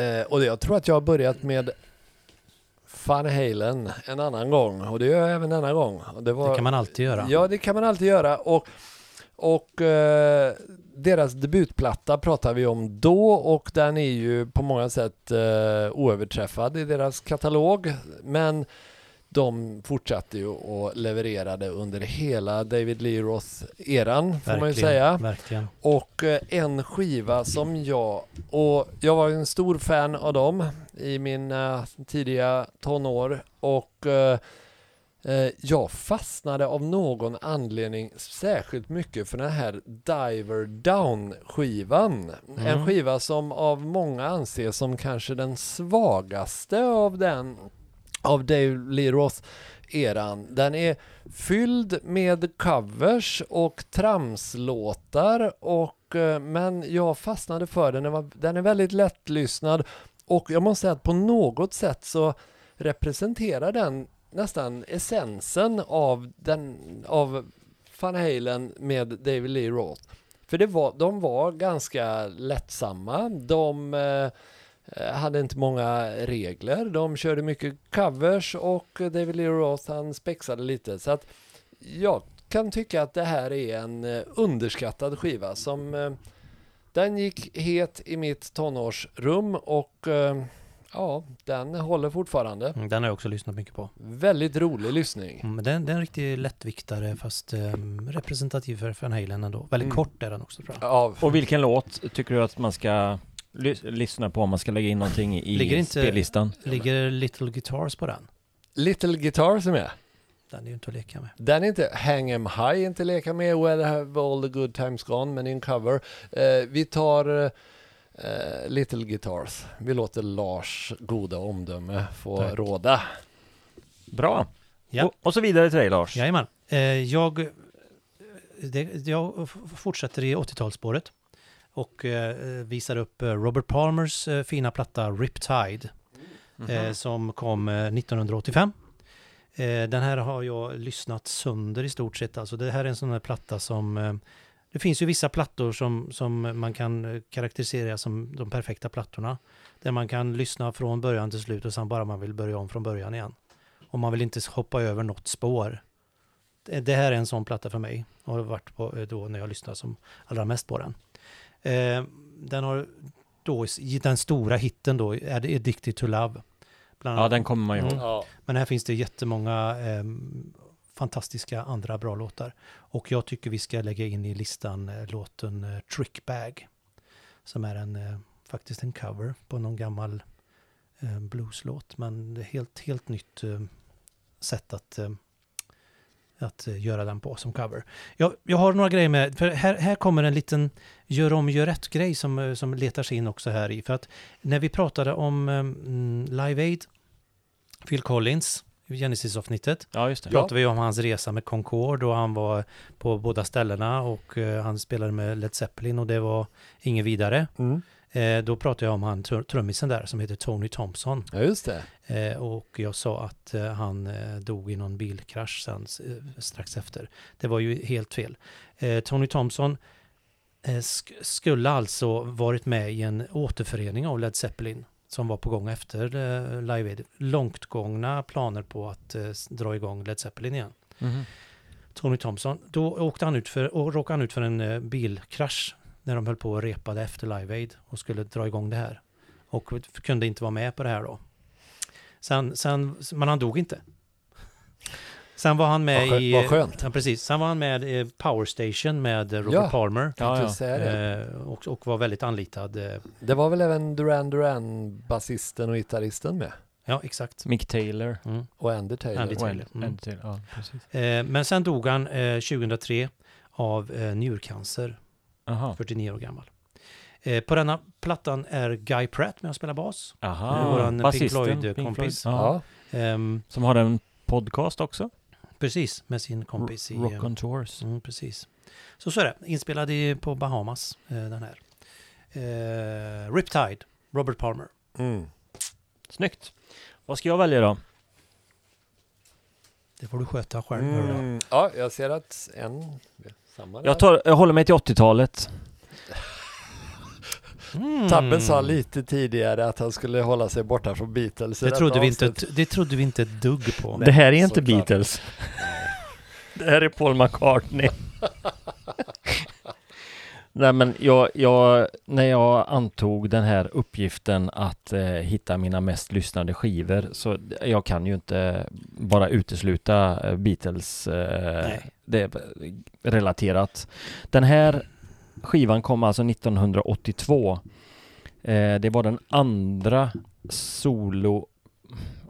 Speaker 3: eh, och jag tror att jag har börjat med Van Halen en annan gång och det gör jag även denna gång. Och det, var,
Speaker 1: Det kan man alltid göra.
Speaker 3: Ja, det kan man alltid göra. Och, och eh, deras debutplatta pratar vi om då och den är ju på många sätt eh, oöverträffad i deras katalog. Men de fortsatte ju och levererade under hela David Lee Roth-eran, får man ju säga.
Speaker 1: Verkligen.
Speaker 3: Och eh, en skiva som jag, och jag var ju en stor fan av dem i mina tidiga tonår och eh, eh, jag fastnade av någon anledning särskilt mycket för den här Diver Down skivan.
Speaker 1: Mm.
Speaker 3: En skiva som av många anses som kanske den svagaste av den av Dave Lee Roth eran. Den är fylld med covers och tramslåtar och eh, men jag fastnade för den. Den, var, den är väldigt lättlyssnad och jag måste säga att på något sätt så representerar den nästan essensen av den av Van Halen med David Lee Roth. För det var, de var ganska lättsamma. De eh, eh, hade inte många regler. De körde mycket covers och David Lee Roth han spexade lite. Så att jag kan tycka att det här är en eh, underskattad skiva som eh, den gick het i mitt tonårsrum och eh, ja, den håller fortfarande.
Speaker 1: Mm, Den har jag också lyssnat mycket på.
Speaker 3: Väldigt rolig lyssning.
Speaker 1: Mm, Den, den är en riktig lättviktare fast ehm, representativ för Van Halen ändå. Väldigt
Speaker 3: Mm.
Speaker 1: kort är den också tror jag.
Speaker 3: Ja,
Speaker 2: Och vilken låt tycker du att man ska ly- lyssna på om man ska lägga in någonting i
Speaker 1: Ligger inte-
Speaker 2: spellistan?
Speaker 1: Ligger Little Guitars på den?
Speaker 3: Little Guitar som är.
Speaker 1: Den är ju inte att leka med.
Speaker 3: Den är inte Hang 'em high, inte leka med Where have all the good times gone, men in cover. Eh, vi tar eh, eh, Little Guitars. Vi låter Lars goda omdöme få
Speaker 1: Tack.
Speaker 3: råda.
Speaker 2: Bra.
Speaker 1: Ja.
Speaker 2: Och, och så vidare till dig Lars.
Speaker 1: Jajamän. Eh, jag, det, jag f- fortsätter i 80-talsspåret och eh, visar upp eh, Robert Palmers eh, fina platta Riptide
Speaker 2: Mhm.
Speaker 1: eh, som kom eh, 1985. Eh, den här har jag lyssnat sönder i stort sett. Alltså det här är en sån här platta som... Eh, det finns ju vissa plattor som, som man kan eh, karaktärisera som de perfekta plattorna. Där man kan lyssna från början till slut och sen bara man vill börja om från början igen. Och man vill inte hoppa över något spår. Det det här är en sån platta för mig. Och har varit på eh, då när jag lyssnar som allra mest på den. Eh, den har då i den stora hitten då, är det Addicted to Love. Bland
Speaker 2: Ja, den kommer man ihåg.
Speaker 1: Mm. men här finns det jättemånga eh, fantastiska andra bra låtar. Och jag tycker vi ska lägga in i listan eh, låten eh, Trick Bag. Som är en, eh, faktiskt en cover på någon gammal eh, blueslåt. Men det är helt, helt nytt eh, sätt att, eh, att eh, göra den på som cover. Jag, jag har några grejer med, för här, här kommer en liten gör om, gör rätt-grej som, eh, som letar sig in också här i. För att när vi pratade om eh, mm, Live Aid Phil Collins, Genesis-avsnittet,
Speaker 2: Ja, just det.
Speaker 3: Ja.
Speaker 2: Ja.
Speaker 1: pratade vi om hans resa med Concorde och han var på båda ställena och eh, han spelade med Led Zeppelin och det var inget vidare.
Speaker 3: Mm.
Speaker 1: Eh, då pratade jag om han tr- trummisen där som heter Tony Thompson
Speaker 3: Ja, just det.
Speaker 1: eh, och jag sa att eh, han eh, dog i någon bilkrasch sen, eh, strax efter. Det var ju helt fel. Eh, Tony Thompson eh, sk- skulle alltså varit med i en återförening av Led Zeppelin som var på gång efter eh, Live Aid. Långtgångna planer på att eh, s- dra igång Led Zeppelin igen.
Speaker 2: Mhm.
Speaker 1: Tony Thompson. Då åkte han ut för, och råkade han ut för en eh, bilkrasch när de höll på och repade efter Live Aid och skulle dra igång det här. Och kunde inte vara med på det här då. Sen, sen, men han dog inte. Sen var han med
Speaker 3: Vad skö-
Speaker 1: i... eh,
Speaker 3: vad skönt.
Speaker 1: Ja, precis. Sen var han med i Power Station med eh, Robert
Speaker 3: Ja.
Speaker 1: Palmer.
Speaker 2: Ja,
Speaker 3: Tänkte
Speaker 2: ja.
Speaker 3: säga det.
Speaker 1: Eh, och, och var väldigt anlitad. eh,
Speaker 3: det var väl även Duran Duran, basisten och gitarristen med?
Speaker 1: Ja, exakt.
Speaker 2: Mick Taylor.
Speaker 1: Mm.
Speaker 3: Och Andy Taylor.
Speaker 1: Andy Taylor.
Speaker 2: Och en-
Speaker 1: Mm.
Speaker 2: en till. Ja, precis.
Speaker 1: Eh, men sen dog han eh, 2003 av eh, njurcancer.
Speaker 2: Aha.
Speaker 1: 49 år gammal. Eh, på denna plattan är Guy Pratt med och spelar bas.
Speaker 2: Aha.
Speaker 1: Det är våran Pink
Speaker 2: Basisten,
Speaker 1: Floyd-kompis.
Speaker 2: Pink Floyd. Ja.
Speaker 3: Ja.
Speaker 1: Ehm,
Speaker 2: Som har en podcast också.
Speaker 1: precis, med sin kompis i...
Speaker 2: Rock
Speaker 1: eh,
Speaker 2: on Tours.
Speaker 1: mm, precis. Så så är det, inspelad i, på Bahamas, eh, den här. Eh, Riptide, Robert Palmer.
Speaker 3: Mm.
Speaker 2: Snyggt. Vad ska jag välja då?
Speaker 1: Det får du sköta själv. Mm.
Speaker 3: Mm. Ja, jag ser att en... Samma där.
Speaker 2: Jag, tar, jag håller mig till 80-talet.
Speaker 1: Mm.
Speaker 3: Tabben sa lite tidigare att han skulle hålla sig borta från Beatles. i
Speaker 1: Det
Speaker 3: detta
Speaker 1: trodde, vi inte,
Speaker 3: avsnitt.
Speaker 1: ett- det trodde vi inte ett dugg på.
Speaker 2: Det här är inte
Speaker 3: såklart.
Speaker 2: Beatles. Det här är Paul McCartney. Nej men jag, jag, när jag antog den här uppgiften att eh, hitta mina mest lyssnade skivor så jag kan ju inte bara utesluta eh, Beatles eh,
Speaker 1: Nej.
Speaker 2: det är eh, relaterat. Den här skivan kom alltså 1982. Eh, det var den andra solo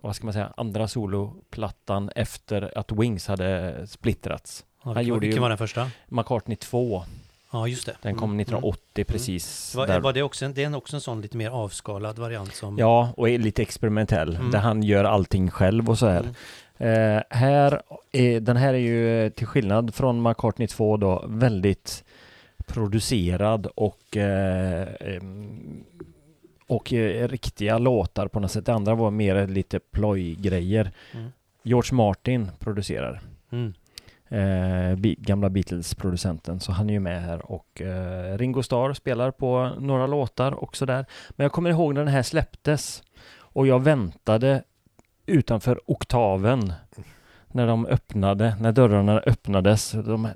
Speaker 2: vad ska man säga, andra soloplattan efter att Wings hade splittrats.
Speaker 1: Ja,
Speaker 2: han
Speaker 1: vilken,
Speaker 2: gjorde ju-
Speaker 1: vilken var den första?
Speaker 2: McCartney 2,
Speaker 1: Ja, just det.
Speaker 2: den kom
Speaker 1: Mm,
Speaker 2: 1980 precis.
Speaker 1: mm. Var,
Speaker 2: där.
Speaker 1: var det, också en, det är också en sån lite mer avskalad variant som...
Speaker 2: Ja, och är lite experimentell,
Speaker 1: Mm.
Speaker 2: där han gör allting själv och så här.
Speaker 1: Mm.
Speaker 2: Eh, här är, den här är ju eh, till skillnad från McCartney 2 då väldigt producerad och eh, em, och eh, riktiga låtar på något sätt. Det andra var mer lite plojgrejer.
Speaker 1: Mm.
Speaker 2: George Martin producerar.
Speaker 1: Mm.
Speaker 2: eh, Be- gamla Beatles-producenten, så han är ju med här och eh, Ringo Starr spelar på några låtar också där. Men jag kommer ihåg när den här släpptes och jag väntade utanför oktaven när de öppnade, när dörrarna öppnades. De,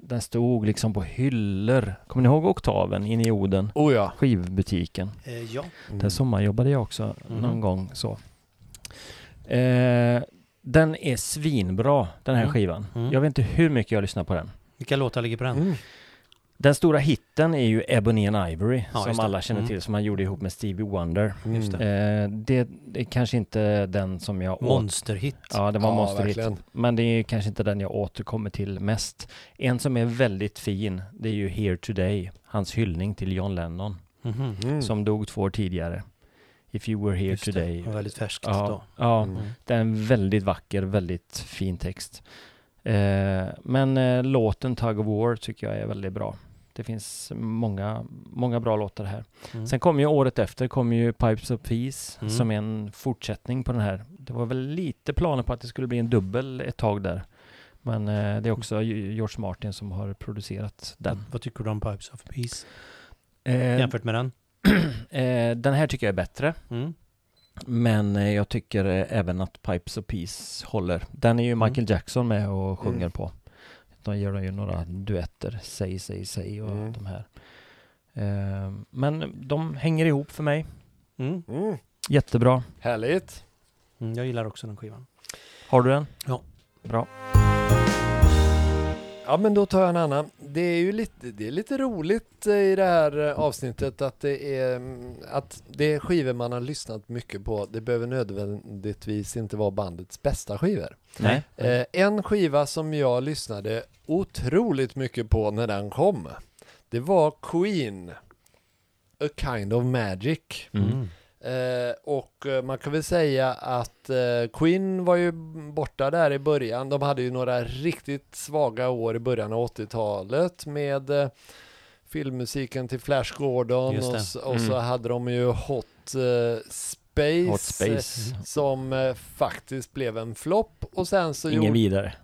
Speaker 2: den stod liksom på hyllor. Kommer ni ihåg oktaven inne i Oden?
Speaker 3: Oh ja.
Speaker 2: Skivbutiken.
Speaker 1: Eh, ja.
Speaker 2: Där sommarjobbade jag också
Speaker 1: Mhm.
Speaker 2: någon gång så. Eh, den är svinbra den här
Speaker 1: Mm.
Speaker 2: skivan.
Speaker 1: Mm.
Speaker 2: Jag vet inte hur mycket jag lyssnar på den.
Speaker 1: Vilka låtar ligger på den?
Speaker 3: Mm.
Speaker 2: Den stora hitten är ju Ebony and Ivory
Speaker 1: Ja, just
Speaker 2: som
Speaker 1: det.
Speaker 2: alla känner
Speaker 1: Mm.
Speaker 2: till som han gjorde ihop med Stevie Wonder.
Speaker 1: Just det.
Speaker 2: Eh, det, det är kanske inte den som jag åt.
Speaker 1: Monsterhit.
Speaker 2: Ja, det var
Speaker 3: Ja,
Speaker 2: monsterhit.
Speaker 3: verkligen.
Speaker 2: Men det är kanske inte den jag återkommer till mest. En som är väldigt fin, det är ju Here Today, hans hyllning till John Lennon,
Speaker 1: Mhm.
Speaker 3: Mm.
Speaker 2: som dog två år tidigare. If you were here
Speaker 1: Just det.
Speaker 2: today.
Speaker 1: Det var väldigt färskt
Speaker 2: Ja,
Speaker 1: då.
Speaker 2: ja,
Speaker 3: Mm.
Speaker 2: det är en väldigt vacker, väldigt fin text. Eh, men eh, låten Tug of War tycker jag är väldigt bra. Det finns många, många bra låtar här.
Speaker 1: Mm.
Speaker 2: Sen kom ju året efter kom ju Pipes of Peace
Speaker 1: Mm.
Speaker 2: som är en fortsättning på den här. Det var väl lite planer på att det skulle bli en dubbel ett tag där. Men eh, det är också Ge- George Martin som har producerat den.
Speaker 1: Vad tycker du om Pipes of Peace
Speaker 2: Eh,
Speaker 1: jämfört med den?
Speaker 2: eh, den här tycker jag är bättre.
Speaker 1: Mm.
Speaker 2: Men eh, jag tycker eh, även att Pipes of Peace håller. Den är ju
Speaker 1: Mm.
Speaker 2: Michael Jackson med och sjunger
Speaker 3: Mm.
Speaker 2: på. De gör ju några duetter, Säg, säg, säg och
Speaker 3: Mm.
Speaker 2: de här. Eh, men de hänger ihop för mig.
Speaker 1: Mm.
Speaker 3: Mm.
Speaker 2: Jättebra.
Speaker 3: Härligt.
Speaker 1: Mm, jag gillar också den skivan.
Speaker 2: Har du den?
Speaker 1: Ja.
Speaker 2: Bra.
Speaker 3: Ja men då tar jag en annan. Det är ju lite, det är lite roligt eh, i det här eh, avsnittet att det är mm, att det är skivor man har lyssnat mycket på. Det behöver nödvändigtvis inte vara bandets bästa skivor.
Speaker 2: Nej.
Speaker 3: Eh, en skiva som jag lyssnade otroligt mycket på när den kom. Det var Queen. A kind of magic.
Speaker 2: Mm.
Speaker 3: Eh, och eh, man kan väl säga att eh, Queen var ju borta där i början. De hade ju några riktigt svaga år i början av 80-talet med eh, filmmusiken till Flash Gordon
Speaker 1: Just
Speaker 3: och,
Speaker 1: det.
Speaker 3: s- och så
Speaker 2: Mm.
Speaker 3: hade de ju Hot eh, Space,
Speaker 2: Hot Space.
Speaker 3: eh, som eh, faktiskt blev en flopp och sen så
Speaker 2: Ingen
Speaker 3: gjorde...
Speaker 2: vidare.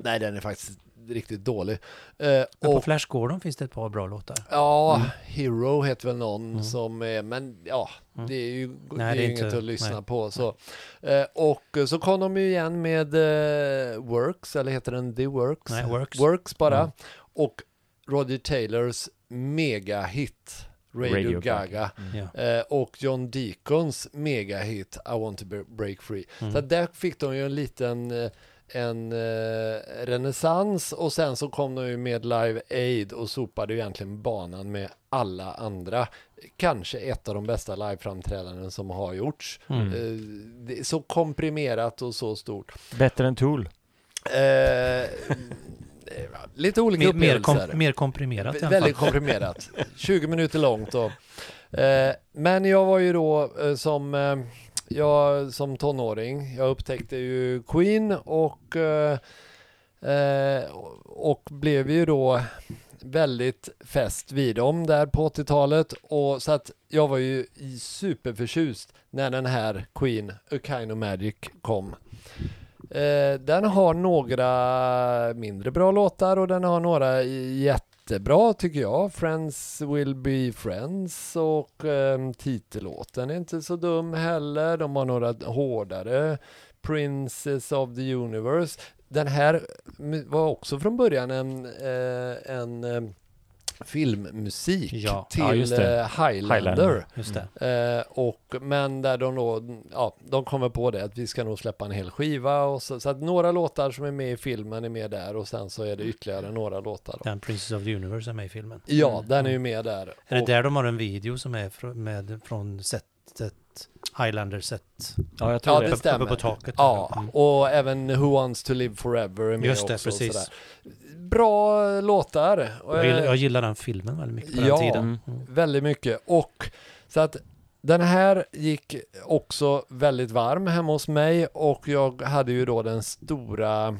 Speaker 3: Nej, den är faktiskt riktigt dålig. Eh,
Speaker 1: Men på
Speaker 3: och
Speaker 1: Flash Gordon finns det ett par bra låtar.
Speaker 3: Ja, Hero heter väl någon
Speaker 1: Mm.
Speaker 3: som är, men ja,
Speaker 1: Mm.
Speaker 3: det är ju, det
Speaker 1: Nej,
Speaker 3: är
Speaker 1: det är
Speaker 3: ju inget
Speaker 1: inte-
Speaker 3: att lyssna
Speaker 1: nej.
Speaker 3: på. Så. Eh, och eh, så kom de ju igen med eh, Works, eller heter den The Works?
Speaker 1: Nej, Works.
Speaker 3: Works bara.
Speaker 1: Mm.
Speaker 3: Och Roger Taylors megahit Radio,
Speaker 2: Radio Gaga.
Speaker 3: Gaga.
Speaker 1: Ja.
Speaker 3: Eh, och John Deacons megahit I want to be- break free.
Speaker 1: Mm.
Speaker 3: Så att där fick de ju en liten eh, en eh, renässans och sen så kom de ju med Live Aid och sopade ju egentligen banan med alla andra. Kanske ett av de bästa liveframträdanden som har gjorts.
Speaker 1: Mm.
Speaker 3: Eh, det är så komprimerat och så stort.
Speaker 2: Bättre än Tool.
Speaker 3: Eh, eh, lite olika
Speaker 1: Mer, mer,
Speaker 3: upplevelser.
Speaker 1: kom, mer komprimerat i alla fall.
Speaker 3: Väldigt komprimerat. 20 minuter långt då. Eh, men jag var ju då eh, som, eh, jag, som tonåring, jag upptäckte ju Queen och, eh, eh, och blev ju då väldigt fäst vid dem där på 80-talet. Och så att jag var ju i- superförtjust när den här Queen, A Kind of Magic kom. Eh, den har några mindre bra låtar och den har några jättebra tycker jag. Friends will be friends och eh, titellåten är inte så dum heller. De har några hårdare. Princess of the Universe. Den här mu- var också från början en, eh, en eh, filmmusik
Speaker 1: Ja,
Speaker 3: till
Speaker 2: ja, just det.
Speaker 3: eh, Highlander.
Speaker 2: Highlander.
Speaker 1: Just det.
Speaker 3: Eh, och, men där de då, ja, de kommer på det att vi ska nog släppa en hel skiva och så, så att några låtar som är med i filmen är med där och sen så är det
Speaker 1: Mm.
Speaker 3: ytterligare några låtar. Då.
Speaker 1: Den Princess of the Universe är med i filmen.
Speaker 3: Ja, den är ju med där.
Speaker 1: Mm. Är det
Speaker 3: Och-
Speaker 1: där de har en video som är fr- med, från setet, Highlander-set?
Speaker 2: Ja, jag
Speaker 3: Ja,
Speaker 2: tror
Speaker 3: det
Speaker 2: det.
Speaker 1: Uppe-
Speaker 3: stämmer.
Speaker 1: Uppe på taket.
Speaker 3: Ja,
Speaker 1: Mm.
Speaker 3: och även Who Wants To Live Forever är med
Speaker 1: Just det,
Speaker 3: också. och
Speaker 1: precis.
Speaker 3: sådär. Bra låtar. Och,
Speaker 1: Jag,
Speaker 3: eh,
Speaker 1: gillar, jag gillar den filmen väldigt mycket på
Speaker 3: Ja.
Speaker 1: den tiden.
Speaker 2: Mm.
Speaker 1: Mm.
Speaker 3: Väldigt mycket. Och så att den här gick också väldigt varm hemma hos mig och jag hade ju då den stora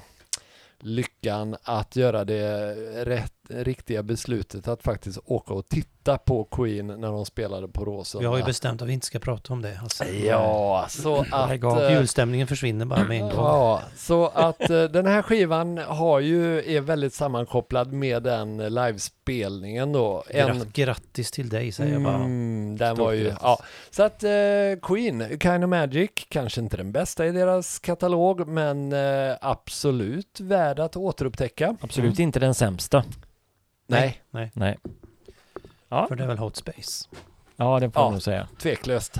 Speaker 3: lyckan att göra det rätt, riktiga beslutet att faktiskt åka och titta på Queen när de spelade på Råsunda.
Speaker 1: Vi har ju bestämt att vi inte ska prata om det. Alltså.
Speaker 3: Ja, så att...
Speaker 2: Lägg av.
Speaker 3: eh,
Speaker 1: Julstämningen försvinner bara med en gång.
Speaker 3: Ja, så att eh, den här skivan har ju, är väldigt sammankopplad med den eh, livespelningen då. En,
Speaker 1: Gratt, grattis till dig säger jag bara.
Speaker 3: Mm, den
Speaker 1: Stort
Speaker 3: var ju,
Speaker 1: grattis.
Speaker 3: ja. Så att eh, Queen, A Kind of Magic, kanske inte den bästa i deras katalog, men eh, absolut värd att återupptäcka.
Speaker 2: Absolut inte den sämsta.
Speaker 3: Nej,
Speaker 2: Nej. Ja,
Speaker 1: För det är väl Hot Space.
Speaker 2: ja det får
Speaker 3: Ja.
Speaker 2: man nog säga.
Speaker 3: tveklöst.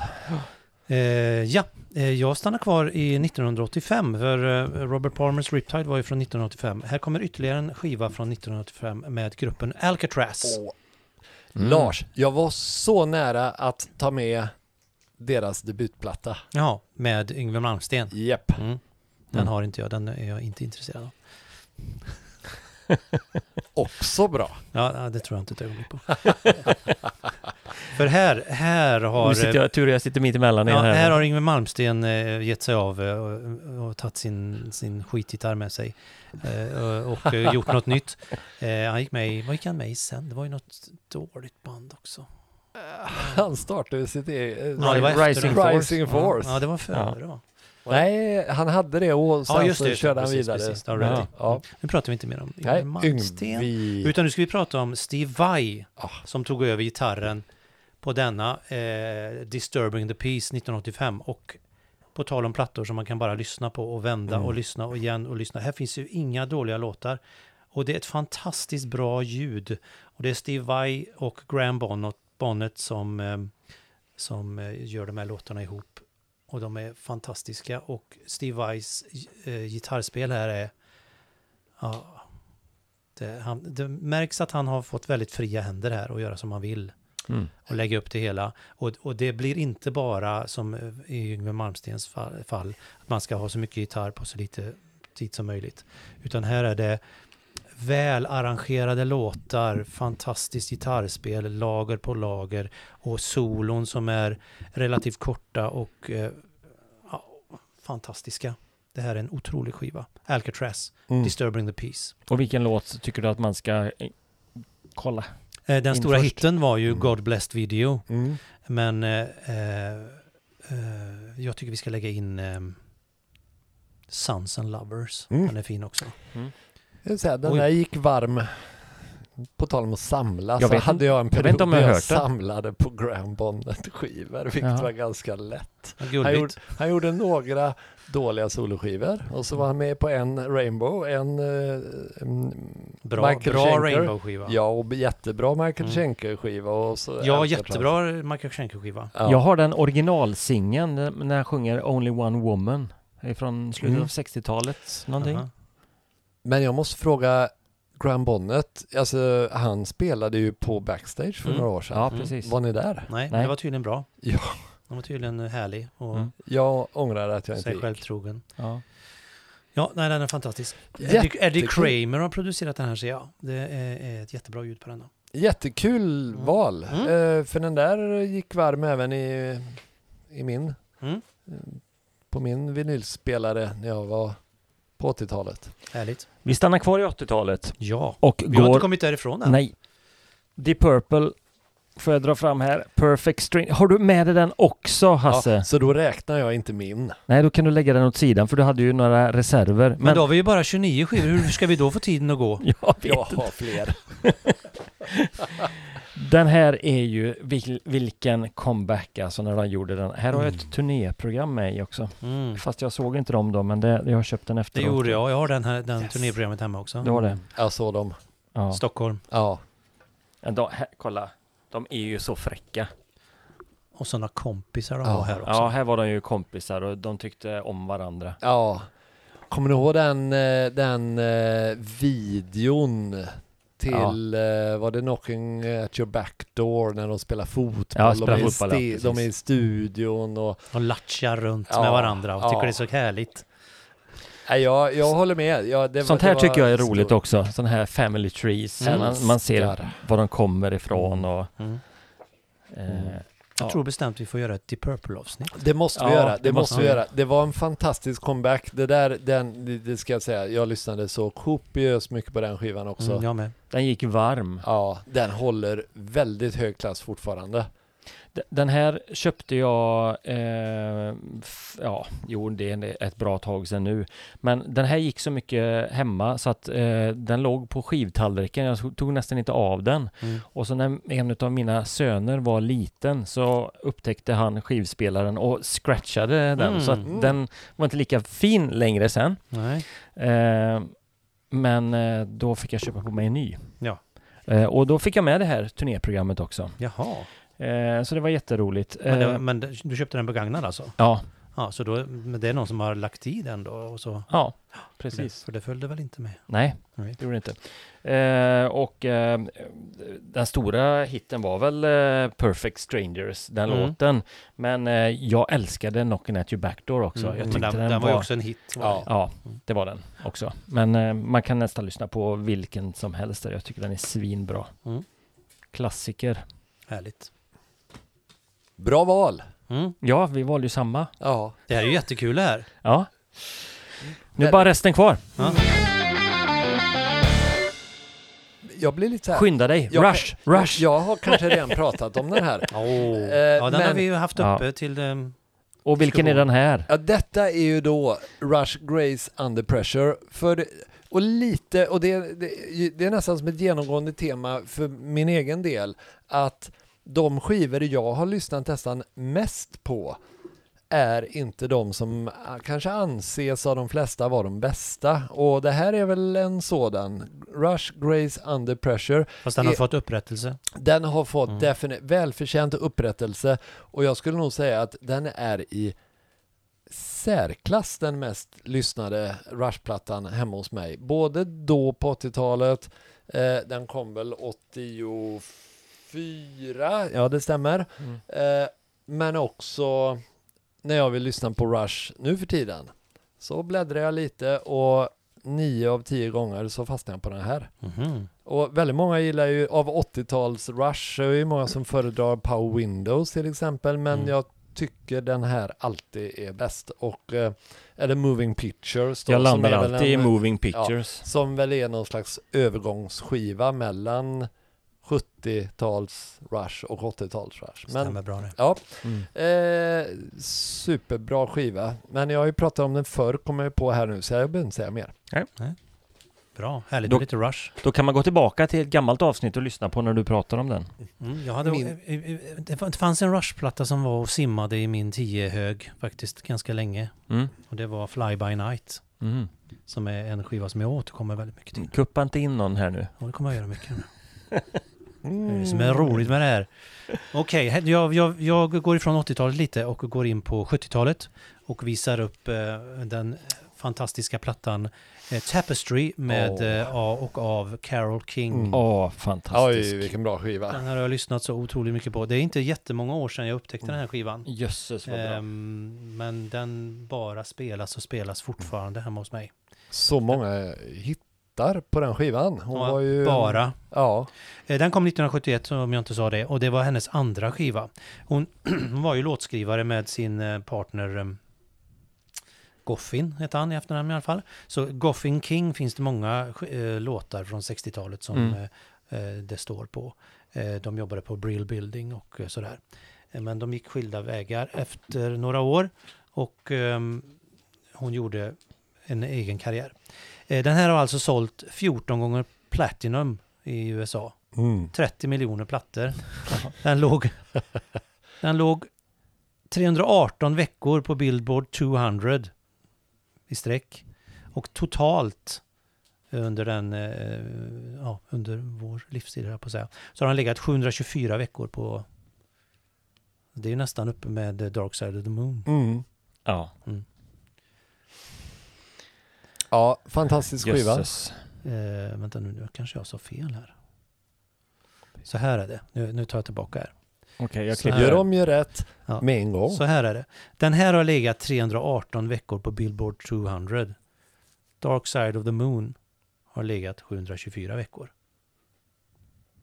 Speaker 1: Eh, ja, eh, jag stannar kvar i 1985 för eh, Robert Palmers Riptide var ju från 1985. Här kommer ytterligare en skiva från 1985 med gruppen Alcatraz.
Speaker 3: Åh.
Speaker 2: Mm.
Speaker 3: Mm. Lars, jag var så nära att ta med deras debutplatta.
Speaker 1: Ja, med Yngwie Malmsteen.
Speaker 3: Japp.
Speaker 1: Mm. Den
Speaker 2: Mm.
Speaker 1: har inte jag, den är jag inte intresserad av.
Speaker 3: Också bra.
Speaker 1: Ja, ja, det tror jag inte ett ögonblick på. för här, här har...
Speaker 2: Nu
Speaker 3: eh,
Speaker 2: sitter jag, tur jag sitter mitt emellan
Speaker 1: Ja,
Speaker 2: er
Speaker 1: här
Speaker 2: här.
Speaker 1: har Yngwie Malmsteen eh, gett sig av eh, och, och tagit sin, sin skitgitarr med sig eh, och, och eh, gjort något nytt. Eh, han gick med i, vad gick han med i sen? Det var ju något dåligt band också.
Speaker 3: Han startade sitt eget...
Speaker 1: Ja, det var efter
Speaker 2: Rising
Speaker 1: det.
Speaker 2: Force.
Speaker 3: Rising Force.
Speaker 1: Ja, ja, det var före va?
Speaker 3: Nej, han hade det och sen
Speaker 1: Ja, just
Speaker 3: så
Speaker 1: det.
Speaker 3: körde han
Speaker 1: precis,
Speaker 3: vidare.
Speaker 1: Precis, det har du rätt i.
Speaker 3: Ja.
Speaker 1: Nu pratar vi inte mer om Yngwie
Speaker 3: Nej,
Speaker 1: Malmsteen.
Speaker 3: Yngwie.
Speaker 1: Utan nu ska vi prata om Steve Vai
Speaker 3: Ah.
Speaker 1: som tog över gitarren på denna eh, Disturbing the Peace 1985. Och på tal om plattor som man kan bara lyssna på och vända
Speaker 2: Mm.
Speaker 1: och lyssna och igen och lyssna. Här finns ju inga dåliga låtar. Och det är ett fantastiskt bra ljud. Och det är Steve Vai och Graham Bonnet, Bonnet som, eh, som eh, gör de här låtarna ihop. Och de är fantastiska. Och Steve Vais eh, gitarrspel här är... Ja, det, han, det märks att han har fått väldigt fria händer här och göra som han vill
Speaker 2: Mm.
Speaker 1: och lägga upp det hela. Och, och det blir inte bara som eh, i Yngwie Malmsteens fall, fall, att man ska ha så mycket gitarr på så lite tid som möjligt. Utan här är det välarrangerade låtar, fantastiskt gitarrspel, lager på lager och solon som är relativt korta och eh, ja, fantastiska. Det här är en otrolig skiva. Alcatraz,
Speaker 3: Mm.
Speaker 1: Disturbing the Peace.
Speaker 2: Och vilken låt tycker du att man ska eh, kolla?
Speaker 1: Eh, Den
Speaker 2: In
Speaker 1: stora
Speaker 2: först.
Speaker 1: hitten var ju
Speaker 3: Mm.
Speaker 1: God Blessed Video,
Speaker 3: Mm.
Speaker 1: men eh, eh, eh, jag tycker vi ska lägga in eh, Sons and Lovers.
Speaker 3: Mm.
Speaker 1: Den är fin också.
Speaker 3: Jag vill säga, den
Speaker 2: Oj.
Speaker 3: där gick varm. På tal om att samla
Speaker 2: Jag
Speaker 3: så
Speaker 2: vet
Speaker 3: hade
Speaker 2: inte-
Speaker 3: jag en
Speaker 2: jag vet
Speaker 3: period
Speaker 2: inte om
Speaker 3: där
Speaker 2: jag
Speaker 3: jag,
Speaker 2: hört det.
Speaker 3: samlade på Graham Bonnet-skivor, vilket
Speaker 2: Jaha.
Speaker 3: var ganska lätt. Han gjorde,
Speaker 1: Gulligt.
Speaker 3: han gjorde några dåliga soloskivor och så var han med på en Rainbow, en eh, mm,
Speaker 1: Bra,
Speaker 3: Michael
Speaker 1: bra
Speaker 3: Schenker.
Speaker 1: Rainbow-skiva. Ja,
Speaker 3: ja, och jättebra Michael
Speaker 1: Mm.
Speaker 3: Schenker-skiva. och så-
Speaker 1: jättebra Michael Schenker-skiva.
Speaker 3: Ja.
Speaker 2: Jag har den originalsingen eh, när han sjunger Only One Woman. Det är Från slutet
Speaker 3: Mm.
Speaker 2: av 60-talet någonting.
Speaker 1: Aha.
Speaker 3: Men jag måste fråga Graham Bonnet, alltså han spelade ju på Backstage för
Speaker 1: Mm.
Speaker 3: några år sedan.
Speaker 2: Ja,
Speaker 1: Mm.
Speaker 2: precis.
Speaker 3: Var ni där?
Speaker 1: Nej,
Speaker 2: Nej.
Speaker 1: den var tydligen bra.
Speaker 3: Ja.
Speaker 1: Den var tydligen eh, härlig och
Speaker 2: Mm.
Speaker 3: Jag ångrar att jag inte
Speaker 1: sig
Speaker 3: gick.
Speaker 1: självtrogen.
Speaker 2: Ja.
Speaker 1: Ja, nej, den är fantastisk. Eddie,
Speaker 3: Jättekul.
Speaker 1: Eddie Kramer har producerat den här, ser jag. Det är, är ett jättebra ljud på den. Då.
Speaker 3: Jättekul
Speaker 1: Mm.
Speaker 3: val,
Speaker 1: Mm.
Speaker 3: Eh, för den där gick varm även i, i min,
Speaker 1: Mm.
Speaker 3: eh, på min vinylspelare när jag var på 80-talet.
Speaker 1: Härligt.
Speaker 2: Vi stannar kvar i 80-talet
Speaker 1: Ja,
Speaker 2: och
Speaker 1: vi har inte
Speaker 2: går...
Speaker 1: kommit därifrån än.
Speaker 2: Nej. Deep Purple får jag dra fram här. Perfect String. Har du med dig den också Hasse?
Speaker 3: Ja, så då räknar jag inte min.
Speaker 2: Nej, då kan du lägga den åt sidan för du hade ju några reserver. Men,
Speaker 1: Men, då har vi ju bara 29 skivor, hur ska vi då få tiden att gå?
Speaker 2: Jag vet
Speaker 3: Jag
Speaker 2: inte.
Speaker 3: har fler.
Speaker 2: Den här är ju vil- vilken comeback alltså när de gjorde den. Här har jag
Speaker 1: Mm.
Speaker 2: ett turnéprogram med i också. Mm. Fast jag såg inte dem då, men det, jag har köpt den
Speaker 1: Det
Speaker 2: efteråt.
Speaker 1: gjorde jag, jag har den här, den
Speaker 3: Yes.
Speaker 1: turnéprogrammet hemma också.
Speaker 2: Det var det.
Speaker 3: Jag såg dem.
Speaker 2: Ja.
Speaker 1: Stockholm
Speaker 3: Ja.
Speaker 2: Men då, här, kolla, de är ju så fräcka.
Speaker 1: och sådana kompisar de
Speaker 3: Ja.
Speaker 1: har här också.
Speaker 2: Ja, här var de ju kompisar och de tyckte om varandra.
Speaker 3: ja. Kommer ni ihåg den, eh, den eh, videon till, eh, var det Knocking at your back door när de spelar fotboll?
Speaker 2: Ja, spelar
Speaker 3: de, är i
Speaker 2: fotboll, ja, precis.
Speaker 3: de är i studion och
Speaker 1: De latchar runt
Speaker 3: Ja.
Speaker 1: med varandra och tycker
Speaker 3: Ja.
Speaker 1: det är så härligt.
Speaker 3: Nej, jag, jag håller med. Ja, det var-
Speaker 2: Sånt
Speaker 3: det
Speaker 2: här
Speaker 3: var
Speaker 2: tycker jag är
Speaker 3: stor-
Speaker 2: roligt också. Sådana här family trees.
Speaker 1: Mm.
Speaker 2: Man, man ser
Speaker 3: Älskar.
Speaker 2: var de kommer ifrån och...
Speaker 1: Mm.
Speaker 2: Eh,
Speaker 3: Mm.
Speaker 1: Jag
Speaker 2: Ja.
Speaker 1: tror bestämt vi får göra ett Deep Purple-avsnitt.
Speaker 3: Det måste vi
Speaker 2: Ja,
Speaker 3: göra. Det,
Speaker 2: det
Speaker 3: måste
Speaker 2: måste
Speaker 3: vi
Speaker 2: vi.
Speaker 3: göra. Det var en fantastisk comeback. Det där, den, det- det ska jag säga. Jag lyssnade så kopiöst mycket på den skivan också.
Speaker 1: Mm, jag med.
Speaker 2: Den gick varm.
Speaker 3: Ja, den håller väldigt hög klass fortfarande.
Speaker 2: D- Den här köpte jag, eh, f- ja, jo det är ett bra tag sedan nu. Men den här gick så mycket hemma så att eh, den låg på skivtallriken. Jag tog- tog nästan inte av den.
Speaker 1: Mm.
Speaker 2: Och så när en av mina söner var liten så upptäckte han skivspelaren och scratchade den.
Speaker 1: Mm.
Speaker 2: Så att den var inte lika fin längre sen.
Speaker 1: Nej.
Speaker 2: Eh, men eh, då fick jag köpa på mig en ny.
Speaker 1: Ja.
Speaker 2: Eh, och då fick jag med det här turnéprogrammet också.
Speaker 1: Jaha.
Speaker 2: Eh, så det var jätteroligt.
Speaker 1: Men, det,
Speaker 2: Eh,
Speaker 1: men det- du köpte den begagnad alltså?
Speaker 2: ja,
Speaker 1: Ja, så då, men det är någon som har lagt i den då? Och så,
Speaker 2: ja,
Speaker 1: för det-
Speaker 2: precis.
Speaker 1: För det följde väl inte med?
Speaker 2: Nej,
Speaker 1: Nej.
Speaker 2: det gjorde det inte. Eh, och eh, den stora hitten var väl eh, Perfect Strangers, den
Speaker 1: Mm.
Speaker 2: låten. Men eh, jag älskade Knockin' at your backdoor också.
Speaker 1: Mm,
Speaker 2: jag
Speaker 1: men
Speaker 2: tyckte
Speaker 1: den,
Speaker 2: den,
Speaker 1: den var
Speaker 2: var...
Speaker 1: ju också en hit. var
Speaker 3: Ja.
Speaker 1: det.
Speaker 2: Ja, det var den också. Men eh, man kan nästan lyssna på vilken som helst där. Jag tycker den är svinbra.
Speaker 1: Mm.
Speaker 2: Klassiker.
Speaker 1: Härligt.
Speaker 3: Bra val!
Speaker 1: Mm.
Speaker 2: Ja, vi valde ju samma.
Speaker 3: Ja.
Speaker 1: Det här är ju jättekul det här.
Speaker 2: Ja. Nu är bara resten kvar.
Speaker 1: Ja.
Speaker 3: Jag blir lite så här...
Speaker 2: Skynda dig.
Speaker 3: Jag-
Speaker 2: Rush, rush.
Speaker 3: Jag har kanske redan pratat om den här.
Speaker 1: Oh.
Speaker 3: Eh,
Speaker 1: ja, den har
Speaker 3: men-
Speaker 1: vi ju haft
Speaker 2: Ja.
Speaker 1: uppe till... ehm,
Speaker 2: Och vilken är den här?
Speaker 3: Ja, detta är ju då Rush Grace Under Pressure. För, och lite, och det, det, det är nästan som ett genomgående tema för min egen del, att de skivor jag har lyssnat nästan mest på är inte de som ah, kanske anses av de flesta vara de bästa. Och det här är väl en sådan. Rush Grace Under Pressure.
Speaker 1: fast den har
Speaker 3: Eh,
Speaker 1: fått upprättelse.
Speaker 3: Den har fått
Speaker 1: Mm.
Speaker 3: defini- välförtjänt upprättelse och jag skulle nog säga att den är i särklass den mest lyssnade Rush-plattan hemma hos mig. Både då på 80-talet, eh, den kom väl 84, ja det stämmer,
Speaker 2: Mm.
Speaker 3: eh, men också när jag vill lyssna på Rush nu för tiden. Så bläddrar jag lite och nio av tio gånger så fastnar jag på den här.
Speaker 1: Mhm.
Speaker 3: Och väldigt många gillar ju, av 80-tals Rush, så är det ju många som föredrar Power Windows till exempel, men
Speaker 1: Mm.
Speaker 3: jag tycker den här alltid är bäst. Och, eh, eller Moving Pictures då,
Speaker 2: Jag landar
Speaker 3: som är väl
Speaker 2: alltid i
Speaker 3: en-
Speaker 2: Moving Pictures.
Speaker 3: Som väl är någon slags övergångsskiva mellan 70-tals Rush och 80-tals Rush. Men,
Speaker 1: Stämmer bra det.
Speaker 3: ja,
Speaker 2: Mm.
Speaker 3: eh, superbra skiva. Men jag har ju pratat om den förr, kommer jag på här nu, så jag behöver inte säga mer.
Speaker 1: Bra, härligt.
Speaker 2: Då-
Speaker 1: med Lite rush.
Speaker 2: Då kan man gå tillbaka till ett gammalt avsnitt och lyssna på när du pratar om den.
Speaker 1: Mm, jag hade,
Speaker 3: Min-
Speaker 1: eh, eh, eh, Det fann- det fanns en rushplatta som var och simmade i min 10-hög faktiskt ganska länge.
Speaker 2: Mm.
Speaker 1: Och det var Fly By Night.
Speaker 2: Mm.
Speaker 1: Som är en skiva som jag återkommer väldigt mycket till.
Speaker 2: Kuppa inte in någon här nu.
Speaker 1: Och det kommer jag göra
Speaker 3: Mm.
Speaker 1: mycket nu. Det är det som är roligt med det här. Okej, här- jag, jag, jag går ifrån 80-talet lite och går in på 70-talet och visar upp eh, den fantastiska plattan eh, Tapestry med
Speaker 3: Åh.
Speaker 1: eh, A och av Carole King.
Speaker 3: Mm.
Speaker 2: Åh,
Speaker 3: Oj,
Speaker 2: fantastisk.
Speaker 3: vilken bra skiva.
Speaker 1: Den här har jag lyssnat så otroligt mycket på. Det är inte jättemånga år sedan jag upptäckte den här skivan.
Speaker 2: Jösses Mm. vad bra.
Speaker 1: Ehm, men den bara spelas och spelas fortfarande hemma hos mig.
Speaker 3: Så många hittar på den skivan. Hon
Speaker 1: Ja,
Speaker 3: var ju...
Speaker 1: Bara.
Speaker 3: Ja.
Speaker 1: Eh, Den kom 1971 om jag inte sa det och det var hennes andra skiva. Hon hon var ju låtskrivare med sin eh, partner eh, Goffin hette han i efternamn i alla fall. Så Goffin King finns det många eh, låtar från 60-talet som
Speaker 2: Mm.
Speaker 1: eh, eh, det står på. Eh, de jobbade på Brill Building och eh, sådär. Eh, men de gick skilda vägar efter några år och ehm, hon gjorde en egen karriär. Eh, den här har alltså sålt 14 gånger platinum i USA.
Speaker 3: Mm.
Speaker 1: 30 miljoner plattor. Den låg, den låg 318 veckor på Billboard 200 i sträck. Och totalt under, den, eh, ja, under vår livstid, höll jag på att säga, så har den legat 724 veckor på... Det är ju nästan uppe med eh, Dark Side of the Moon.
Speaker 3: Mm.
Speaker 2: Ja,
Speaker 3: Ja, fantastisk skiva.
Speaker 2: jösses.
Speaker 1: Eh, vänta nu, nu kanske jag sa fel här. Så här är det. Nu, nu tar jag tillbaka här.
Speaker 2: Okej, jag
Speaker 1: Så
Speaker 2: klipper.
Speaker 3: Gör om, gör rätt
Speaker 1: Ja.
Speaker 3: med en gång.
Speaker 1: Så här är det. Den här har legat 318 veckor på Billboard 200. Dark Side of the Moon har legat 724 veckor.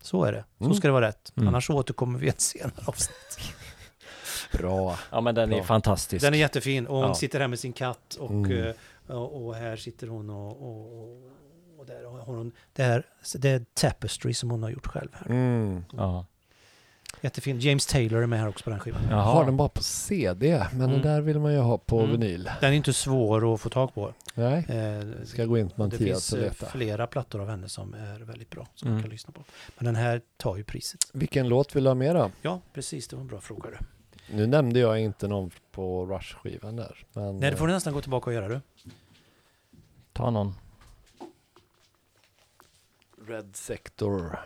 Speaker 1: Så är det. Så
Speaker 3: Mm.
Speaker 1: ska det vara rätt.
Speaker 2: Mm.
Speaker 1: Annars återkommer vi i ett senare avsnitt.
Speaker 3: Bra.
Speaker 2: Ja, men den är
Speaker 3: Bra.
Speaker 2: fantastisk.
Speaker 1: Den är jättefin och hon
Speaker 2: Ja.
Speaker 1: sitter här med sin katt och,
Speaker 3: Mm.
Speaker 1: eh, och, och här sitter hon och, och, och där har hon det här. Det är Tapestry som hon har gjort själv här.
Speaker 3: Mm.
Speaker 2: Ja.
Speaker 1: Jättefin. James Taylor är med här också på den skivan.
Speaker 3: Har
Speaker 2: Jaha.
Speaker 3: den bara på CD, men
Speaker 1: Mm.
Speaker 3: den där vill man ju ha på
Speaker 1: Mm.
Speaker 3: vinyl.
Speaker 1: Den är inte svår att få tag på.
Speaker 3: Nej,
Speaker 1: Eh,
Speaker 3: ska gå in till
Speaker 1: Det finns
Speaker 3: Mattias och
Speaker 1: eh,
Speaker 3: leta.
Speaker 1: flera plattor av henne som är väldigt bra som man
Speaker 2: Mm.
Speaker 1: kan lyssna på. Men den här tar ju priset. Mm.
Speaker 3: Vilken låt vill du ha med då?
Speaker 1: Ja, precis. Det var en bra fråga du.
Speaker 3: Nu nämnde jag inte någon på Rush-skivan där. Men
Speaker 1: Nej, det får du nästan gå tillbaka och göra du.
Speaker 2: Ta någon.
Speaker 3: Red eh, Sector,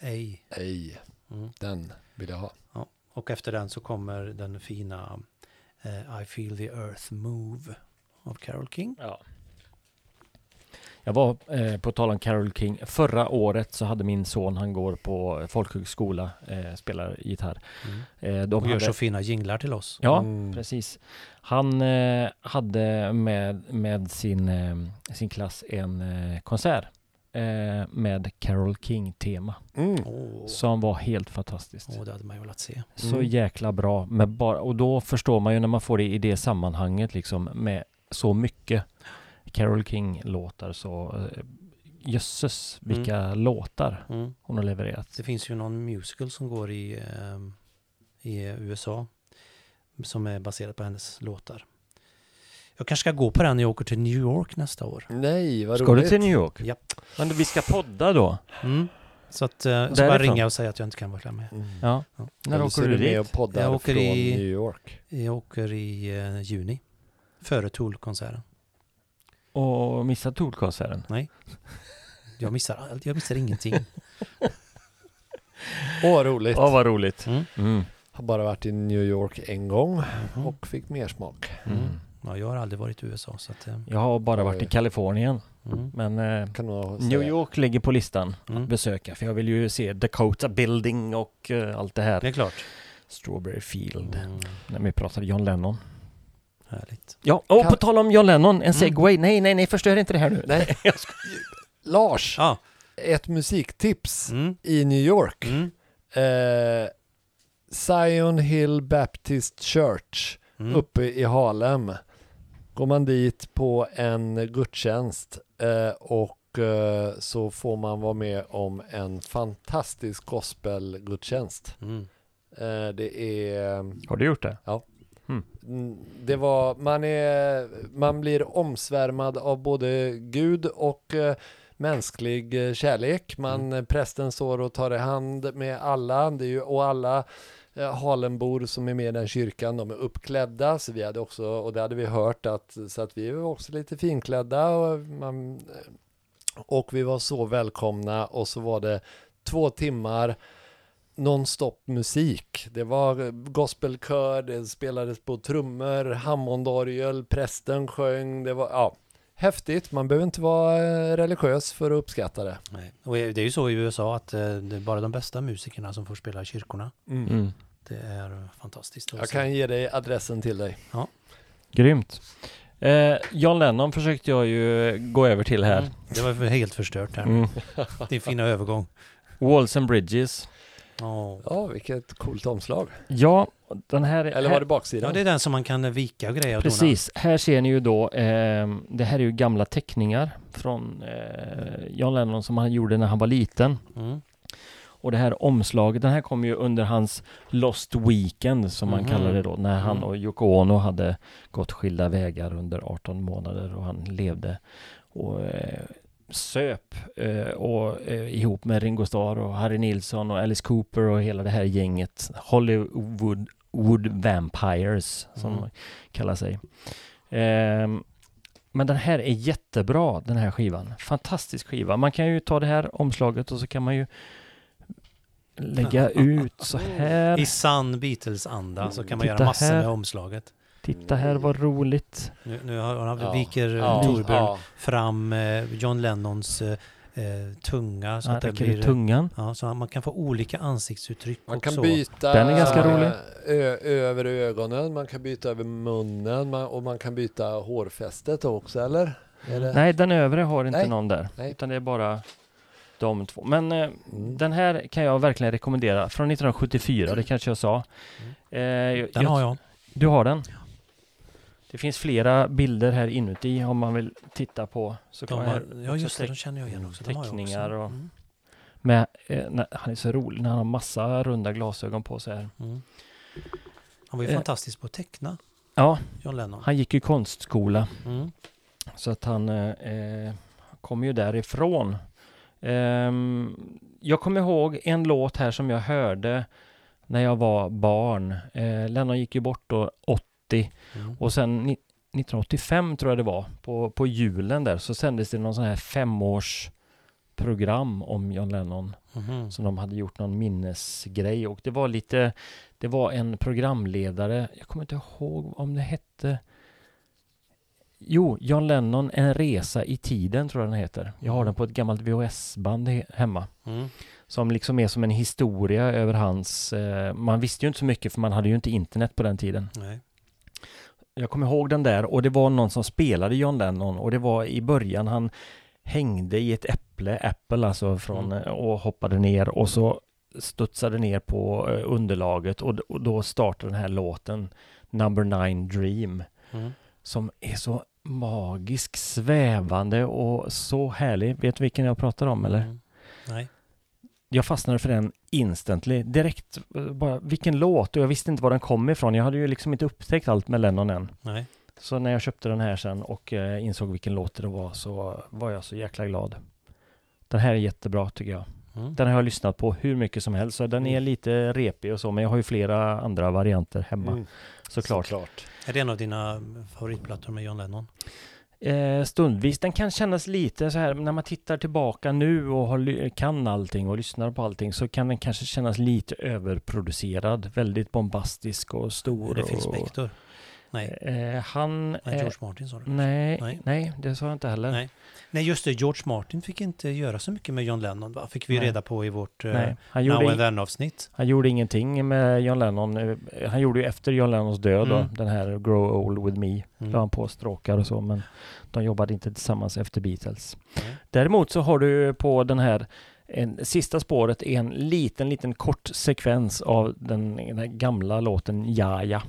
Speaker 1: Ej.
Speaker 3: ej.
Speaker 1: Mm.
Speaker 3: Den vill jag ha.
Speaker 1: Och efter den så kommer den fina eh, I feel the earth move av Carole King.
Speaker 2: Ja. Jag var, eh, på tal om Carole King, förra året så hade min son, han går på folkhögskola, eh, spelar gitarr.
Speaker 1: Mm.
Speaker 2: Eh, de
Speaker 1: Och gör
Speaker 2: hade-
Speaker 1: så fina jinglar till oss.
Speaker 2: Ja,
Speaker 3: Mm.
Speaker 2: precis. Han eh, hade med, med sin, eh, sin klass en eh, konsert eh, med Carole King-tema
Speaker 3: Mm.
Speaker 1: Åh,
Speaker 2: som var helt fantastiskt.
Speaker 1: Åh, det hade man ju velat se.
Speaker 2: Så
Speaker 3: Mm.
Speaker 2: jäkla bra. Men bara, och då förstår man ju när man får det i det sammanhanget liksom med så mycket Carole King-låtar så eh, jösses vilka låtar
Speaker 1: Mm.
Speaker 2: hon har levererat.
Speaker 1: Det finns ju någon musical som går i, ehm, i USA som är baserad på hennes låtar. Jag kanske ska gå på den när jag åker till New York nästa år.
Speaker 3: Nej, vad
Speaker 2: Ska
Speaker 3: roligt.
Speaker 2: du till New York?
Speaker 1: Japp.
Speaker 2: Men vi ska podda då?
Speaker 1: Mm. Så att eh, så bara
Speaker 2: Därifrån?
Speaker 1: ringa och säga att jag inte kan vara med.
Speaker 3: Mm.
Speaker 2: Ja.
Speaker 1: Ja.
Speaker 2: När
Speaker 3: Eller så
Speaker 2: åker
Speaker 3: är
Speaker 2: du
Speaker 3: med
Speaker 2: dit?
Speaker 3: och poddar
Speaker 1: Jag åker
Speaker 3: från
Speaker 1: i-
Speaker 3: New York.
Speaker 1: Jag åker i eh, juni. Före Tool-konserten.
Speaker 2: Och missar Tool-konserten?
Speaker 1: Jag missar, allt, jag missar ingenting.
Speaker 3: Åh, vad roligt.
Speaker 2: Åh, vad roligt.
Speaker 1: Mm.
Speaker 2: Mm.
Speaker 3: Har bara varit i New York en gång
Speaker 1: Mhm.
Speaker 3: och fick mer smak.
Speaker 1: Mm. Ja, jag har aldrig varit i USA så att... eh,
Speaker 2: Jag har bara varit i
Speaker 3: Oj.
Speaker 2: Kalifornien,
Speaker 1: Mm.
Speaker 2: men eh,
Speaker 3: Kan nog säga.
Speaker 2: New York ligger på listan att
Speaker 1: Mm.
Speaker 2: besöka, för jag vill ju se Dakota Building och eh, allt det
Speaker 1: Det
Speaker 2: här.
Speaker 1: är klart.
Speaker 2: Strawberry Field,
Speaker 1: Mm.
Speaker 2: när vi pratade John Lennon.
Speaker 1: Härligt.
Speaker 2: Ja, och
Speaker 3: Kan-
Speaker 2: på tal om John Lennon, en segway. Nej, nej, nej, förstör inte det här nu.
Speaker 3: Nej. Lars,
Speaker 1: Ja.
Speaker 3: ett musiktips
Speaker 1: Mm.
Speaker 3: i New York.
Speaker 1: Mm.
Speaker 3: Eh, Zion Hill Baptist Church
Speaker 1: Mm.
Speaker 3: uppe i Harlem. Går man dit på en gudstjänst eh, och eh, så får man vara med om en fantastisk gospelgudstjänst.
Speaker 1: Mm.
Speaker 3: Eh, det är
Speaker 2: Har du gjort det?
Speaker 3: Mm, Det var, man, är, man blir omsvärmad av både Gud och eh, mänsklig eh, kärlek. Man, eh, Prästen står och tar i hand med alla, det är ju, och alla eh, Halenbor som är med i den kyrkan, de är uppklädda, så vi hade också, och det hade vi hört, att, så att vi var också lite finklädda. Och, man, eh, och vi var så välkomna och så var det två timmar nonstop musik. Det var eh, gospelkör, det spelades på trummor, hammondorgel, prästen sjöng, det var ja, häftigt. Man behöver inte vara eh, religiös för att uppskatta det.
Speaker 1: Nej. Och det är ju så i USA att eh, det är bara de bästa musikerna som får spela i kyrkorna.
Speaker 2: Mm.
Speaker 1: Det är fantastiskt. att
Speaker 3: Jag
Speaker 1: se.
Speaker 3: kan ge dig adressen till dig.
Speaker 2: Grymt. Eh, John Lennon försökte jag ju gå över till här.
Speaker 1: Mm. Det var för- helt förstört här.
Speaker 2: Mm.
Speaker 1: Din fina övergång.
Speaker 2: Walls and Bridges.
Speaker 1: Åh.
Speaker 3: Ja, vilket coolt omslag.
Speaker 2: Ja, den här...
Speaker 3: Eller
Speaker 2: här-
Speaker 3: var det baksidan?
Speaker 1: Ja, det är den som man kan eh, vika och grejer och dona.
Speaker 2: Precis, här ser ni ju då, ehm, det här är ju gamla teckningar från eh, John Lennon som han gjorde när han var liten.
Speaker 1: Mm.
Speaker 2: Och det här omslaget, den här kom ju under hans Lost Weekend som man
Speaker 1: Mhm.
Speaker 2: kallar det då, när han
Speaker 1: Mm.
Speaker 2: och Yoko Ono hade gått skilda vägar under 18 månader och han levde och eh, söp eh, och eh, ihop med Ringo Starr och Harry Nilsson och Alice Cooper och hela det här gänget Hollywood Wood Vampires som
Speaker 1: Mm.
Speaker 2: de kallar sig. Ehm, men den här är jättebra, den här skivan. Fantastisk skiva. Man kan ju ta det här omslaget och så kan man ju lägga ut så här.
Speaker 1: I sann Beatles-anda så kan man
Speaker 2: Titta
Speaker 1: göra massor
Speaker 2: här.
Speaker 1: med omslaget.
Speaker 2: Titta här, vad roligt.
Speaker 1: Nu, nu har, har,
Speaker 3: Ja.
Speaker 1: viker ja.
Speaker 3: Ja,
Speaker 1: Torbjörn
Speaker 3: ja.
Speaker 1: fram eh, John Lennons eh, eh, tunga så
Speaker 2: Han
Speaker 1: att det
Speaker 2: räcker
Speaker 1: blir...
Speaker 2: ut tungan.
Speaker 1: ja, så man kan få olika ansiktsuttryck
Speaker 3: Man
Speaker 1: och
Speaker 3: kan
Speaker 1: så.
Speaker 3: byta
Speaker 2: Den är ganska
Speaker 3: eh,
Speaker 2: rolig.
Speaker 3: Ö, över ögonen, man kan byta över munnen man, och man kan byta hårfästet också, eller? Är det?
Speaker 2: Nej, den övre har inte
Speaker 3: Nej.
Speaker 2: någon där.
Speaker 3: Nej.
Speaker 2: Utan det är bara de två. Men eh,
Speaker 3: Mm.
Speaker 2: den här kan jag verkligen rekommendera. Från 1974, det kanske jag sa.
Speaker 3: Mm.
Speaker 2: Eh, jag-
Speaker 1: Den har jag.
Speaker 2: Du har den? Det finns flera bilder här inuti om man vill titta på. Så kan
Speaker 1: De
Speaker 2: man här
Speaker 1: har, ja,
Speaker 2: också
Speaker 1: just det,
Speaker 2: teck-
Speaker 1: de känner jag igen också. De har jag också.
Speaker 2: teckningar och-
Speaker 1: Mm.
Speaker 2: med, eh, nej, han är så rolig när han har massa runda glasögon på sig här.
Speaker 1: Mm. Han var ju
Speaker 2: Eh.
Speaker 1: fantastisk på att teckna,
Speaker 2: Ja,
Speaker 1: John Lennon.
Speaker 2: han gick ju konstskola
Speaker 1: Mm.
Speaker 2: så att han eh, eh, kom ju därifrån. Ehm, jag kommer ihåg en låt här som jag hörde när jag var barn. Eh, Lennon gick ju bort då 80
Speaker 1: Mm.
Speaker 2: Och sen ni- 1985 tror jag det var, på, på julen där, så sändes det någon sån här femårs program om John Lennon
Speaker 1: Mhm.
Speaker 2: som de hade gjort någon minnesgrej och det var lite, det var en programledare, jag kommer inte ihåg om det hette Jo, John Lennon, En resa i tiden tror jag den heter. Jag har den på ett gammalt VHS-band he- hemma.
Speaker 1: Mm.
Speaker 2: Som liksom är som en historia över hans, eh, man visste ju inte så mycket för man hade ju inte internet på den tiden.
Speaker 1: Nej.
Speaker 2: Jag kommer ihåg den där och det var någon som spelade John Lennon och det var i början han hängde i ett äpple, Apple alltså, från,
Speaker 1: Mm.
Speaker 2: och hoppade ner och så studsade ner på eh, underlaget och, d- och då startade den här låten Number Nine Dream
Speaker 1: Mm.
Speaker 2: som är så magisk, svävande och så härlig. Vet du vilken jag pratar om eller?
Speaker 1: Mm. Nej.
Speaker 2: Jag fastnade för den instantly, direkt, eh, bara vilken låt och jag visste inte var den kom ifrån. Jag hade ju liksom inte upptäckt allt med Lennon än.
Speaker 1: Nej.
Speaker 2: Så när jag köpte den här sen och eh, insåg vilken låt det var så var jag så jäkla glad. Den här är jättebra tycker jag.
Speaker 1: Mm.
Speaker 2: Den har jag lyssnat på hur mycket som helst, så den är lite repig och så, men jag har ju flera andra varianter hemma
Speaker 3: Mm,
Speaker 2: såklart.
Speaker 3: såklart.
Speaker 1: Är det en av dina favoritplattor med John Lennon?
Speaker 2: Eh, stundvis, den kan kännas lite så här, när man tittar tillbaka nu och har, ly- kan allting och lyssnar på allting så kan den kanske kännas lite överproducerad, väldigt bombastisk och stor.
Speaker 1: Är det Phil
Speaker 2: och,
Speaker 1: Spector? Nej.
Speaker 2: Eh, han...
Speaker 1: Nej,
Speaker 2: eh,
Speaker 1: George Martin sa du.
Speaker 2: nej,
Speaker 1: Nej.
Speaker 2: nej. det sa jag inte heller.
Speaker 1: Nej. Nej, just det. George Martin fick inte göra så mycket med John Lennon, va? Fick vi
Speaker 2: Nej.
Speaker 1: reda på i vårt eh,
Speaker 2: Nej, han gjorde
Speaker 1: Now
Speaker 2: ing-
Speaker 1: and Then-avsnitt.
Speaker 2: Han gjorde ingenting med John Lennon. Eh, Han gjorde ju efter John Lennons död
Speaker 1: Mm.
Speaker 2: då, den här Grow Old With Me.
Speaker 1: Mm.
Speaker 2: Då han på stråkar och så, men de jobbade inte tillsammans efter Beatles.
Speaker 1: Nej.
Speaker 2: Däremot så har du på den här en, sista spåret är en liten, liten kort sekvens av den, den här gamla låten Ja Ja.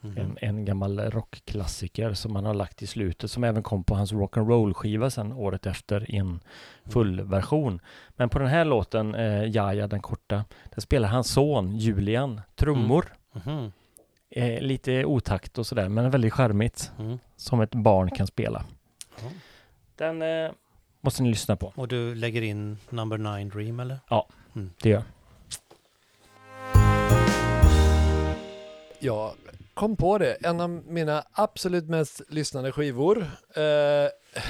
Speaker 1: Mhm.
Speaker 2: En, en gammal rockklassiker som han har lagt i slutet som även kom på hans rock'n'roll-skiva sen året efter i en fullversion. Men på den här låten, eh, Jaja den korta, där spelar hans son Julian trummor.
Speaker 1: Mhm.
Speaker 2: Eh, lite otakt och sådär, men väldigt charmigt.
Speaker 1: Mm.
Speaker 2: Som ett barn kan spela.
Speaker 1: Ja.
Speaker 2: Den eh, måste ni lyssna på,
Speaker 1: Och du lägger in Number Nine Dream, eller?
Speaker 2: det gör jag.
Speaker 3: Jag kom på det, en av mina absolut mest lyssnade skivor eh,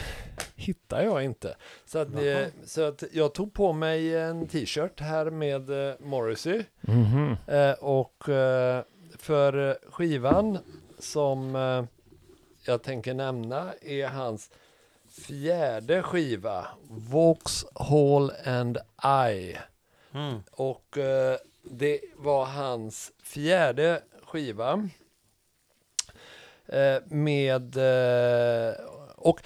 Speaker 3: hittar jag inte. Så att, eh,
Speaker 1: Jaha.
Speaker 3: så att jag tog på mig en t-shirt här med eh, Morrissey
Speaker 2: Mhm.
Speaker 3: eh, och eh, för eh, skivan som eh, jag tänker nämna är hans fjärde skiva, Vauxhall and I.
Speaker 1: Mm.
Speaker 3: Och eh, det var hans fjärde skiva. Eh, med... Eh, och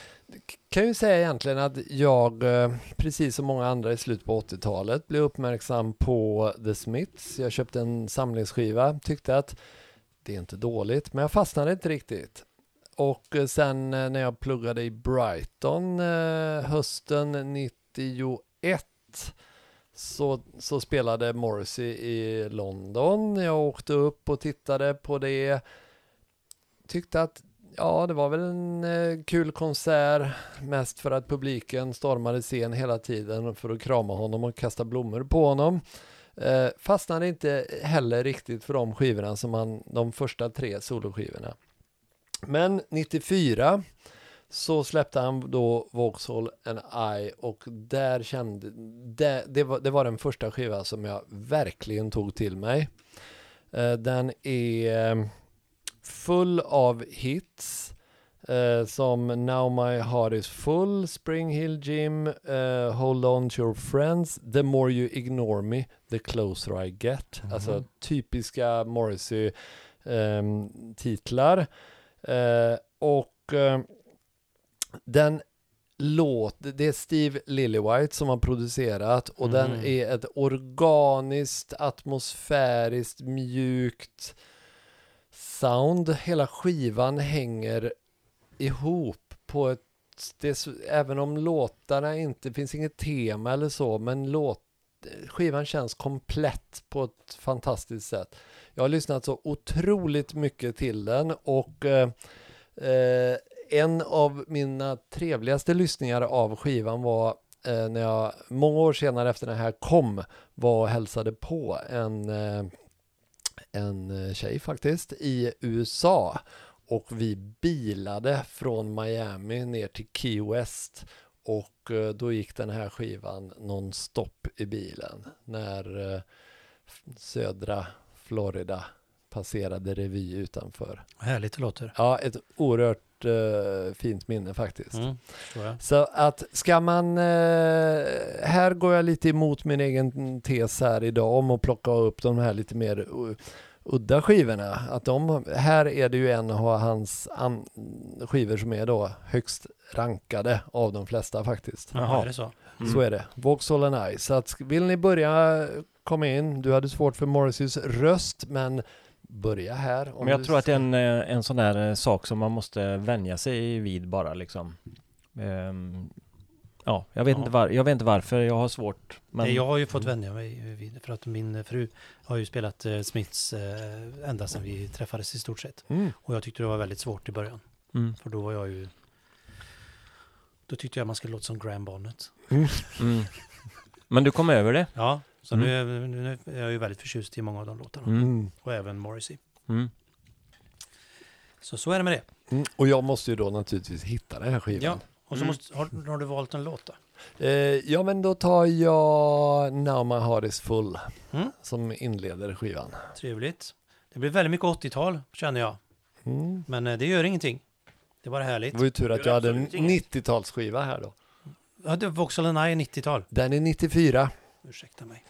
Speaker 3: kan ju säga egentligen att jag, eh, precis som många andra i slutet på 80-talet, blev uppmärksam på The Smiths. Jag köpte en samlingsskiva, tyckte att det är inte dåligt, men jag fastnade inte riktigt. Och eh, sen eh, när jag pluggade i Brighton eh, hösten 91 så, så spelade Morrissey i London. Jag åkte upp och tittade på det. Tyckte att ja, det var väl en eh, kul konsert. Mest för att publiken stormade scen hela tiden för att krama honom och kasta blommor på honom. Eh, fastnade inte heller riktigt för de skivorna som han, de första tre soloskivorna. Men 94 så släppte han då Vauxhall and I och där kände, det, det, var, det var den första skiva som jag verkligen tog till mig. Eh, Den är eh, full av hits eh, som Now My Heart Is Full, Spring Hill Gym, eh, Hold On To Your Friends, The More You Ignore Me, The Closer I Get.
Speaker 1: Mhm.
Speaker 3: Alltså typiska ehm, Morrissey-titlar. och eh, den låt, det är Steve Lillywhite som har producerat och den
Speaker 1: Mhm.
Speaker 3: är ett organiskt, atmosfäriskt, mjukt sound. Hela skivan hänger ihop på ett, det är, så- även om låtarna inte, det finns inget tema eller så, men låt, skivan känns komplett på ett fantastiskt sätt. Jag har lyssnat så otroligt mycket till den och eh, eh, en av mina trevligaste lyssningar av skivan var eh, när jag många år senare efter den här kom var och hälsade på en, eh, en eh, tjej faktiskt i USA och vi bilade från Miami ner till Key West Och eh, då gick den här skivan nonstop i bilen när eh, f- södra Florida passerade revy utanför.
Speaker 1: Härligt det låter.
Speaker 3: Ja, ett oerhört eh, fint minne faktiskt.
Speaker 4: Mm, förstår jag.
Speaker 3: Så att ska man, eh, här går jag lite emot min egen tes här idag om att plocka upp de här lite mer u- udda skivorna. Att de, här är det ju en av hans an, skivor som är då högst rankade av de flesta faktiskt.
Speaker 1: Jaha. Är det så?
Speaker 2: Mm.
Speaker 3: Så är det. Vauxhall and I. Så att, sk- vill ni börja, kom in. Du hade svårt för Morrisseys röst, men börja här. om
Speaker 2: Men jag
Speaker 3: du
Speaker 2: tror att det är
Speaker 3: ska-
Speaker 2: en, eh, en sån där eh, sak som man måste vänja sig vid bara liksom. Ehm, ja, jag vet,
Speaker 1: Ja.
Speaker 2: Inte var, jag vet inte varför jag har svårt. Men
Speaker 1: Nej, Eh, Jag har ju fått vänja mig vid för att min fru har ju spelat eh, Smiths eh, ända sedan vi träffades i stort sett.
Speaker 3: Mm.
Speaker 1: Och jag tyckte det var väldigt svårt i början.
Speaker 2: Mm,
Speaker 1: För då var jag ju... Då tyckte jag man skulle låta som Graham Bonnet.
Speaker 2: mm. Men du kom över det?
Speaker 1: Ja, så
Speaker 2: Mm.
Speaker 1: nu, nu är jag ju väldigt förtjust i många av de låtarna.
Speaker 2: Mm.
Speaker 1: Och även Morrissey.
Speaker 2: Mm.
Speaker 1: Så så är det med det.
Speaker 3: Mm. Och jag måste ju då naturligtvis hitta den här skivan.
Speaker 1: Ja, och så
Speaker 2: Mm.
Speaker 1: måste, har, har du valt en låt då?
Speaker 3: Eh, ja, men då tar jag Now My Heart Is Full
Speaker 1: Mm.
Speaker 3: som inleder skivan.
Speaker 1: Trevligt. Det blir väldigt mycket 80-tal känner jag.
Speaker 3: Mm.
Speaker 1: Men eh, det gör ingenting. Det var härligt.
Speaker 3: Det var ju tur att
Speaker 2: Det
Speaker 3: jag
Speaker 2: är
Speaker 3: hade en
Speaker 2: absolut inget.
Speaker 3: 90-talsskiva här då.
Speaker 1: Ja, det var Vauxhall and I är 90-tal.
Speaker 3: Den är 94.
Speaker 1: Ursäkta mig.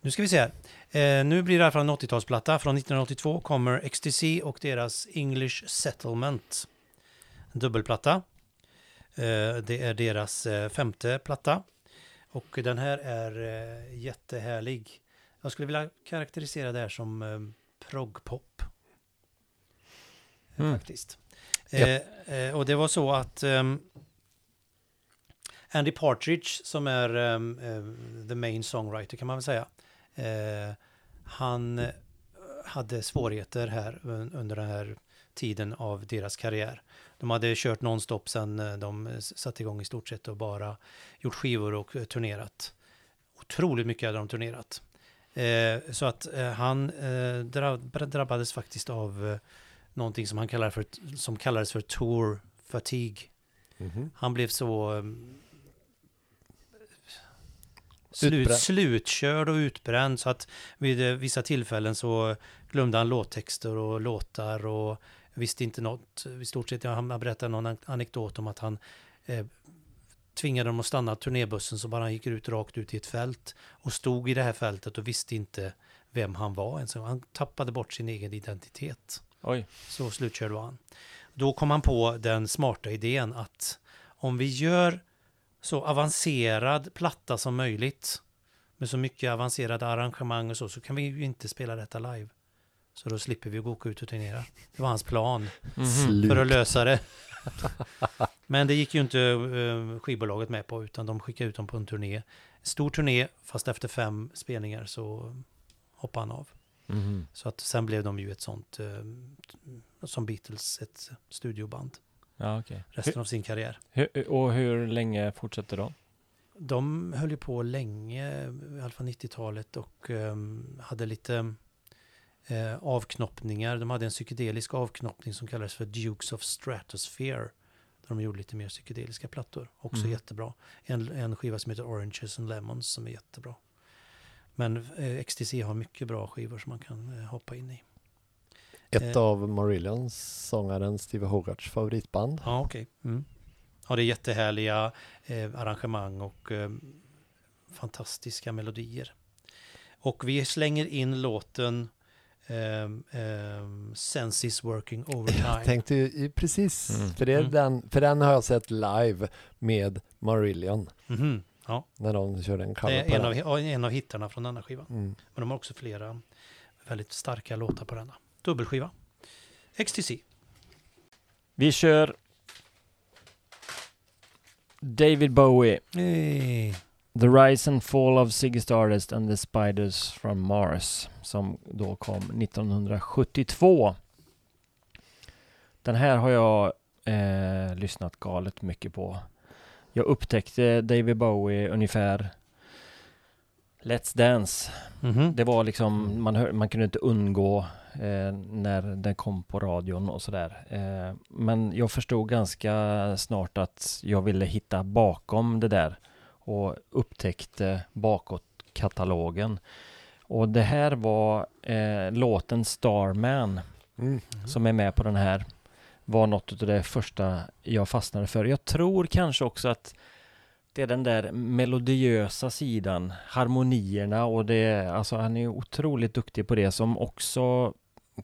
Speaker 1: Nu ska vi se här. Eh, nu blir det i alla fall en 80-talsplatta. Från 1982 kommer Ecstasy och deras English Settlement. En dubbelplatta. Eh, det är deras eh, femte platta. Och den här är eh, jättehärlig. Jag skulle vilja karaktärisera det här som eh, progpop. Eh,
Speaker 2: Mm.
Speaker 1: Faktiskt. Eh, eh, och det var så att ehm, Andy Partridge som är ehm, eh, the main songwriter kan man väl säga. Eh, han eh, hade svårigheter här un- under den här tiden av deras karriär. De hade kört nonstop sedan eh, de s- satte igång i stort sett och bara gjort skivor och eh, turnerat. Otroligt mycket hade de turnerat. Eh, så att eh, han eh, drabb- drabbades faktiskt av eh, någonting som han kallar för, som kallades för tour fatigue.
Speaker 2: Mhm.
Speaker 3: Mm.
Speaker 1: Han blev så um, slut,
Speaker 3: Utbränd.
Speaker 1: slutkörd och utbränd så att vid eh, vissa tillfällen så glömde han låttexter och låtar och visste inte något. I stort sett, ja, han han berättade någon an- anekdot om att han eh, tvingade dem att stanna turnébussen så bara han gick ut rakt ut i ett fält och stod i det här fältet och visste inte vem han var ens. Han tappade bort sin egen identitet.
Speaker 2: Oj.
Speaker 1: Så slutkörd var han. Då kom han på den smarta idén att om vi gör så avancerad platta som möjligt med så mycket avancerade arrangemang och så, så kan vi ju inte spela detta live. Så då slipper vi att gå- åka ut och turnera. Det var hans plan
Speaker 2: Mm-hmm.
Speaker 3: Slut.
Speaker 1: för att lösa det. Men det gick ju inte eh, skivbolaget med på, utan de skickade ut dem på en turné. Stor turné, fast efter fem spelningar så hoppade han av.
Speaker 2: Mhm.
Speaker 1: Så att sen blev de ju ett sånt, eh, som Beatles, ett studioband
Speaker 2: Ja, okej.
Speaker 1: resten av sin karriär.
Speaker 2: Hur- hur- Och hur länge fortsätter de?
Speaker 1: De höll ju på länge, i alla fall 90-talet och eh, hade lite eh, avknoppningar. De hade en psykedelisk avknoppning som kallades för Dukes of Stratosphere. Där de gjorde lite mer psykedeliska plattor, också
Speaker 2: Mm.
Speaker 1: jättebra. En, en skiva som heter Oranges and Lemons som är jättebra. Men eh, XTC har mycket bra skivor som man kan eh, hoppa in i.
Speaker 3: Ett
Speaker 1: Eh.
Speaker 3: av Marillions, sångaren Steve Hogarts favoritband.
Speaker 1: Ja, okej. Mm. Ja, det är jättehärliga eh, arrangemang och eh, fantastiska melodier. Och vi slänger in låten ehm, ehm, Senses Working Overtime.
Speaker 3: Jag tänkte ju ju precis,
Speaker 2: Mm.
Speaker 3: för, det är
Speaker 1: Mm.
Speaker 3: den, för den har jag sett live med Marillion
Speaker 1: Mhm, Ja,
Speaker 3: när de körde en
Speaker 1: det
Speaker 3: cover på
Speaker 1: är en av,
Speaker 3: den.
Speaker 1: ja, en av hittarna från denna skivan.
Speaker 3: Mm.
Speaker 1: Men de har också flera väldigt starka låtar på denna. Dubbelskiva. XTC.
Speaker 2: Vi kör David Bowie,
Speaker 1: Hey.
Speaker 2: The Rise and Fall of Ziggy Stardust and the Spiders from Mars som då kom 1972. Den här har jag eh, lyssnat galet mycket på. Jag upptäckte David Bowie ungefär Let's Dance.
Speaker 1: Mhm.
Speaker 2: Det var liksom, man, hör, man kunde inte undgå eh, när den kom på radion och sådär. Eh, men jag förstod ganska snart att jag ville hitta bakom det där och upptäckte bakåt-katalogen. Och det här var eh, låten Starman
Speaker 3: Mm.
Speaker 2: som är med på den här var något av det första jag fastnade för. Jag tror kanske också att det är den där melodiösa sidan, harmonierna och det, alltså han är otroligt duktig på det som också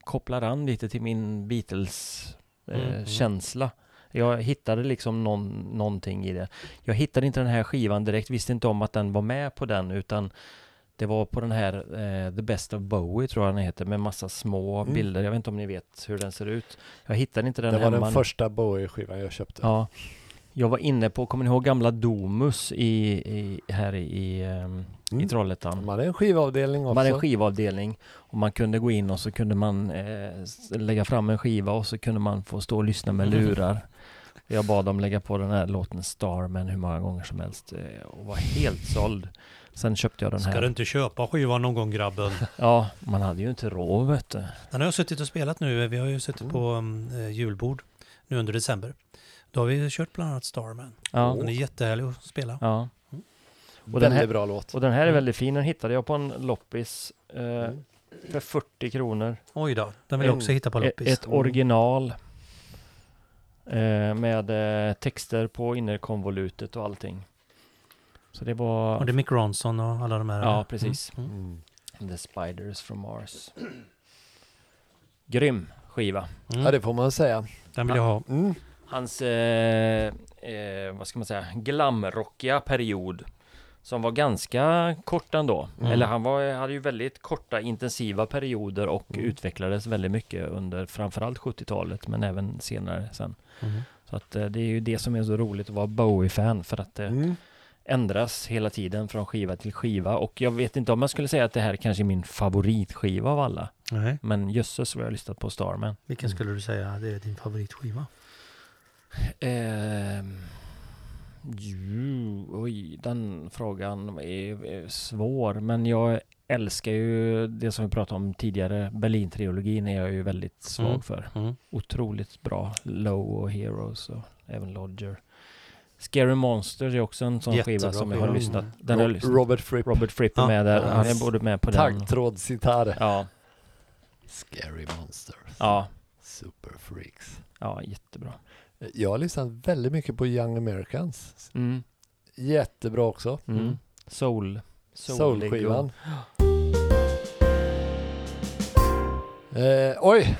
Speaker 2: kopplar an lite till min
Speaker 1: Mm, mm.
Speaker 2: Beatles-känsla. jag hittade liksom någon, någonting i det. Jag hittade inte den här skivan direkt, visste inte om att den var med på den utan det var på den här eh, The Best of Bowie tror jag den heter med massa små
Speaker 3: Mm.
Speaker 2: bilder. Jag vet inte om ni vet hur den ser ut. Jag hittade inte den
Speaker 3: det var
Speaker 2: hemma.
Speaker 3: den första Bowie-skivan jag köpte.
Speaker 2: Ja. Jag var inne på, kommer ni ihåg gamla Domus i, i, här i, ehm, i
Speaker 3: Mm.
Speaker 2: Trollhättan?
Speaker 3: De hade en skivavdelning också.
Speaker 2: Man hade en skivavdelning och man kunde gå in och så kunde man eh, s- lägga fram en skiva och så kunde man få stå och lyssna med lurar. Jag bad dem lägga på den här låten Starman hur många gånger som helst eh, och var helt såld. Sen köpte jag den
Speaker 4: Ska
Speaker 2: här.
Speaker 4: du inte köpa skivan någon gång grabben?
Speaker 2: Ja, man hade ju inte råd vet du.
Speaker 1: Den har jag suttit och spelat nu. Vi har ju suttit på um, eh, julbord nu under december. Då har vi kört bland annat Starman.
Speaker 2: Ja,
Speaker 1: Den är jättehärlig att spela.
Speaker 2: ja. Och den
Speaker 3: Väldigt
Speaker 2: här,
Speaker 3: bra låt.
Speaker 2: och den här är väldigt fin, den hittade jag på en loppis eh,
Speaker 3: Mm.
Speaker 2: för 40 kronor.
Speaker 1: Oj då, den vill jag också
Speaker 3: En-
Speaker 1: hitta på
Speaker 2: E-
Speaker 1: loppis.
Speaker 2: Ett original. Eh, med eh, texter på innerkonvolutet och allting. Så det var...
Speaker 1: Och det är Mick Ronson och alla de här.
Speaker 2: ja, precis.
Speaker 3: Mm.
Speaker 2: The Spiders from Mars. Grym skiva.
Speaker 1: Mm.
Speaker 3: Ja,
Speaker 1: Mm.
Speaker 3: det får man säga.
Speaker 1: Den vill jag ha.
Speaker 3: Mm.
Speaker 2: Hans, eh, eh, vad ska man säga, glamrockiga period. Som var ganska kort ändå.
Speaker 1: Mm.
Speaker 2: Eller han var, hade ju väldigt korta intensiva perioder och
Speaker 1: Mm.
Speaker 2: utvecklades väldigt mycket under framförallt 70-talet men även senare sen.
Speaker 1: Mm.
Speaker 2: Så att eh, det är ju det som är så roligt att vara Bowie-fan för att det
Speaker 3: Mm.
Speaker 2: ändras hela tiden från skiva till skiva och jag vet inte om jag skulle säga att det här kanske är min favoritskiva av alla
Speaker 1: Nej.
Speaker 2: men jösses vad jag har lyssnat på Starman.
Speaker 1: Vilken skulle du säga det är din favoritskiva?
Speaker 2: Ehm, ju, oj, den frågan är, är svår men jag älskar ju det som vi pratade om tidigare Berlin-trilogin är jag ju väldigt svag
Speaker 1: Mm.
Speaker 2: för.
Speaker 1: Mm.
Speaker 2: otroligt bra. Low och Heroes och även Lodger. Scary Monsters är också en sån
Speaker 1: Jättebra
Speaker 2: skiva som jag har
Speaker 1: skiva.
Speaker 2: lyssnat.
Speaker 1: Mm.
Speaker 2: Den har jag lyssnat.
Speaker 3: Robert Fripp,
Speaker 2: Robert Fripp är
Speaker 1: Ja,
Speaker 2: med där.
Speaker 1: ja,
Speaker 2: Han är
Speaker 3: hans
Speaker 2: både med på den.
Speaker 3: taggtrådsgitarr.
Speaker 2: Ja,
Speaker 3: Scary Monsters.
Speaker 2: ja,
Speaker 3: Super Freaks.
Speaker 2: ja, jättebra.
Speaker 3: Jag har lyssnat väldigt mycket på Young Americans.
Speaker 2: Mm.
Speaker 3: Jättebra också.
Speaker 2: Mm. Soul. Soulig och-
Speaker 3: Soul-skivan. Eh, oj!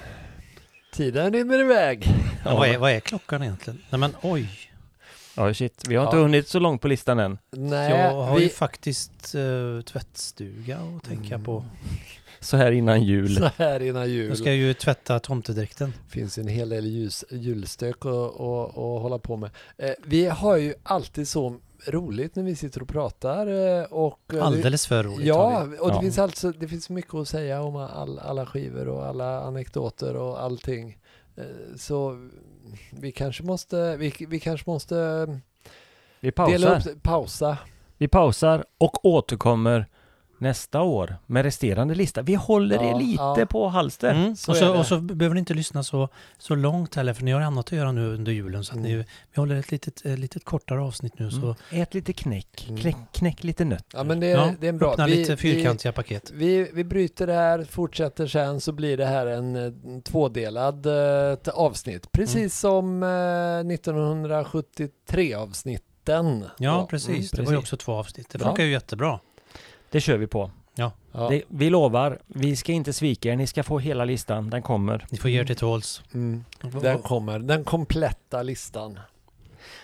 Speaker 3: Tiden rinner iväg.
Speaker 1: Ja, vad, är, vad är klockan egentligen? Nej men oj.
Speaker 2: Ja, shit. Vi har inte
Speaker 3: Ja.
Speaker 2: hunnit så långt på listan än.
Speaker 1: jag
Speaker 3: Nej,
Speaker 1: har ju
Speaker 3: vi,
Speaker 1: faktiskt eh, tvättstuga att tänka på.
Speaker 3: Mm.
Speaker 2: Så här innan jul.
Speaker 3: så här innan jul
Speaker 1: Jag ska ju tvätta tomtedräkten.
Speaker 3: finns ju en hel del ljus, julstök att att- att hålla på med. Eh, vi har ju alltid så roligt när vi sitter och pratar. Eh, och, eh, det-
Speaker 1: Alldeles för roligt.
Speaker 3: Ja,
Speaker 1: har
Speaker 3: och det,
Speaker 2: Ja.
Speaker 3: Finns alltså, det finns mycket att säga om all, alla skivor och alla anekdoter och allting. Eh, Så vi kanske måste, vi, vi kanske måste
Speaker 2: Vi
Speaker 3: dela
Speaker 2: pausar.
Speaker 3: upp, pausa.
Speaker 2: Vi pausar och återkommer nästa år med resterande lista. Vi håller
Speaker 3: Ja,
Speaker 2: det lite
Speaker 3: ja.
Speaker 2: på
Speaker 1: vi.
Speaker 2: halster.
Speaker 1: Mm.
Speaker 3: så
Speaker 1: och,
Speaker 3: är
Speaker 1: så,
Speaker 3: det.
Speaker 1: och så behöver ni inte lyssna så, så långt heller, för ni har annat att göra nu under julen. Så att
Speaker 3: Mm.
Speaker 1: ni, vi håller ett litet, eh, litet kortare avsnitt nu. Så
Speaker 2: Mm. Ät lite knäck.
Speaker 3: Mm.
Speaker 2: Knäck, knäck lite nötter.
Speaker 3: Ja, men det,
Speaker 1: ja,
Speaker 3: det är en bra.
Speaker 1: öppna
Speaker 3: vi,
Speaker 1: lite fyrkantiga paket.
Speaker 3: Vi, vi, vi bryter det här, fortsätter sen så blir det här en eh, tvådelad eh, ett avsnitt. Precis som eh, 1973 avsnitten.
Speaker 1: Ja, precis. Det var ju också två avsnitt. Det
Speaker 3: Mm, Bra.
Speaker 1: funkar ju jättebra.
Speaker 2: Det kör vi på.
Speaker 3: Ja.
Speaker 2: Det, vi lovar, vi ska inte svika er. Ni ska få hela listan. Den kommer.
Speaker 1: Ni får ge er till tåls.
Speaker 3: Mm. Den kommer, den kompletta listan.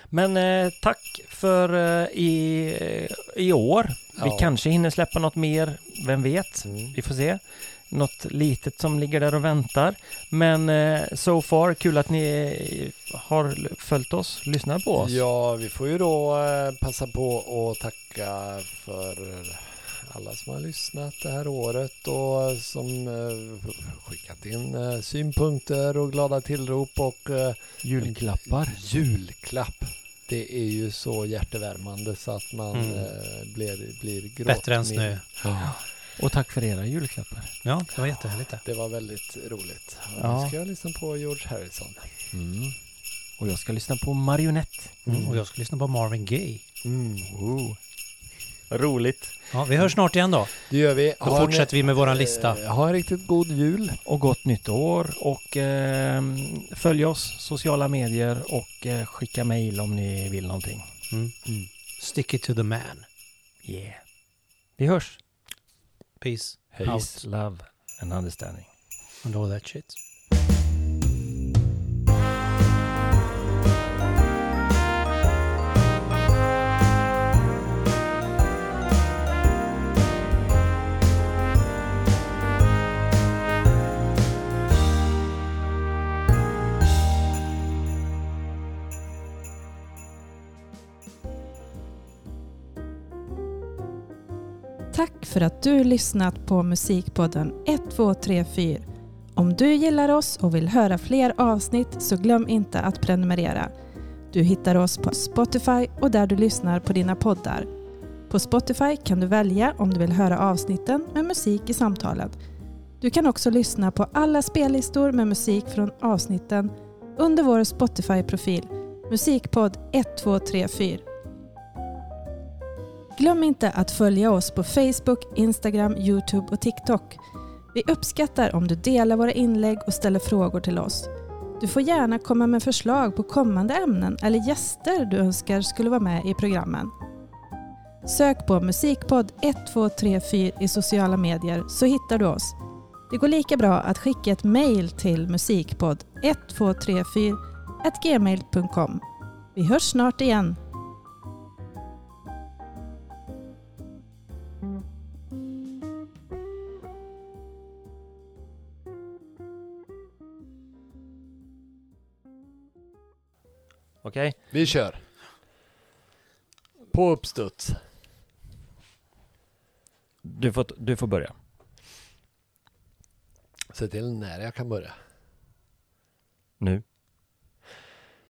Speaker 2: Men eh, tack för eh, i, eh, i år. Vi
Speaker 3: Ja.
Speaker 2: kanske hinner släppa något mer. Vem vet?
Speaker 3: Mm.
Speaker 2: Vi får se. Något litet som ligger där och väntar. Men eh, so far, kul att ni eh, har l- följt oss, lyssnat på oss.
Speaker 3: Ja, vi får ju då eh, passa på att tacka för alla som har lyssnat det här året och som eh, skickat in eh, synpunkter och glada tillrop och eh,
Speaker 2: Julklappar.
Speaker 3: julklapp. det är ju så hjärtevärmande så att man
Speaker 4: Mm.
Speaker 3: eh, blir, blir gråtmild.
Speaker 1: Bättre än snö.
Speaker 3: Ja,
Speaker 2: Och tack för era julklappar.
Speaker 1: Ja, det var jättehärligt det.
Speaker 3: det var väldigt roligt. Ja.
Speaker 2: Ja.
Speaker 3: Nu ska jag lyssna på George Harrison.
Speaker 2: Mm. Och jag ska lyssna på Marionette.
Speaker 1: Mm. Och jag ska lyssna på Marvin Gaye.
Speaker 2: Oh. Roligt.
Speaker 1: Ja, vi
Speaker 3: Mm.
Speaker 1: hörs snart igen då.
Speaker 3: Det gör vi.
Speaker 1: Då fortsätter vi med våran lista.
Speaker 3: Eh, ha en riktigt god jul.
Speaker 2: Och gott nytt år. Och ehm, följ oss, sociala medier och eh, skicka mejl om ni vill någonting.
Speaker 1: Mm.
Speaker 3: Mm.
Speaker 1: Stick it to the man.
Speaker 2: Yeah. Vi hörs.
Speaker 1: Peace.
Speaker 2: Peace, love and understanding.
Speaker 1: And all that shit.
Speaker 5: Tack för att du lyssnat på Musikpodden 1234. Om du gillar oss och vill höra fler avsnitt så glöm inte att prenumerera. Du hittar oss på Spotify och där du lyssnar på dina poddar. På Spotify kan du välja om du vill höra avsnitten med musik i samtalet. Du kan också lyssna på alla spellistor med musik från avsnitten under vår Spotify-profil Musikpodd 1234. Glöm inte att följa oss på Facebook, Instagram, Youtube och TikTok. Vi uppskattar om du delar våra inlägg och ställer frågor till oss. Du får gärna komma med förslag på kommande ämnen eller gäster du önskar skulle vara med i programmen. Sök på Musikpodd 1234 i sociala medier så hittar du oss. Det går lika bra att skicka ett mejl till musikpodd 1234 gmail.com. Vi hörs snart igen.
Speaker 2: Okej?
Speaker 3: Vi kör. På uppstuds.
Speaker 2: Du, får, du får börja.
Speaker 3: Se till när jag kan börja.
Speaker 2: Nu.